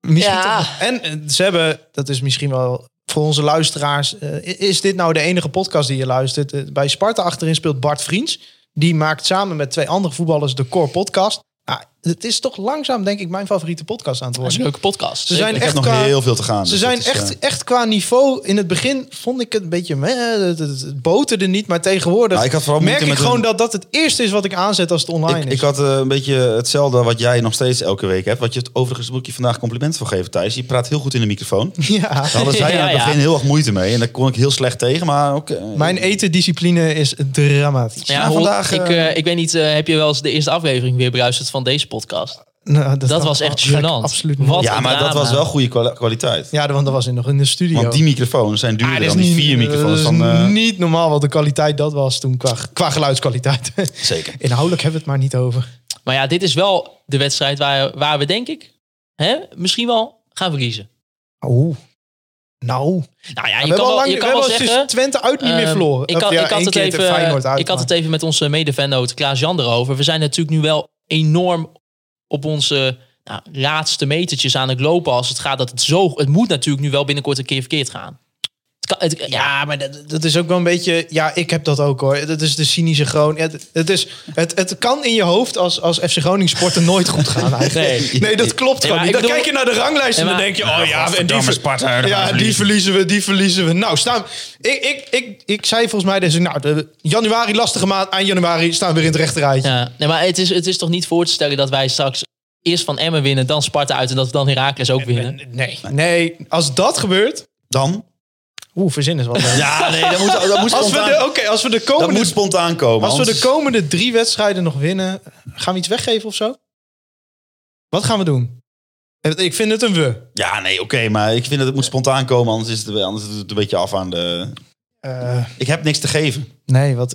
[SPEAKER 6] Misschien
[SPEAKER 4] Ja.
[SPEAKER 6] toch- en eh, ze hebben, dat is misschien wel voor onze luisteraars... eh, is dit nou de enige podcast die je luistert? Eh, bij Sparta achterin speelt Bart Vriends. Die maakt samen met twee andere voetballers de Core Podcast. Ah, het is toch langzaam, denk ik, mijn favoriete podcast aan het
[SPEAKER 4] Dat is
[SPEAKER 6] worden.
[SPEAKER 4] een leuke podcast.
[SPEAKER 6] Ze zijn
[SPEAKER 5] Ik
[SPEAKER 4] Zeker.
[SPEAKER 5] heb
[SPEAKER 6] echt
[SPEAKER 5] nog
[SPEAKER 6] qua-
[SPEAKER 5] heel veel te gaan.
[SPEAKER 6] Ze
[SPEAKER 5] dus
[SPEAKER 6] zijn
[SPEAKER 5] dat is,
[SPEAKER 6] echt,
[SPEAKER 5] eh,
[SPEAKER 6] echt qua niveau. In het begin vond ik het een beetje. meh, Het, het, het boterde niet, maar tegenwoordig
[SPEAKER 5] Nou, ik had vooral
[SPEAKER 6] merk
[SPEAKER 5] moeite
[SPEAKER 6] ik
[SPEAKER 5] met
[SPEAKER 6] gewoon
[SPEAKER 5] een-
[SPEAKER 6] dat dat het eerste is wat ik aanzet als het online
[SPEAKER 5] ik,
[SPEAKER 6] is.
[SPEAKER 5] ik had eh, een beetje hetzelfde wat jij nog steeds elke week hebt. Wat je het overigens moet ik je vandaag complimenten voor geven, Thijs. Je praat heel goed in de microfoon. Daar
[SPEAKER 6] ja.
[SPEAKER 5] hadden zij
[SPEAKER 4] Ja,
[SPEAKER 5] aan
[SPEAKER 4] ja.
[SPEAKER 5] het begin heel erg moeite mee. En daar kon ik heel slecht tegen. Maar ook, eh,
[SPEAKER 6] Mijn etendiscipline is dramatisch.
[SPEAKER 4] Ja,
[SPEAKER 5] Maar
[SPEAKER 4] hoor,
[SPEAKER 5] vandaag,
[SPEAKER 4] ik,
[SPEAKER 5] eh,
[SPEAKER 4] eh, ik weet niet, eh, heb je wel eens de eerste aflevering weer beluisterd van deze podcast?
[SPEAKER 6] Nou,
[SPEAKER 4] Dat
[SPEAKER 6] kan-
[SPEAKER 4] was echt
[SPEAKER 6] ga ik
[SPEAKER 4] gênant.
[SPEAKER 6] Absoluut
[SPEAKER 4] Wat?
[SPEAKER 6] niet.
[SPEAKER 5] ja,
[SPEAKER 4] een
[SPEAKER 5] maar dat
[SPEAKER 4] drama.
[SPEAKER 5] was wel goede kwa- kwaliteit.
[SPEAKER 6] Ja, want dat was in, nog in de studio.
[SPEAKER 5] Want die microfoons zijn duurder
[SPEAKER 6] Ah, dat
[SPEAKER 5] dan die vier
[SPEAKER 6] dat
[SPEAKER 5] microfoons
[SPEAKER 6] is
[SPEAKER 5] van... eh,
[SPEAKER 6] niet normaal wat de kwaliteit dat was toen qua, qua geluidskwaliteit.
[SPEAKER 5] Zeker.
[SPEAKER 6] Inhoudelijk hebben we het maar niet over.
[SPEAKER 4] Maar ja, dit is wel de wedstrijd waar, waar we denk ik hè, misschien wel gaan verliezen.
[SPEAKER 6] Oeh. Nou,
[SPEAKER 4] Nou ja,
[SPEAKER 6] we
[SPEAKER 4] je
[SPEAKER 6] hebben
[SPEAKER 4] kan
[SPEAKER 6] al
[SPEAKER 4] wel,
[SPEAKER 6] lang
[SPEAKER 4] je
[SPEAKER 6] we
[SPEAKER 4] kan wel
[SPEAKER 6] hebben al
[SPEAKER 4] zeggen...
[SPEAKER 6] sinds Twente uit niet meer
[SPEAKER 4] ehm,
[SPEAKER 6] verloren.
[SPEAKER 4] ik, had,
[SPEAKER 6] Of ja,
[SPEAKER 4] ik, had
[SPEAKER 6] één
[SPEAKER 4] het
[SPEAKER 6] keer tegen Feyenoord
[SPEAKER 4] even, eh,
[SPEAKER 6] uit,
[SPEAKER 4] ik had het
[SPEAKER 6] maar-
[SPEAKER 4] even met onze mede-vennoot Klaas Jan erover. We zijn natuurlijk nu wel enorm op onze nou, laatste metertjes aan het lopen als het gaat. Dat het, zo, het moet natuurlijk nu wel binnenkort een keer verkeerd gaan. Het kan, het, ja,
[SPEAKER 6] Ja, maar dat, dat is ook wel een beetje. Ja, ik heb dat ook hoor. Dat is de cynische Groningen. Het, het, is, het, het kan in je hoofd als, als FC Groningen sporten nooit goed gaan. Eigenlijk.
[SPEAKER 4] Nee.
[SPEAKER 6] Nee. dat klopt gewoon
[SPEAKER 4] maar
[SPEAKER 6] niet.
[SPEAKER 4] ik
[SPEAKER 6] Dan
[SPEAKER 4] bedoel-
[SPEAKER 6] kijk je naar de ranglijst en
[SPEAKER 4] Nee,
[SPEAKER 6] dan
[SPEAKER 4] maar-
[SPEAKER 6] denk je: oh ja, en die, ver-
[SPEAKER 5] Sparta.
[SPEAKER 6] ja, die verliezen we, die verliezen we. Nou, staan. Ik, ik, ik, ik zei volgens mij deze. Nou, de, januari lastige maand. Eind januari staan we weer in het rechterrijtje.
[SPEAKER 4] Ja, nee, maar het is, het is toch niet voor te stellen dat wij straks eerst van Emmen winnen, dan Sparta uit en dat we dan Heracles ook winnen.
[SPEAKER 6] Nee. nee, als dat gebeurt.
[SPEAKER 5] Dan?
[SPEAKER 6] Oeh, verzin eens wat.
[SPEAKER 5] Ja, nee, dat moet, dat moet
[SPEAKER 6] Als we,
[SPEAKER 5] spontaan,
[SPEAKER 6] de, oké, als we de
[SPEAKER 5] dat
[SPEAKER 6] komende
[SPEAKER 5] moet spontaan komen.
[SPEAKER 6] Als we de
[SPEAKER 5] anders-
[SPEAKER 6] komende drie wedstrijden nog winnen, gaan we iets weggeven of zo? Wat gaan we doen? Eh, Ik vind het een we.
[SPEAKER 5] Ja, nee, oké, maar ik vind dat het moet spontaan komen, anders is het, anders is het een beetje af aan de...
[SPEAKER 6] Eh,
[SPEAKER 5] Ik heb niks te geven.
[SPEAKER 6] nee, wat.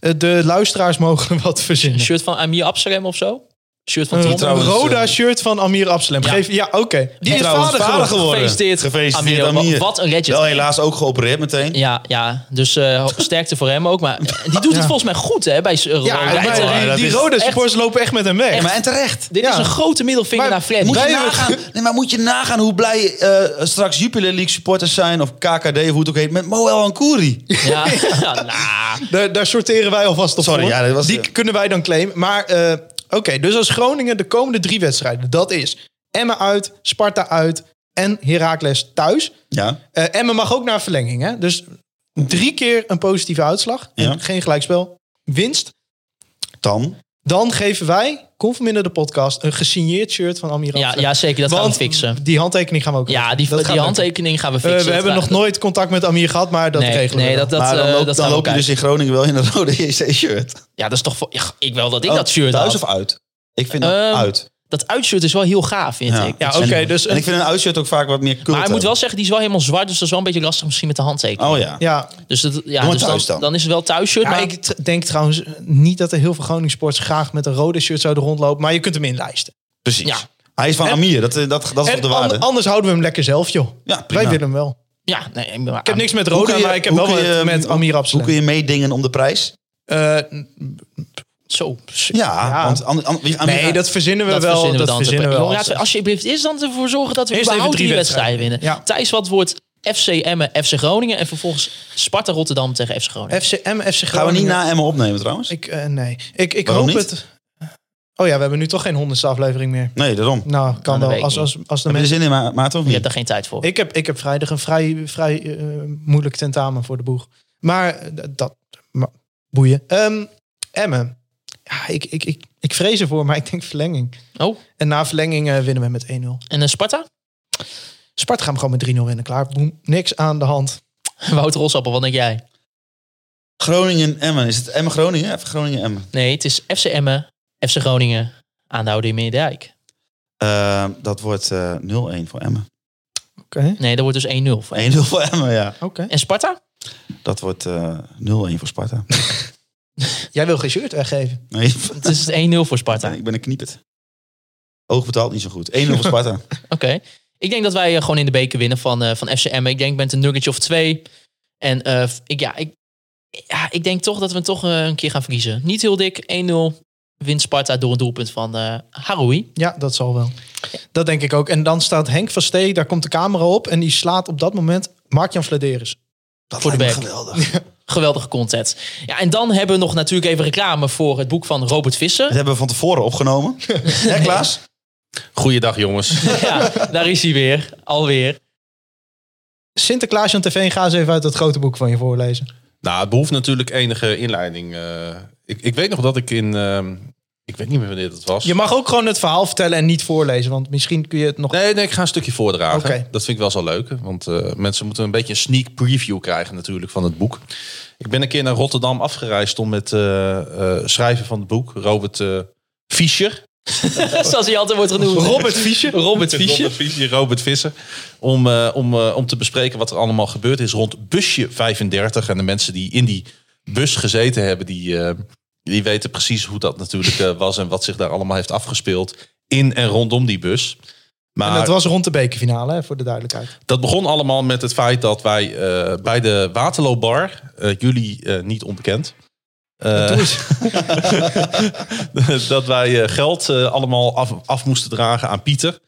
[SPEAKER 6] Eh, De luisteraars mogen wat
[SPEAKER 4] Een
[SPEAKER 6] verzinnen.
[SPEAKER 4] shirt van Amir Absalem of zo? Een shirt van
[SPEAKER 6] Een
[SPEAKER 4] Tom.
[SPEAKER 5] trouwens,
[SPEAKER 6] Roda
[SPEAKER 5] eh,
[SPEAKER 6] shirt van Amir Absalem.
[SPEAKER 4] Ja.
[SPEAKER 6] Geef, ja, oké. Die is
[SPEAKER 5] trouwens
[SPEAKER 6] vader,
[SPEAKER 5] vader
[SPEAKER 6] geworden.
[SPEAKER 5] geworden.
[SPEAKER 4] Gefeliciteerd,
[SPEAKER 5] Gefeliciteerd,
[SPEAKER 4] Amir. Wa-
[SPEAKER 5] Amir.
[SPEAKER 4] Wat een legend.
[SPEAKER 5] Wel helaas ook geopereerd meteen.
[SPEAKER 4] Ja, ja, dus eh, sterkte voor hem ook. Maar eh, die doet het volgens mij goed hè, bij eh,
[SPEAKER 6] Ja,
[SPEAKER 4] Roda.
[SPEAKER 6] maar
[SPEAKER 5] hoor,
[SPEAKER 6] die-
[SPEAKER 5] dat
[SPEAKER 6] die,
[SPEAKER 5] is
[SPEAKER 6] Roda
[SPEAKER 4] echt-
[SPEAKER 6] supporters lopen echt met hem weg.
[SPEAKER 5] Ja, maar en terecht.
[SPEAKER 4] Dit
[SPEAKER 6] Ja.
[SPEAKER 4] is een grote middelvinger
[SPEAKER 6] Maar
[SPEAKER 4] naar Fred.
[SPEAKER 5] Moet je,
[SPEAKER 6] Wij hebben-
[SPEAKER 5] nagaan, nee, maar moet je nagaan hoe blij eh, straks Jupiler League supporters zijn, of KKD, of hoe het ook heet, met Moel Ankouri.
[SPEAKER 4] Ja, ja, nou,
[SPEAKER 6] Daar, daar sorteren wij alvast op
[SPEAKER 5] Sorry,
[SPEAKER 6] voor.
[SPEAKER 5] ja, dat was- eh,
[SPEAKER 6] Die kunnen wij dan claimen. Maar eh, oké, dus als Groningen de komende drie wedstrijden... dat is Emmen uit, Sparta uit en Heracles thuis.
[SPEAKER 5] Ja,
[SPEAKER 6] Eh Emmen mag ook naar verlenging, hè? Dus drie keer een positieve uitslag. en
[SPEAKER 5] Ja.
[SPEAKER 6] Geen gelijkspel. Winst.
[SPEAKER 5] dan.
[SPEAKER 6] Dan geven wij, conforminder de podcast... een gesigneerd shirt van Amir
[SPEAKER 4] ja,
[SPEAKER 6] Amsterdam.
[SPEAKER 4] ja, zeker. Dat gaan
[SPEAKER 6] Want
[SPEAKER 4] we fixen.
[SPEAKER 6] die handtekening gaan we ook
[SPEAKER 4] Ja,
[SPEAKER 6] regelen.
[SPEAKER 4] die,
[SPEAKER 6] Dat gaan
[SPEAKER 4] die
[SPEAKER 6] we
[SPEAKER 4] handtekening gaan we
[SPEAKER 6] doen.
[SPEAKER 4] fixen.
[SPEAKER 6] Eh, we hebben
[SPEAKER 4] Dat-
[SPEAKER 6] nog nooit contact met Amir gehad, maar dat
[SPEAKER 4] Nee,
[SPEAKER 6] regelen we
[SPEAKER 4] nee,
[SPEAKER 6] wel.
[SPEAKER 4] dat, dat,
[SPEAKER 5] maar dan
[SPEAKER 4] eh,
[SPEAKER 5] loop,
[SPEAKER 4] dat
[SPEAKER 5] dan
[SPEAKER 4] gaan we
[SPEAKER 5] loop je dus
[SPEAKER 4] bekijken.
[SPEAKER 5] in Groningen wel in een rode JC-shirt.
[SPEAKER 4] Ja, dat is toch... voor- ja, Ik wil dat ik dat shirt
[SPEAKER 5] Oh, Thuis
[SPEAKER 4] had.
[SPEAKER 5] of uit? Ik vind dat
[SPEAKER 4] Ehm,
[SPEAKER 5] uit.
[SPEAKER 4] Dat uitshirt is wel heel gaaf, vind ik.
[SPEAKER 6] Ja,
[SPEAKER 5] En-
[SPEAKER 6] oké, dus
[SPEAKER 5] En
[SPEAKER 6] een-
[SPEAKER 5] ik vind een uitshirt ook vaak wat meer cult
[SPEAKER 4] Maar hij moet wel
[SPEAKER 5] hebben.
[SPEAKER 4] zeggen, die is wel helemaal zwart. Dus dat is wel een beetje lastig misschien met de handtekening.
[SPEAKER 5] Oh ja.
[SPEAKER 6] Ja,
[SPEAKER 4] Dus, dat, ja,
[SPEAKER 5] maar
[SPEAKER 4] dus
[SPEAKER 5] thuis
[SPEAKER 4] dan,
[SPEAKER 5] dan.
[SPEAKER 4] dan is het wel thuisshirt.
[SPEAKER 6] Ja,
[SPEAKER 4] maar
[SPEAKER 6] ik tr- denk trouwens niet dat er heel veel Groningsports graag met een rode shirt zouden rondlopen. Maar je kunt hem inlijsten.
[SPEAKER 5] Precies.
[SPEAKER 4] Ja.
[SPEAKER 5] Hij is van
[SPEAKER 6] En-
[SPEAKER 5] Amir, dat, eh, dat, dat is toch
[SPEAKER 6] En
[SPEAKER 5] de
[SPEAKER 6] an-
[SPEAKER 5] waarde?
[SPEAKER 6] anders houden we hem lekker zelf, joh.
[SPEAKER 5] ja, prima.
[SPEAKER 6] Wij willen hem wel.
[SPEAKER 4] ja, nee, maar,
[SPEAKER 6] Ik heb niks met
[SPEAKER 5] Hoe
[SPEAKER 6] Roda,
[SPEAKER 5] kun je-
[SPEAKER 6] maar ik heb
[SPEAKER 5] hoe
[SPEAKER 6] wel
[SPEAKER 5] kun
[SPEAKER 6] wat
[SPEAKER 5] je-
[SPEAKER 6] met
[SPEAKER 5] hoe-
[SPEAKER 6] Amir
[SPEAKER 5] Hoe
[SPEAKER 6] Absalem.
[SPEAKER 5] kun je meedingen om de prijs?
[SPEAKER 6] Eh, n-
[SPEAKER 4] Zo.
[SPEAKER 5] Ja,
[SPEAKER 6] Ja.
[SPEAKER 5] want an- an- wie- Amir-
[SPEAKER 6] nee, dat verzinnen we
[SPEAKER 4] Dat
[SPEAKER 6] wel.
[SPEAKER 4] verzinnen we
[SPEAKER 6] dat
[SPEAKER 4] dan.
[SPEAKER 6] verzinnen we
[SPEAKER 4] Jongen,
[SPEAKER 6] wel.
[SPEAKER 4] laten we alsjeblieft eerst dan ervoor zorgen dat we
[SPEAKER 6] Eerst
[SPEAKER 4] überhaupt drie
[SPEAKER 6] even drie
[SPEAKER 4] wedstrijden winnen.
[SPEAKER 6] wedstrijden. Ja.
[SPEAKER 4] Thijs, wat wordt FC Emmen, FC Groningen en vervolgens Sparta Rotterdam tegen FC Groningen?
[SPEAKER 6] FCM, FC
[SPEAKER 5] Gaan we niet
[SPEAKER 6] Groningen.
[SPEAKER 5] na Emmen opnemen trouwens?
[SPEAKER 6] Ik, eh, nee, ik, ik
[SPEAKER 5] Waarom
[SPEAKER 6] hoop
[SPEAKER 5] niet?
[SPEAKER 6] het. Oh ja, we hebben nu toch geen honderdste aflevering meer.
[SPEAKER 5] Nee, daarom.
[SPEAKER 6] Nou, kan
[SPEAKER 4] dat weet
[SPEAKER 6] wel.
[SPEAKER 4] ik
[SPEAKER 6] Als,
[SPEAKER 4] niet.
[SPEAKER 6] als, als de
[SPEAKER 5] Heb je er
[SPEAKER 6] mensen...
[SPEAKER 5] zin in, Ma- Maarten, of
[SPEAKER 4] Je hebt
[SPEAKER 5] niet?
[SPEAKER 4] daar geen tijd voor.
[SPEAKER 6] Ik heb, ik heb vrijdag een vrij, vrij eh, moeilijk tentamen voor de boeg. Maar eh, dat... maar, boeien. Ehm Emmen. Ja, ik, ik, ik, ik vrees ervoor, maar ik denk verlenging.
[SPEAKER 4] Oh,
[SPEAKER 6] En na verlenging eh, winnen we met 1-0.
[SPEAKER 4] en eh, Sparta?
[SPEAKER 6] Sparta gaan we gewoon met 3-0 winnen. Klaar, boem. Niks aan de hand.
[SPEAKER 4] Wouter Rosappel, wat denk jij?
[SPEAKER 5] Groningen-Emmen. Is het Emmen-Groningen? Even Groningen-Emmen.
[SPEAKER 4] Nee, het is FC Emmen, FC Groningen, aanhouden in Meerdijk.
[SPEAKER 5] Eh, dat wordt eh 0-1 voor Emmen.
[SPEAKER 6] Oké.
[SPEAKER 4] Nee, dat wordt dus 1-0. voor Emmen.
[SPEAKER 5] 1-0 voor Emmen, ja.
[SPEAKER 6] Oké.
[SPEAKER 4] En Sparta?
[SPEAKER 5] Dat wordt eh 0-1 voor Sparta.
[SPEAKER 6] Jij wil geen shirt weggeven.
[SPEAKER 5] Nee,
[SPEAKER 4] Het is 1-0 voor Sparta.
[SPEAKER 5] ik ben een kniepert. Oog betaalt niet zo goed. 1-0 voor Sparta.
[SPEAKER 4] Oké. Ik denk dat wij eh, gewoon in de beker winnen van, eh, van FC Emmen. Ik denk met een nuggetje of twee. En eh, ik, ja, ik, ja, ik denk toch dat we hem toch eh, een keer gaan verliezen. Niet heel dik, 1-0. Wint Sparta door een doelpunt van eh Haroui.
[SPEAKER 6] Ja, dat zal wel. Dat denk ik ook. En dan staat Henk van Stee, daar komt de camera op. En die slaat op dat moment Mark-Jan Vladeris.
[SPEAKER 5] Dat
[SPEAKER 4] Voor de
[SPEAKER 5] lijkt me
[SPEAKER 4] back.
[SPEAKER 5] geweldig.
[SPEAKER 4] Geweldige content. Ja, en dan hebben we nog natuurlijk even reclame voor het boek van Robert Visser.
[SPEAKER 5] Dat hebben we van tevoren opgenomen. Hè, Klaas?
[SPEAKER 7] Goeiedag jongens.
[SPEAKER 4] Ja, daar is hij weer. Alweer.
[SPEAKER 6] Sinterklaasje aan tv, ga eens even uit dat grote boek van je voorlezen.
[SPEAKER 7] nou, het behoeft natuurlijk enige inleiding. eh. ik, ik weet nog dat ik in... ehm, ik weet niet meer wanneer dat was.
[SPEAKER 6] Je mag ook gewoon het verhaal vertellen en niet voorlezen, want misschien kun je het nog...
[SPEAKER 7] Nee, nee, ik ga een stukje voordragen.
[SPEAKER 6] Oké.
[SPEAKER 7] Dat vind ik wel zo leuk. Want eh, mensen moeten een beetje een sneak preview krijgen natuurlijk van het boek. Ik ben een keer naar Rotterdam afgereisd om met eh, eh, schrijver van het boek, Robert eh Fischer.
[SPEAKER 4] Zoals hij altijd wordt genoemd. Robert Fischer. Robert Fischer.
[SPEAKER 7] Robert Fischer, Robert Visser. Om, eh, om, eh, om te bespreken wat er allemaal gebeurd is rond busje 35. En de mensen die in die bus gezeten hebben, die, eh, die weten precies hoe dat natuurlijk eh, was. En wat zich daar allemaal heeft afgespeeld in en rondom die bus.
[SPEAKER 6] En
[SPEAKER 7] Maar
[SPEAKER 6] dat was rond de bekerfinale, hè, voor de duidelijkheid.
[SPEAKER 7] Dat begon allemaal met het feit dat wij eh, bij de Waterloo Bar, eh, jullie eh, niet onbekend, eh, dat wij eh, geld eh, allemaal af, af moesten dragen aan Pieter.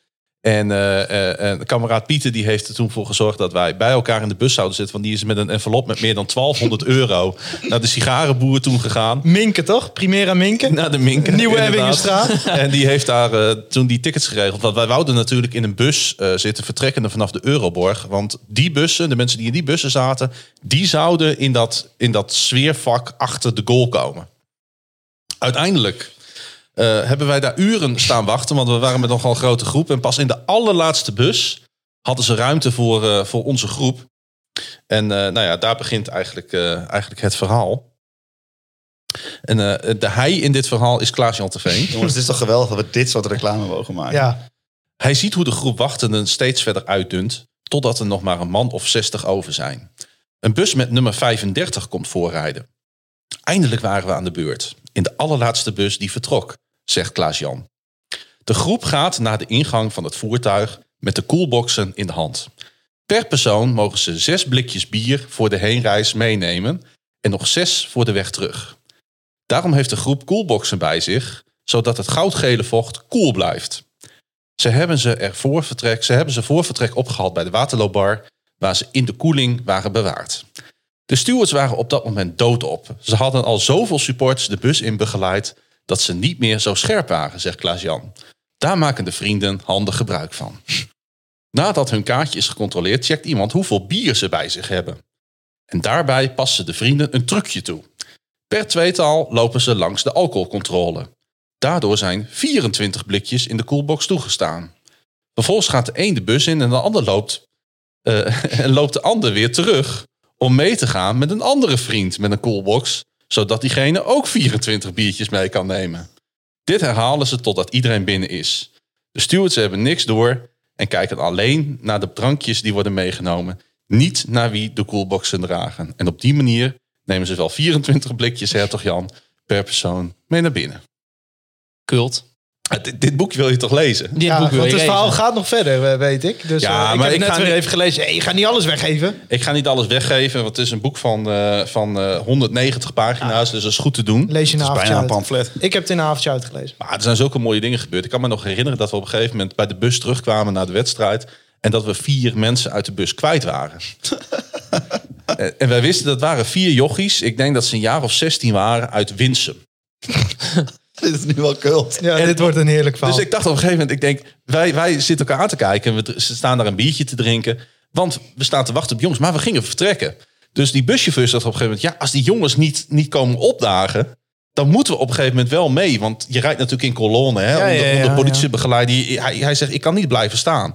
[SPEAKER 7] En, eh, eh, en kameraad Pieter die heeft er toen voor gezorgd dat wij bij elkaar in de bus zouden zitten. Want die is met een envelop met meer dan 1200 euro naar de sigarenboer toen gegaan.
[SPEAKER 6] Minken toch? Primera Minken?
[SPEAKER 7] Naar de Minken.
[SPEAKER 6] Nieuwe
[SPEAKER 7] inderdaad.
[SPEAKER 6] Ebbingenstraat.
[SPEAKER 7] En die heeft daar eh, toen die tickets geregeld. Want wij wouden natuurlijk in een bus eh, zitten vertrekkende vanaf de Euroborg. Want die bussen, de mensen die in die bussen zaten, die zouden in dat, in dat sfeervak achter de goal komen. Uiteindelijk eh, hebben wij daar uren staan wachten, want we waren met nogal een grote groep. En pas in de allerlaatste bus hadden ze ruimte voor, eh, voor onze groep. En eh, nou ja, daar begint eigenlijk, eh, eigenlijk het verhaal. En eh, de hij in dit verhaal is Klaas-Jan Terveen.
[SPEAKER 5] Jongens, dit is toch geweldig dat we dit soort reclame mogen maken.
[SPEAKER 6] Ja,
[SPEAKER 7] Hij ziet hoe de groep wachtenden steeds verder uitdunt, totdat er nog maar een man of 60 over zijn. Een bus met nummer 35 komt voorrijden. Eindelijk waren we aan de beurt, in de allerlaatste bus die vertrok, zegt Klaas-Jan. De groep gaat naar de ingang van het voertuig met de koelboxen in de hand. Per persoon mogen ze zes blikjes bier voor de heenreis meenemen en nog zes voor de weg terug. Daarom heeft de groep koelboxen bij zich, zodat het goudgele vocht koel blijft. Ze hebben ze, er voor vertrek, ze hebben ze voor vertrek opgehaald bij de Waterloobar, waar ze in de koeling waren bewaard. De stewards waren op dat moment doodop. Ze hadden al zoveel supports de bus in begeleid dat ze niet meer zo scherp waren, zegt Klaas-Jan. Daar maken de vrienden handig gebruik van. Nadat hun kaartje is gecontroleerd, checkt iemand hoeveel bier ze bij zich hebben. En daarbij passen de vrienden een trucje toe. Per tweetal lopen ze langs de alcoholcontrole. Daardoor zijn 24 blikjes in de koelbox toegestaan. Vervolgens gaat de een de bus in en de ander loopt, eh, en loopt de ander weer terug om mee te gaan met een andere vriend met een koelbox, zodat diegene ook 24 biertjes mee kan nemen. Dit herhalen ze totdat iedereen binnen is. De stewards hebben niks door en kijken alleen naar de drankjes die worden meegenomen, niet naar wie de koelboxen dragen. En op die manier nemen ze wel 24 blikjes, hertog Jan, per persoon mee naar binnen.
[SPEAKER 4] Kult.
[SPEAKER 7] Ah, dit, dit boek wil je toch lezen?
[SPEAKER 4] Dit
[SPEAKER 6] ja
[SPEAKER 4] boek wil
[SPEAKER 6] want
[SPEAKER 4] je
[SPEAKER 6] het verhaal
[SPEAKER 4] lezen.
[SPEAKER 6] gaat nog verder, eh, weet ik. Dus
[SPEAKER 7] Ja,
[SPEAKER 6] ja, ik
[SPEAKER 7] maar
[SPEAKER 6] heb het
[SPEAKER 7] ik
[SPEAKER 6] net
[SPEAKER 7] ga
[SPEAKER 6] weer
[SPEAKER 7] niet-
[SPEAKER 6] even gelezen. Hey, je gaat niet alles weggeven.
[SPEAKER 7] Ik ga niet alles weggeven, want het is een boek van, eh, van eh, 190 pagina's, dus dat is goed te doen.
[SPEAKER 6] Lees je in
[SPEAKER 5] Het
[SPEAKER 6] een
[SPEAKER 5] is
[SPEAKER 6] avondje
[SPEAKER 5] bijna een
[SPEAKER 6] uit.
[SPEAKER 5] pamflet.
[SPEAKER 6] Ik heb het in een avondje uitgelezen.
[SPEAKER 7] Maar er zijn zulke mooie dingen gebeurd. Ik kan me nog herinneren dat we op een gegeven moment bij de bus terugkwamen naar de wedstrijd en dat we vier mensen uit de bus kwijt waren. Eh, en wij wisten dat waren vier jochies, ik denk dat ze een jaar of 16 waren, uit Winsum.
[SPEAKER 5] Dit is nu wel kult.
[SPEAKER 6] Ja, dit wordt een heerlijk verhaal.
[SPEAKER 7] Dus ik dacht op een gegeven moment, ik denk, wij, wij zitten elkaar aan te kijken. en We dr- ze staan daar een biertje te drinken. Want we staan te wachten op jongens. Maar we gingen vertrekken. Dus die buschauffeur zegt op een gegeven moment, ja, als die jongens niet, niet komen opdagen, dan moeten we op een gegeven moment wel mee. Want je rijdt natuurlijk in kolonnen, hè,
[SPEAKER 6] Ja,
[SPEAKER 7] onder,
[SPEAKER 6] ja,
[SPEAKER 7] onder
[SPEAKER 6] ja,
[SPEAKER 7] politiebegeleider. Die- Hij, hij zegt, ik kan niet blijven staan.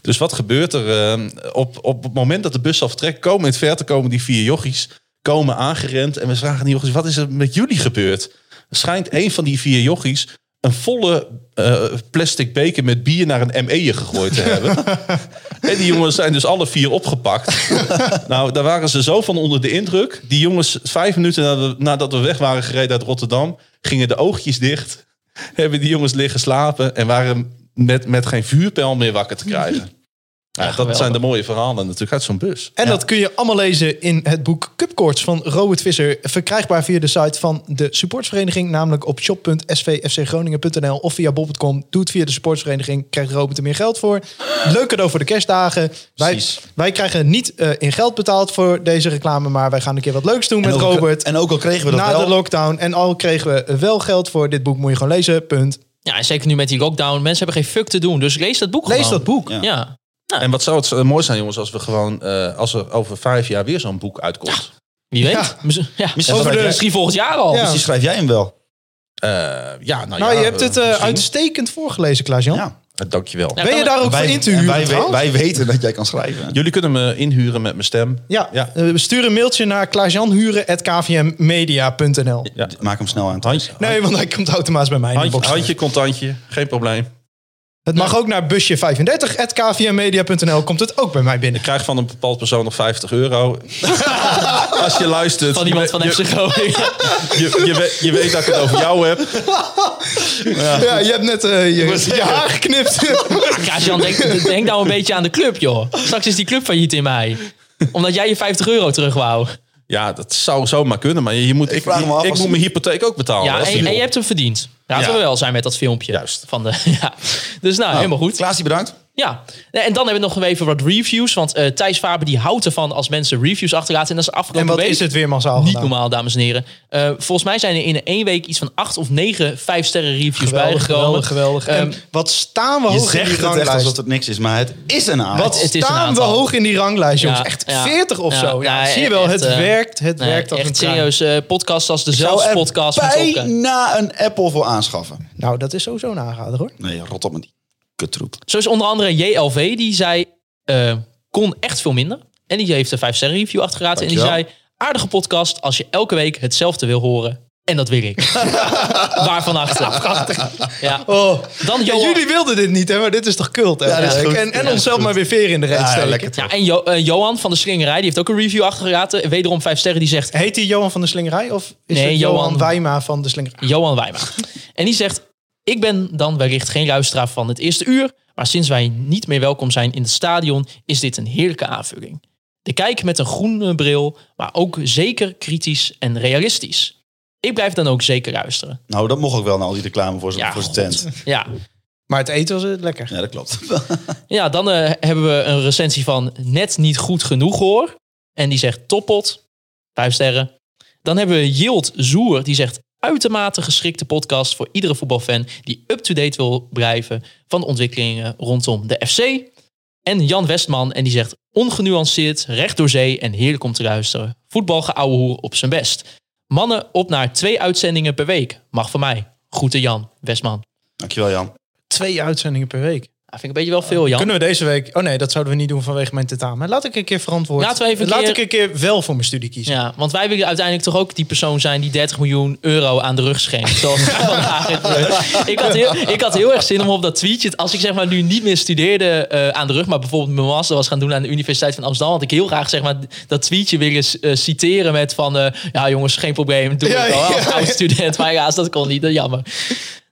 [SPEAKER 7] Dus wat gebeurt er? ehm, op, op het moment dat de bus zal vertrekken, komen in het verte komen die vier jochies komen aangerend. En we vragen die jochies, wat is er met jullie gebeurd? Schijnt een van die vier jochies een volle eh, plastic beker met bier naar een ME'er gegooid te hebben. en die jongens zijn dus alle vier opgepakt. nou, daar waren ze zo van onder de indruk. Die jongens, vijf minuten nadat we, nadat we weg waren gereden uit Rotterdam, gingen de oogjes dicht. Hebben die jongens liggen slapen en waren met, met geen vuurpijl meer wakker te krijgen. Ja, dat
[SPEAKER 4] geweldig.
[SPEAKER 7] zijn de mooie verhalen natuurlijk uit zo'n bus.
[SPEAKER 6] En dat kun je allemaal lezen in het boek Cupcourts van Robert Visser. Verkrijgbaar via de site van de supportsvereniging. Namelijk op shop.svfcgroningen.nl of via bob.com. Doe het via de supportsvereniging. Krijgt Robert er meer geld voor. Leuk cadeau voor de kerstdagen. Wij,
[SPEAKER 5] Precies.
[SPEAKER 6] wij krijgen niet eh, in geld betaald voor deze reclame. Maar wij gaan een keer wat leuks doen
[SPEAKER 5] En
[SPEAKER 6] met
[SPEAKER 5] ook al-
[SPEAKER 6] Robert.
[SPEAKER 5] En ook al kregen we dat
[SPEAKER 6] na
[SPEAKER 5] wel.
[SPEAKER 6] de lockdown. En al kregen we wel geld voor dit boek. Moet je gewoon lezen. Punt.
[SPEAKER 4] Ja, en zeker nu met die lockdown. Mensen hebben geen fuck te doen. Dus lees dat boek
[SPEAKER 6] Lees
[SPEAKER 4] gewoon.
[SPEAKER 6] dat boek.
[SPEAKER 5] Ja.
[SPEAKER 4] Ja.
[SPEAKER 7] En wat zou het eh, mooi zijn, jongens, als we gewoon eh, als er over vijf jaar weer zo'n boek uitkomt.
[SPEAKER 4] Wie weet.
[SPEAKER 6] Ja.
[SPEAKER 4] Mis- Ja.
[SPEAKER 5] Misschien
[SPEAKER 4] Over
[SPEAKER 5] schrijf
[SPEAKER 4] de-
[SPEAKER 5] jij-
[SPEAKER 4] Misschien volgend jaar al.
[SPEAKER 6] Ja.
[SPEAKER 5] Misschien dus schrijf jij hem wel.
[SPEAKER 7] Ja, ja nou,
[SPEAKER 6] Nou,
[SPEAKER 7] ja,
[SPEAKER 6] je hebt
[SPEAKER 7] eh,
[SPEAKER 6] het eh,
[SPEAKER 7] misschien.
[SPEAKER 6] uitstekend voorgelezen, Klaas-Jan.
[SPEAKER 5] Ja.
[SPEAKER 7] Eh, Dankjewel.
[SPEAKER 4] Ja,
[SPEAKER 6] Ben je
[SPEAKER 4] kan-
[SPEAKER 6] daar ook voor
[SPEAKER 5] Wij,
[SPEAKER 6] in te
[SPEAKER 5] en
[SPEAKER 6] huren?
[SPEAKER 5] wij, we-
[SPEAKER 6] trouwens?
[SPEAKER 5] wij weten dat jij kan schrijven.
[SPEAKER 7] Jullie kunnen me inhuren met mijn stem.
[SPEAKER 6] Ja,
[SPEAKER 7] Ja.
[SPEAKER 6] eh, stuur een mailtje naar klaasjanhuren.kvmmedia.nl.
[SPEAKER 7] Ja.
[SPEAKER 5] Maak hem snel aan. Handje,
[SPEAKER 6] Nee, want hij komt automatisch bij mij in de
[SPEAKER 7] Handje,
[SPEAKER 6] box.
[SPEAKER 7] handje contantje, geen probleem.
[SPEAKER 6] Het mag ook naar busje35.kvmmedia.nl. Komt het ook bij mij binnen.
[SPEAKER 7] Ik krijg van een bepaald persoon nog 50 euro. Als je luistert.
[SPEAKER 4] Van iemand van
[SPEAKER 7] je,
[SPEAKER 4] FC
[SPEAKER 7] je,
[SPEAKER 4] Groningen.
[SPEAKER 7] je, je weet, je weet dat ik het over jou heb.
[SPEAKER 6] Ja, je hebt net eh, je, je haar geknipt.
[SPEAKER 4] Kaasjan, denk, denk nou een beetje aan de club, joh. Straks is die club failliet in mei. Omdat jij je 50 euro terug wou.
[SPEAKER 6] Oh,
[SPEAKER 7] Ja, dat zou zomaar kunnen. Maar je moet, ik,
[SPEAKER 5] vraag me af
[SPEAKER 7] ik
[SPEAKER 5] als-
[SPEAKER 7] moet mijn hypotheek ook betalen.
[SPEAKER 4] Ja,
[SPEAKER 7] Dat is
[SPEAKER 4] en, en
[SPEAKER 7] niet-
[SPEAKER 4] je hebt hem verdiend. Laten
[SPEAKER 7] Ja.
[SPEAKER 4] we wel zijn met dat filmpje.
[SPEAKER 7] Juist.
[SPEAKER 4] Van de, ja. Dus
[SPEAKER 6] Oh,
[SPEAKER 4] nou, helemaal goed.
[SPEAKER 5] Klaasje, bedankt.
[SPEAKER 4] Ja, Nee, en dan hebben we nog even wat reviews. Want eh, Thijs Faber die houdt ervan als mensen reviews achterlaten. En dat is
[SPEAKER 6] En
[SPEAKER 4] afgelopen
[SPEAKER 6] wat
[SPEAKER 4] week
[SPEAKER 6] is het weer massaal
[SPEAKER 4] niet
[SPEAKER 6] gedaan?
[SPEAKER 4] normaal, dames en heren. Eh, volgens mij zijn er in één week iets van acht of negen vijf-sterren reviews
[SPEAKER 6] Geweldig,
[SPEAKER 4] bijgekomen.
[SPEAKER 6] geweldig, geweldig.
[SPEAKER 4] Ehm,
[SPEAKER 6] en wat staan we
[SPEAKER 5] Je
[SPEAKER 6] hoog in
[SPEAKER 5] zegt
[SPEAKER 6] die
[SPEAKER 5] het echt
[SPEAKER 6] ranglijst?
[SPEAKER 5] alsof het niks is, maar het is een aanbod.
[SPEAKER 6] Wat
[SPEAKER 4] Het- het is een
[SPEAKER 6] staan we
[SPEAKER 4] aantal.
[SPEAKER 6] hoog in die ranglijst, jongens?
[SPEAKER 4] Ja,
[SPEAKER 6] echt
[SPEAKER 4] ja,
[SPEAKER 6] 40 of
[SPEAKER 4] ja,
[SPEAKER 6] zo. Ja,
[SPEAKER 4] ja,
[SPEAKER 6] zie je wel,
[SPEAKER 4] echt,
[SPEAKER 6] het
[SPEAKER 4] eh,
[SPEAKER 6] werkt. Het
[SPEAKER 4] nee,
[SPEAKER 6] werkt als een
[SPEAKER 4] echt
[SPEAKER 6] trein.
[SPEAKER 4] serieus. eh, podcasts als de
[SPEAKER 5] zou er
[SPEAKER 4] zelfspodcast. met Okke.
[SPEAKER 5] bijna een Apple voor aanschaffen.
[SPEAKER 6] Nou, dat is sowieso een aanrader, hoor.
[SPEAKER 5] Nee, rot op met die kuttroep.
[SPEAKER 4] Zo is onder andere JLV, die zei, eh, kon echt veel minder. En die heeft een 5-sterren review achtergelaten. En die zei,
[SPEAKER 5] Dankjewel.
[SPEAKER 4] aardige podcast als je elke week hetzelfde wil horen. En dat wil ik. Waarvan achter. Ja.
[SPEAKER 6] Oh.
[SPEAKER 4] Dan
[SPEAKER 6] Ja,
[SPEAKER 4] Johan-
[SPEAKER 6] jullie wilden dit niet, hè? Maar dit is toch kult, hè?
[SPEAKER 5] dit is
[SPEAKER 6] Kijk,
[SPEAKER 5] goed.
[SPEAKER 6] En, en
[SPEAKER 5] Ja,
[SPEAKER 6] onszelf maar weer veren in de reet
[SPEAKER 5] Ja, ja,
[SPEAKER 6] steken.
[SPEAKER 5] lekker.
[SPEAKER 4] ja, en Jo- eh, Johan van de Slingerij, die heeft ook een review achtergelaten. Wederom 5 sterren, die zegt,
[SPEAKER 6] Heet hij Johan van de Slingerij? Of is
[SPEAKER 4] Nee,
[SPEAKER 6] het Johan,
[SPEAKER 4] Johan-
[SPEAKER 6] Wijma van de Slingerij?
[SPEAKER 4] Johan Wijma. En die zegt: Ik ben dan wellicht geen luisteraar van het eerste uur. Maar sinds wij niet meer welkom zijn in het stadion, is dit een heerlijke aanvulling. De kijk met een groene bril, maar ook zeker kritisch en realistisch. Ik blijf dan ook zeker luisteren.
[SPEAKER 5] Nou, dat mocht ook wel na al die reclame voor zijn
[SPEAKER 4] Ja,
[SPEAKER 5] voor zijn
[SPEAKER 4] god.
[SPEAKER 5] tent.
[SPEAKER 4] Ja,
[SPEAKER 6] Maar het eten was eh, lekker.
[SPEAKER 5] Ja, dat klopt.
[SPEAKER 4] ja dan eh, hebben we een recensie van Net niet goed genoeg hoor. En die zegt toppot. Vijf sterren. Dan hebben we Yield Zoer. Die zegt uitermate geschikte podcast voor iedere voetbalfan die up-to-date wil blijven van de ontwikkelingen rondom de FC. En Jan Westman. En die zegt ongenuanceerd, recht door zee en heerlijk om te luisteren. Voetbal hoer op zijn best. Mannen op naar twee uitzendingen per week. Mag van mij. Groeten Jan Westman.
[SPEAKER 5] Dankjewel, Jan.
[SPEAKER 6] Twee uitzendingen per week.
[SPEAKER 4] Dat vind ik een beetje wel veel, Jan.
[SPEAKER 6] Kunnen we deze week... Oh nee, dat zouden we niet doen vanwege mijn tentamen. Laat ik een keer verantwoord...
[SPEAKER 4] Laten we even een
[SPEAKER 6] Laat
[SPEAKER 4] keer-
[SPEAKER 6] ik een keer wel voor mijn studie kiezen.
[SPEAKER 4] Ja, want wij willen uiteindelijk toch ook die persoon zijn die 30 miljoen euro aan de rug schenkt. Zoals vandaag heeft gebeurd. ik, had heel, ik had heel erg zin om op dat tweetje, als ik zeg maar nu niet meer studeerde eh, aan de rug, maar bijvoorbeeld mijn master was gaan doen aan de Universiteit van Amsterdam, had ik heel graag zeg maar dat tweetje willen eh, citeren met van, eh, ja jongens, geen probleem, doe
[SPEAKER 6] Ja,
[SPEAKER 4] ik wel als
[SPEAKER 6] ja.
[SPEAKER 4] oud student. Maar helaas, dat kon niet, dat jammer.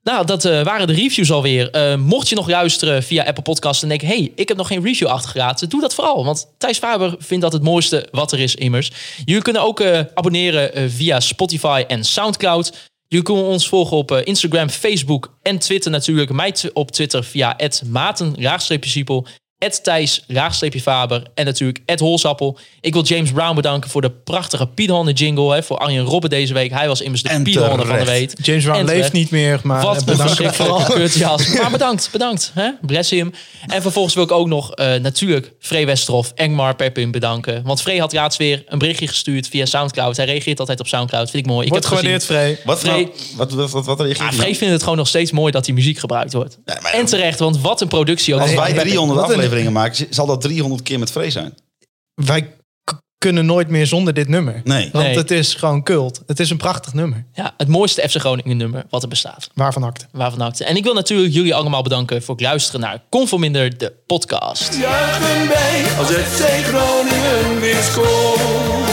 [SPEAKER 4] Nou, dat eh, waren de reviews alweer. Eh, mocht je nog luisteren via Apple Podcasts en denken... hey, ik heb nog geen review achtergelaten, doe dat vooral. Want Thijs Faber vindt dat het mooiste wat er is immers. Jullie kunnen ook eh, abonneren eh, via Spotify en Soundcloud. Jullie kunnen ons volgen op eh, Instagram, Facebook en Twitter natuurlijk. Mij tw- op Twitter via maten-siepel, thijs-faber en natuurlijk holsappel. Ik wil James Brown bedanken voor de prachtige Piedhonden jingle... Hè, voor Arjen Robben deze week. Hij was immers de
[SPEAKER 5] En
[SPEAKER 4] Piedhonden van de
[SPEAKER 5] terecht.
[SPEAKER 4] week.
[SPEAKER 6] James Brown
[SPEAKER 4] En
[SPEAKER 6] leeft
[SPEAKER 4] terecht.
[SPEAKER 6] niet meer, maar... eh,
[SPEAKER 4] Wat een
[SPEAKER 6] bedankt.
[SPEAKER 4] verschrikkelijke kutjas. Maar bedankt, bedankt. Hè? Bless him. En vervolgens wil ik ook nog eh, natuurlijk Free Westerhof, Engmar, Pepin bedanken. Want Free had laatst weer een berichtje gestuurd via Soundcloud. Hij reageert altijd op Soundcloud. Vind ik mooi. Ik
[SPEAKER 6] Wordt
[SPEAKER 4] heb het
[SPEAKER 6] gewaardeerd,
[SPEAKER 4] gezien.
[SPEAKER 6] Vree.
[SPEAKER 5] Wat,
[SPEAKER 4] Free.
[SPEAKER 5] nou, wat, wat, wat, wat reageer
[SPEAKER 4] Ah,
[SPEAKER 5] je
[SPEAKER 4] Free vindt het gewoon nog steeds mooi dat die muziek gebruikt wordt.
[SPEAKER 5] Ja, maar-
[SPEAKER 4] en terecht, want wat een productie ook.
[SPEAKER 5] Als
[SPEAKER 4] van
[SPEAKER 5] wij
[SPEAKER 4] Pepin.
[SPEAKER 5] 300
[SPEAKER 6] Wat een-
[SPEAKER 5] afleveringen maken, zal dat 300 keer met Free zijn.
[SPEAKER 6] Wij k- kunnen nooit meer zonder dit nummer.
[SPEAKER 5] Nee.
[SPEAKER 6] Want
[SPEAKER 4] Nee.
[SPEAKER 6] het is gewoon kult. Het is een prachtig nummer.
[SPEAKER 4] Ja, het mooiste FC Groningen nummer wat er bestaat.
[SPEAKER 6] Waarvan acte.
[SPEAKER 4] Waarvan harte. En ik wil natuurlijk jullie allemaal bedanken voor het luisteren naar Conforminder, de podcast.
[SPEAKER 1] Juichen bij als het FC Groningen weer scoort.